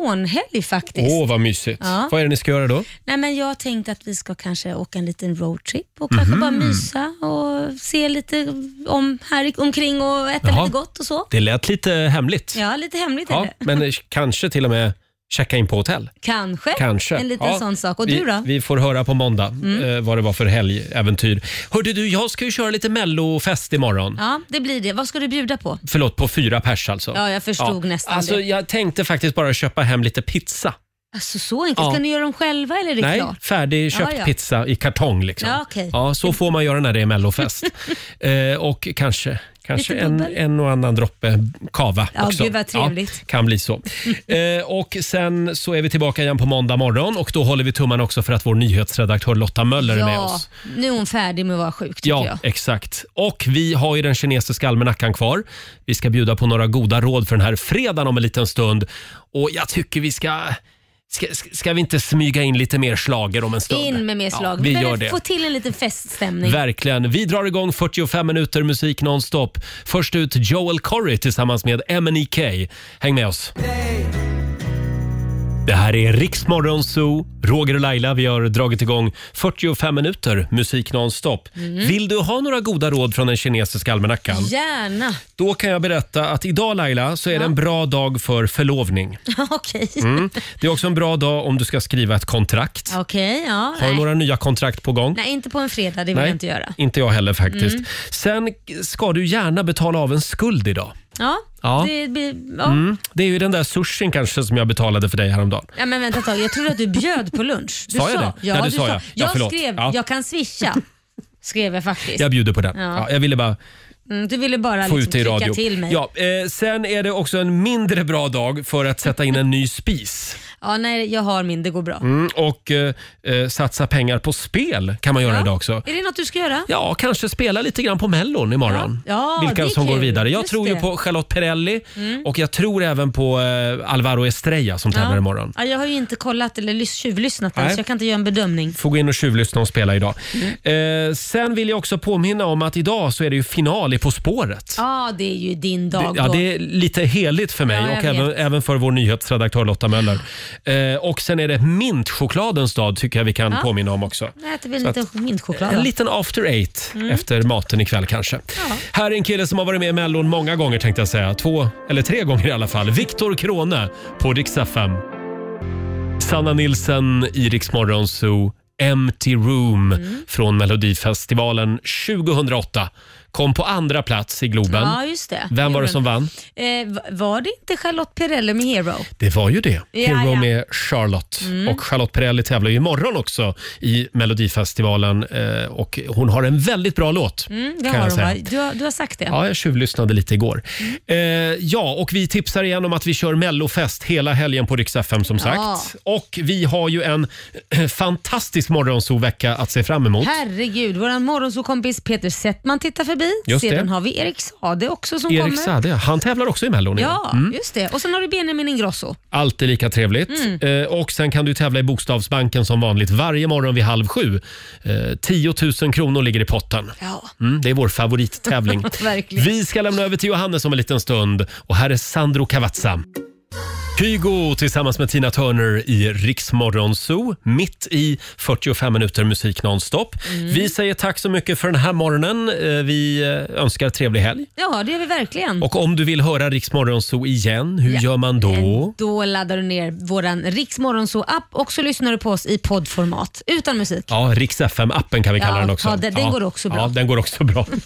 Speaker 4: mamma-son-helg faktiskt.
Speaker 1: Åh, vad mysigt.
Speaker 4: Eh, Ja.
Speaker 1: Vad är det ni ska göra då?
Speaker 4: Nej, men jag tänkte att vi ska kanske åka en liten roadtrip och kanske
Speaker 1: Mhm.
Speaker 4: bara mysa och se lite om här i- omkring och äta
Speaker 1: Jaha.
Speaker 4: lite gott och så.
Speaker 1: Det lät lite hemligt.
Speaker 4: Ja, lite hemligt är
Speaker 1: Ja,
Speaker 4: det.
Speaker 1: men eh, kanske till och med checka in på hotell.
Speaker 4: Kanske.
Speaker 1: Kanske.
Speaker 4: Eh, En liten
Speaker 1: Ja.
Speaker 4: sån sak. Och du
Speaker 1: vi,
Speaker 4: då?
Speaker 1: Vi får höra på måndag
Speaker 4: Mm.
Speaker 1: eh, vad det var för helgäventyr. Hörde du, jag ska ju köra lite mellofest imorgon.
Speaker 4: Ja, det blir det. Vad ska du bjuda på?
Speaker 1: Förlåt, på fyra pers alltså.
Speaker 4: Ja, jag förstod nästan
Speaker 1: alltså,
Speaker 4: det.
Speaker 1: Jag tänkte faktiskt bara köpa hem lite pizza.
Speaker 4: Alltså så enkelt.
Speaker 1: Ja.
Speaker 4: Ska ni göra dem själva eller är det
Speaker 1: Nej,
Speaker 4: klart?
Speaker 1: färdigköpt
Speaker 4: Ja, ja.
Speaker 1: pizza i kartong. Liksom.
Speaker 4: Ja, okej.
Speaker 1: ja, så får man göra när det är
Speaker 4: *laughs*
Speaker 1: mellofest. eh, och kanske, kanske
Speaker 4: Lite
Speaker 1: en,
Speaker 4: bubbel.
Speaker 1: en och annan droppe kava
Speaker 4: Ja,
Speaker 1: också.
Speaker 4: gud vad trevligt.
Speaker 1: Ja, kan bli
Speaker 4: *laughs*
Speaker 1: så. Eh, och Sen så är vi tillbaka igen på måndag morgon och då håller vi tummarna också för att vår nyhetsredaktör Lotta Möller är med
Speaker 4: Ja,
Speaker 1: oss.
Speaker 4: nu är hon färdig med att vara sjuk tycker
Speaker 1: Ja,
Speaker 4: jag.
Speaker 1: exakt. Och vi har ju den kinesiska almanackan kvar. Vi ska bjuda på några goda råd för den här fredagen om en liten stund. Och jag tycker vi ska... Ska, ska vi inte smyga in lite mer slager om en stund?
Speaker 4: In med mer slag.
Speaker 1: Ja, vi
Speaker 4: behöver
Speaker 1: gör det.
Speaker 4: Få till en liten feststämning.
Speaker 1: Verkligen. Vi drar igång 45 minuter musik nonstop. Först ut Joel Corry tillsammans med MNEK. Häng med oss. Det här är Riksmorgon Zoo. Roger och Laila, vi har dragit igång 45 minuter musik nonstop. Vill du ha några goda råd från den kinesiska almanackan?
Speaker 4: Gärna. *laughs*
Speaker 1: Då kan jag berätta att idag Laila så är det en bra dag för förlovning.
Speaker 4: Okej.
Speaker 1: Mm. Det är också en bra dag om du ska skriva ett kontrakt.
Speaker 4: Okej, ja.
Speaker 1: Har du
Speaker 4: nej.
Speaker 1: några nya kontrakt på gång?
Speaker 4: nej, inte på en fredag. Det vill
Speaker 1: Nej,
Speaker 4: jag inte göra.
Speaker 1: Inte jag heller faktiskt.
Speaker 4: Mm.
Speaker 1: Sen ska du gärna betala av en skuld idag.
Speaker 4: Ja,
Speaker 1: Ja.
Speaker 4: Det, blir- ja.
Speaker 1: Mm. Det är ju den där sushin kanske som jag betalade för dig häromdagen.
Speaker 4: Ja, men vänta ett tag. Jag trodde att du bjöd på lunch. Du
Speaker 1: Sa jag det?
Speaker 4: Ja,
Speaker 1: Ja, det
Speaker 4: du
Speaker 1: sa
Speaker 4: sa
Speaker 1: jag.
Speaker 4: jag.
Speaker 1: Ja, förlåt.
Speaker 4: skrev
Speaker 1: Ja.
Speaker 4: jag
Speaker 1: *laughs*
Speaker 4: kan swisha. Skrev jag faktiskt.
Speaker 1: Jag bjuder på den. Ja.
Speaker 4: Ja.
Speaker 1: jag ville bara
Speaker 4: Mm, du ville bara
Speaker 1: få
Speaker 4: liksom
Speaker 1: ut det i
Speaker 4: klicka
Speaker 1: radio.
Speaker 4: till mig.
Speaker 1: Ja, eh, sen är det också en mindre bra dag för att sätta in en ny spis.
Speaker 4: Ja, nej, jag har min. Det går bra.
Speaker 1: Mm, och eh, eh, satsa pengar på spel kan man göra idag också.
Speaker 4: Är det något du ska göra?
Speaker 1: Ja, kanske spela lite grann på Mellon imorgon.
Speaker 4: Ja, ja, det
Speaker 1: Vilka
Speaker 4: är
Speaker 1: som går
Speaker 4: kul.
Speaker 1: vidare. Jag
Speaker 4: Just
Speaker 1: tror ju
Speaker 4: det.
Speaker 1: på Charlotte Perrelli
Speaker 4: Mm.
Speaker 1: och jag tror även på eh, Alvaro Estrella som tävlar imorgon.
Speaker 4: Ja, jag har ju inte kollat eller lys- tjuvlyssnat än,
Speaker 1: Nej.
Speaker 4: så jag kan inte göra en bedömning.
Speaker 1: Får gå in och tjuvlyssna och spela idag.
Speaker 4: Mm.
Speaker 1: Eh, sen vill jag också påminna om att idag så är det ju final i På spåret.
Speaker 4: Ja, det är ju din
Speaker 1: Det,
Speaker 4: dag
Speaker 1: ja,
Speaker 4: då.
Speaker 1: det är lite heligt för mig
Speaker 4: Ja, jag
Speaker 1: och även,
Speaker 4: vet.
Speaker 1: även för vår nyhetsredaktör Lotta Möller. Eh, och sen är det mintchokladens dag tycker jag vi kan
Speaker 4: Ja.
Speaker 1: påminna om också.
Speaker 4: Nu äter vi
Speaker 1: Så
Speaker 4: lite
Speaker 1: att-
Speaker 4: mintchoklad.
Speaker 1: En
Speaker 4: då.
Speaker 1: liten after eight
Speaker 4: Mm.
Speaker 1: efter maten ikväll kanske. Här är en kille som har varit med i Mellon många gånger tänkte jag säga. Två eller tre gånger i alla fall. Viktor Krone på Rix FM. Sanna Nilsson i Rix Morgon Zoo. Empty Room
Speaker 4: Mm.
Speaker 1: från Melodifestivalen 2008. Kom på andra plats i Globen.
Speaker 4: Ja, just det.
Speaker 1: Vem var det
Speaker 4: Gjorde
Speaker 1: som
Speaker 4: den.
Speaker 1: vann?
Speaker 4: Eh, va- var det inte Charlotte Perrelli med Hero? Mm,
Speaker 1: Det var ju det.
Speaker 4: Ja,
Speaker 1: Hero
Speaker 4: ja.
Speaker 1: med Charlotte.
Speaker 4: Mm.
Speaker 1: Och Charlotte Perrelli tävlar ju imorgon också i Melodifestivalen. eh, Och hon har en väldigt bra låt.
Speaker 4: Mm, det
Speaker 1: Kan jag
Speaker 4: har hon,
Speaker 1: säga.
Speaker 4: va? Du, har- du har sagt det.
Speaker 1: Ja, jag tjuvlyssnade lite igår. Eh, ja, och vi tipsar igen om att vi kör mellofest hela helgen på Rix FM som sagt.
Speaker 4: Ja.
Speaker 1: Och vi har ju en eh, fantastisk morgonsovecka att se fram emot.
Speaker 4: Herregud, vår morgonsåkompis Peter Settman tittar förbi.
Speaker 1: Just det.
Speaker 4: Sedan har vi Erik Sade också som
Speaker 1: Erik
Speaker 4: kommer.
Speaker 1: Saade, han tävlar också i Mellon.
Speaker 4: Ja,
Speaker 1: igen. Mm.
Speaker 4: just det. Och sen har du Benjamin Ingrosso.
Speaker 1: Alltid lika trevligt.
Speaker 4: Mm.
Speaker 1: Eh, och sen kan du tävla i Bokstavsbanken som vanligt varje morgon vid halv sju. Eh, 10 000 kronor ligger i potten.
Speaker 4: Ja.
Speaker 1: Mm, det är vår favorittävling.
Speaker 4: *laughs* Verkligen.
Speaker 1: Vi ska lämna över till Johannes om en liten stund och här är Sandro Cavazza. Kygo tillsammans med Tina Turner i Riksmorgon Zoo mitt i 45 minuter musik nonstop.
Speaker 4: Mm.
Speaker 1: Vi säger tack så mycket för den här morgonen. Eh, Vi eh, önskar trevlig helg.
Speaker 4: Ja, det är vi verkligen.
Speaker 1: Och om du vill höra Riksmorgon Zoo igen, hur
Speaker 4: Mm. Ja.
Speaker 1: gör man då?
Speaker 4: Då laddar du ner vår Riksmorgonzoo-app och så lyssnar du på oss i poddformat utan musik.
Speaker 1: Ja, Rix FM-appen kan vi kalla
Speaker 4: Ja,
Speaker 1: den också.
Speaker 4: ja, den- den går också bra.
Speaker 1: Ja, den går också bra. *laughs*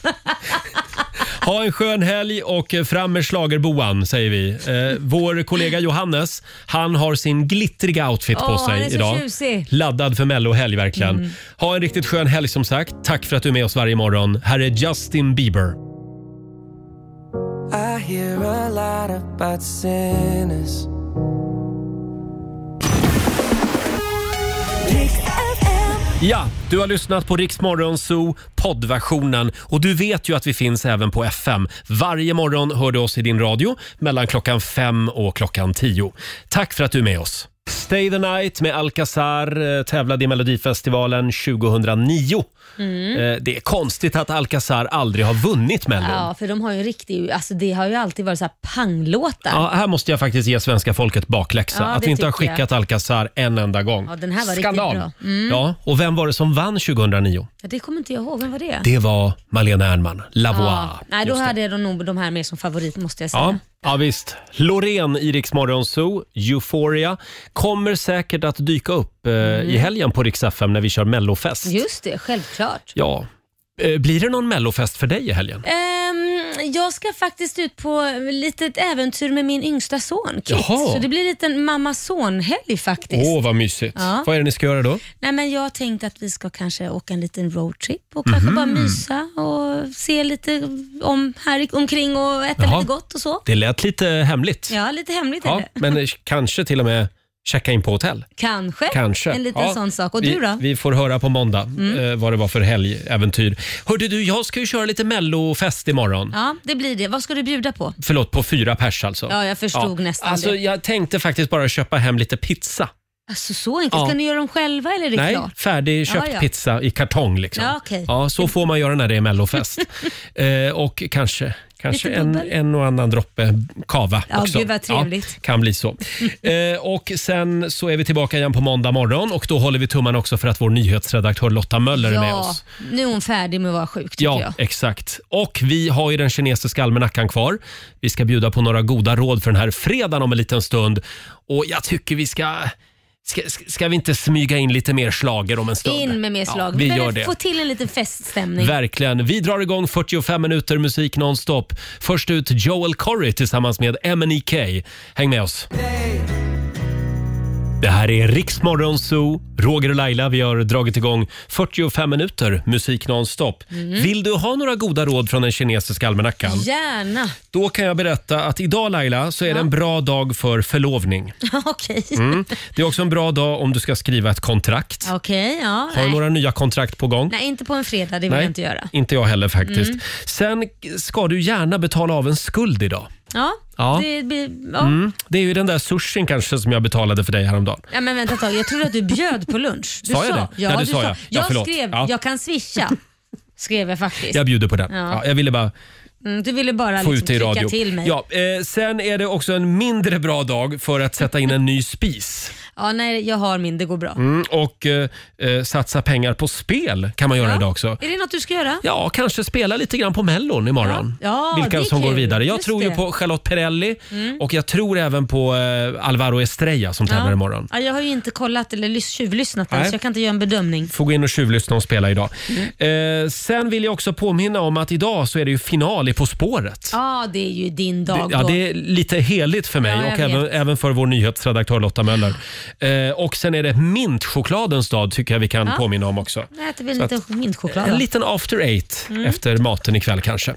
Speaker 1: ha en skön helg och fram med schlagerboan säger vi. Eh, vår kollega Johannes, han har sin glittriga outfit på
Speaker 4: Åh,
Speaker 1: sig
Speaker 4: han är så
Speaker 1: idag.
Speaker 4: tjusig. Mm.
Speaker 1: Laddad för mellohelg verkligen. Ha en riktigt skön helg som sagt. Tack för att du är med oss varje morgon. Här är Justin Bieber.
Speaker 5: I hear a lot about sinners.
Speaker 1: Ja, du har lyssnat på Rix Morgon Zoo poddversionen och du vet ju att vi finns även på FM. Varje morgon hör du oss i din radio mellan klockan fem och klockan tio. Tack för att du är med oss. Stay the night med Alcazar eh, tävlade i Melodifestivalen 2009.
Speaker 4: Mm.
Speaker 1: Eh, Det är konstigt att Alcazar aldrig har vunnit Mello.
Speaker 4: Ja, för de har ju en riktig, alltså det har ju alltid varit så här panglåtar.
Speaker 1: Ja, här måste jag faktiskt ge svenska folket bakläxa.
Speaker 4: Ja,
Speaker 1: att
Speaker 4: det
Speaker 1: vi inte har
Speaker 4: tycker jag.
Speaker 1: skickat Alcazar en enda gång.
Speaker 4: Ja, den här var riktigt bra. Mm.
Speaker 1: Ja, och vem var det som vann 2009?
Speaker 4: Ja, det kommer inte jag ihåg, vem var det?
Speaker 1: Det var Malena Ernman, La Voix.
Speaker 4: Ja. Nej, då
Speaker 1: Just det.
Speaker 4: hade jag nog de här mer som favorit måste jag säga.
Speaker 1: Ja, ja, visst. Loreen i Rix Morgon Zoo, Euphoria, kommer säkert att dyka upp eh, i helgen på Rix FM när vi kör mellofest.
Speaker 4: Mm. Just det, självklart.
Speaker 1: Ja. Eh, blir det någon mellofest för dig i helgen?
Speaker 4: Ehm, jag ska faktiskt ut på ett litet äventyr med min yngsta son Kit.
Speaker 1: Jaha.
Speaker 4: Så det blir en liten mamma-son-helg faktiskt.
Speaker 1: Åh, vad mysigt.
Speaker 4: Ja.
Speaker 1: Vad är det ni ska göra då?
Speaker 4: Nej, men jag tänkte att vi ska kanske åka en liten roadtrip och kanske
Speaker 1: Mhm.
Speaker 4: bara mysa och se lite om här i- omkring och äta
Speaker 1: Jaha.
Speaker 4: lite gott och så.
Speaker 1: Det lät lite hemligt.
Speaker 4: Ja, lite hemligt är
Speaker 1: Ja,
Speaker 4: det.
Speaker 1: men eh, kanske till och med checka in på hotell.
Speaker 4: Kanske.
Speaker 1: Kanske.
Speaker 4: En liten
Speaker 1: Ja.
Speaker 4: sån sak. Och du
Speaker 1: vi,
Speaker 4: då?
Speaker 1: Vi får höra på måndag
Speaker 4: Mm.
Speaker 1: eh, vad det var för helgäventyr. Hörde du, jag ska ju köra lite mellofest imorgon.
Speaker 4: Ja, det blir det. Vad ska du bjuda på?
Speaker 1: Förlåt, på fyra pers alltså.
Speaker 4: Ja, jag förstod nästan
Speaker 1: alltså,
Speaker 4: det.
Speaker 1: Jag tänkte faktiskt bara köpa hem lite pizza.
Speaker 4: Alltså så enkelt.
Speaker 1: Ja.
Speaker 4: Ska ni göra dem själva eller är det
Speaker 1: Nej,
Speaker 4: klart?
Speaker 1: färdigköpt
Speaker 4: Ja, ja.
Speaker 1: pizza i kartong liksom.
Speaker 4: Ja, okej.
Speaker 1: ja, så får man göra när det är
Speaker 4: *laughs*
Speaker 1: mellofest. eh, och kanske, kanske
Speaker 4: Lite
Speaker 1: en,
Speaker 4: bubbel.
Speaker 1: en och annan droppe kava
Speaker 4: Ja,
Speaker 1: också.
Speaker 4: gud vad trevligt.
Speaker 1: Ja, kan bli
Speaker 4: *laughs*
Speaker 1: så. Eh, och sen så är vi tillbaka igen på måndag morgon och då håller vi tummarna också för att vår nyhetsredaktör Lotta Möller är med
Speaker 4: Ja,
Speaker 1: oss.
Speaker 4: nu är hon färdig med att vara sjuk tycker
Speaker 1: Ja,
Speaker 4: jag.
Speaker 1: exakt. Och vi har ju den kinesiska almanackan kvar. Vi ska bjuda på några goda råd för den här fredagen om en liten stund. Och jag tycker vi ska... Ska, ska vi inte smyga in lite mer slager om en stund?
Speaker 4: In med mer slag.
Speaker 1: Ja, vi
Speaker 4: Men
Speaker 1: gör det.
Speaker 4: Få till en liten feststämning.
Speaker 1: Verkligen. Vi drar igång 45 minuter musik nonstop. Först ut Joel Corry tillsammans med MNEK. Häng med oss. Det här är Riksmorgon Zoo. Roger och Laila, vi har dragit igång 45 minuter musik nonstop. Vill du ha några goda råd från den kinesiska almanackan?
Speaker 4: Gärna. *laughs*
Speaker 1: Då kan jag berätta att idag Laila så är det en bra dag för förlovning.
Speaker 4: Okej.
Speaker 1: Mm. Det är också en bra dag om du ska skriva ett kontrakt.
Speaker 4: Okej, ja.
Speaker 1: Har du
Speaker 4: nej.
Speaker 1: några nya kontrakt på gång?
Speaker 4: nej, inte på en fredag. Det vill jag inte göra.
Speaker 1: inte jag heller faktiskt.
Speaker 4: Mm.
Speaker 1: Sen ska du gärna betala av en skuld idag.
Speaker 4: Ja,
Speaker 1: Ja.
Speaker 4: Det, blir- ja.
Speaker 1: Mm. Det är ju den där sushin kanske som jag betalade för dig häromdagen.
Speaker 4: ja men vänta ett tag. Jag trodde att du bjöd på lunch. Du
Speaker 1: Sa jag det?
Speaker 4: Ja,
Speaker 1: Ja, det
Speaker 4: du
Speaker 1: sa
Speaker 4: sa.
Speaker 1: jag. Ja,
Speaker 4: Jag
Speaker 1: förlåt.
Speaker 4: skrev,
Speaker 1: Ja.
Speaker 4: jag
Speaker 1: *laughs*
Speaker 4: kan swisha. Skrev jag faktiskt.
Speaker 1: Jag bjuder på den.
Speaker 4: Ja.
Speaker 1: Ja. jag ville bara
Speaker 4: Mm, du ville bara
Speaker 1: få
Speaker 4: liksom
Speaker 1: ut det i
Speaker 4: klicka
Speaker 1: radio.
Speaker 4: till mig. Ja.
Speaker 1: Ja, eh, sen är det också en mindre bra dag för att sätta in en ny spis.
Speaker 4: nej, jag har min. Det går bra.
Speaker 1: Mm, och eh, eh, satsa pengar på spel kan man göra idag också.
Speaker 4: Är det något du ska göra?
Speaker 1: Ja, kanske spela lite grann på Mellon imorgon.
Speaker 4: Ja, det är
Speaker 1: Vilka som går
Speaker 4: kul.
Speaker 1: vidare. Jag
Speaker 4: Just
Speaker 1: tror ju
Speaker 4: det.
Speaker 1: på Charlotte Perrelli
Speaker 4: Mm.
Speaker 1: och jag tror även på eh, Alvaro Estrella som tävlar imorgon.
Speaker 4: Ja, jag har ju inte kollat eller lys- tjuvlyssnat än,
Speaker 1: Nej.
Speaker 4: så jag kan inte göra en bedömning.
Speaker 1: Får gå in och tjuvlyssna och spela idag.
Speaker 4: Mm.
Speaker 1: Eh, sen vill jag också påminna om att idag så är det ju final i På spåret.
Speaker 4: Ja, det är ju din
Speaker 1: Det,
Speaker 4: dag
Speaker 1: ja,
Speaker 4: då.
Speaker 1: det är lite heligt för mig
Speaker 4: Ja, jag
Speaker 1: och även,
Speaker 4: vet.
Speaker 1: även för vår nyhetsredaktör Lotta Möller. Eh, och sen är det mintchokladens dag tycker jag vi kan
Speaker 4: Ja.
Speaker 1: påminna om också.
Speaker 4: Nu äter vi
Speaker 1: Så
Speaker 4: lite mintchoklad.
Speaker 1: En
Speaker 4: då.
Speaker 1: liten after eight
Speaker 4: Mm.
Speaker 1: efter maten ikväll kanske.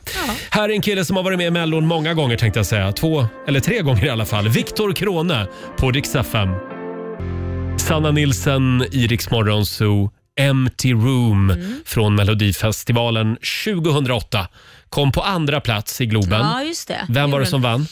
Speaker 1: Här är en kille som har varit med i Mellon många gånger tänkte jag säga. Två eller tre gånger i alla fall. Viktor Krone på Rix FM. Sanna Nilsson i Rix Morgon Zoo. Empty Room
Speaker 4: Mm.
Speaker 1: från Melodifestivalen 2008. Kom på andra plats i Globen.
Speaker 4: Ja, just det.
Speaker 1: Vem var
Speaker 4: Gjorde
Speaker 1: det som
Speaker 4: den.
Speaker 1: vann?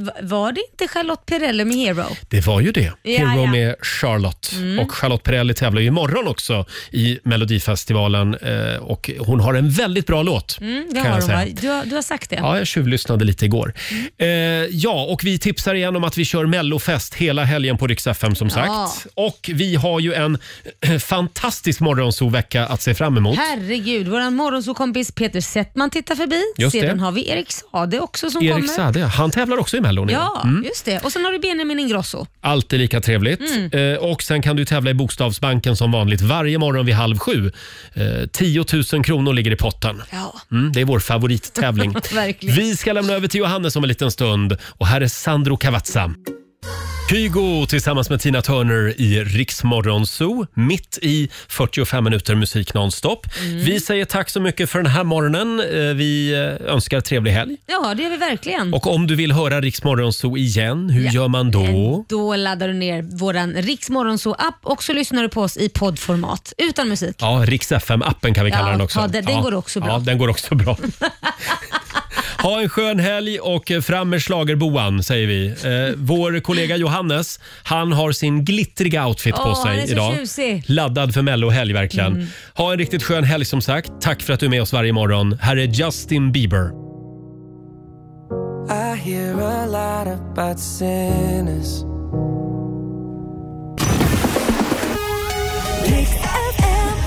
Speaker 4: Eh, va- var det inte Charlotte Perrelli med Hero?
Speaker 1: Det var ju det.
Speaker 4: Ja,
Speaker 1: Hero
Speaker 4: ja.
Speaker 1: med Charlotte.
Speaker 4: Mm.
Speaker 1: Och Charlotte Perrelli tävlar ju imorgon också i Melodifestivalen. eh, Och hon har en väldigt bra låt.
Speaker 4: Mm, det
Speaker 1: Kan
Speaker 4: har
Speaker 1: jag
Speaker 4: hon
Speaker 1: säga.
Speaker 4: va? Mm. Du, har- du har sagt det.
Speaker 1: Ja, jag tjuvlyssnade lite igår. Eh, ja, och vi tipsar igen om att vi kör mellofest hela helgen på Rix FM som sagt.
Speaker 4: Ja.
Speaker 1: Och vi har ju en eh, fantastisk morgonsovecka att se fram emot.
Speaker 4: Herregud, vår morgonsåkompis Peter Settman tittar förbi.
Speaker 1: Just det.
Speaker 4: Sedan har vi Erik Sade också som
Speaker 1: Erik
Speaker 4: kommer.
Speaker 1: Saade, han tävlar också i Mellon igen.
Speaker 4: Ja,
Speaker 1: Mm.
Speaker 4: just det. Och sen har du Benjamin Ingrosso.
Speaker 1: Alltid lika trevligt.
Speaker 4: Mm.
Speaker 1: Eh, och sen kan du tävla i Bokstavsbanken som vanligt varje morgon vid halv sju. Eh, 10 000 kronor ligger i potten.
Speaker 4: Ja.
Speaker 1: Mm, det är vår favorittävling.
Speaker 4: *laughs* Verkligen.
Speaker 1: Vi ska lämna över till Johannes om en liten stund. Och här är Sandro Cavazza. Kygo tillsammans med Tina Turner i Riksmorgon Zoo, mitt i 45 minuter musik nonstop.
Speaker 4: Mm.
Speaker 1: Vi säger tack så mycket för den här morgonen. Eh, Vi eh, önskar trevlig helg.
Speaker 4: Ja, det gör vi verkligen.
Speaker 1: Och om du vill höra Riksmorgon Zoo igen, hur
Speaker 4: Mm. Ja.
Speaker 1: gör man då?
Speaker 4: Då laddar du ner vår Riksmorgonzoo-app och så lyssnar du på oss i poddformat utan musik.
Speaker 1: Ja, Rix FM-appen kan vi kalla
Speaker 4: Ja,
Speaker 1: den också.
Speaker 4: ja, den- den går också bra.
Speaker 1: Ja, den går också bra. *laughs* Ha en skön helg och fram med schlagerboan säger vi. Eh, vår kollega Johannes, han har sin glittriga outfit på
Speaker 4: Åh,
Speaker 1: sig
Speaker 4: han är så
Speaker 1: idag.
Speaker 4: tjusig. Mm.
Speaker 1: Laddad för mellohelg verkligen. Ha en riktigt skön helg som sagt. Tack för att du är med oss varje morgon. Här är Justin Bieber.
Speaker 5: I hear a lot about sinners.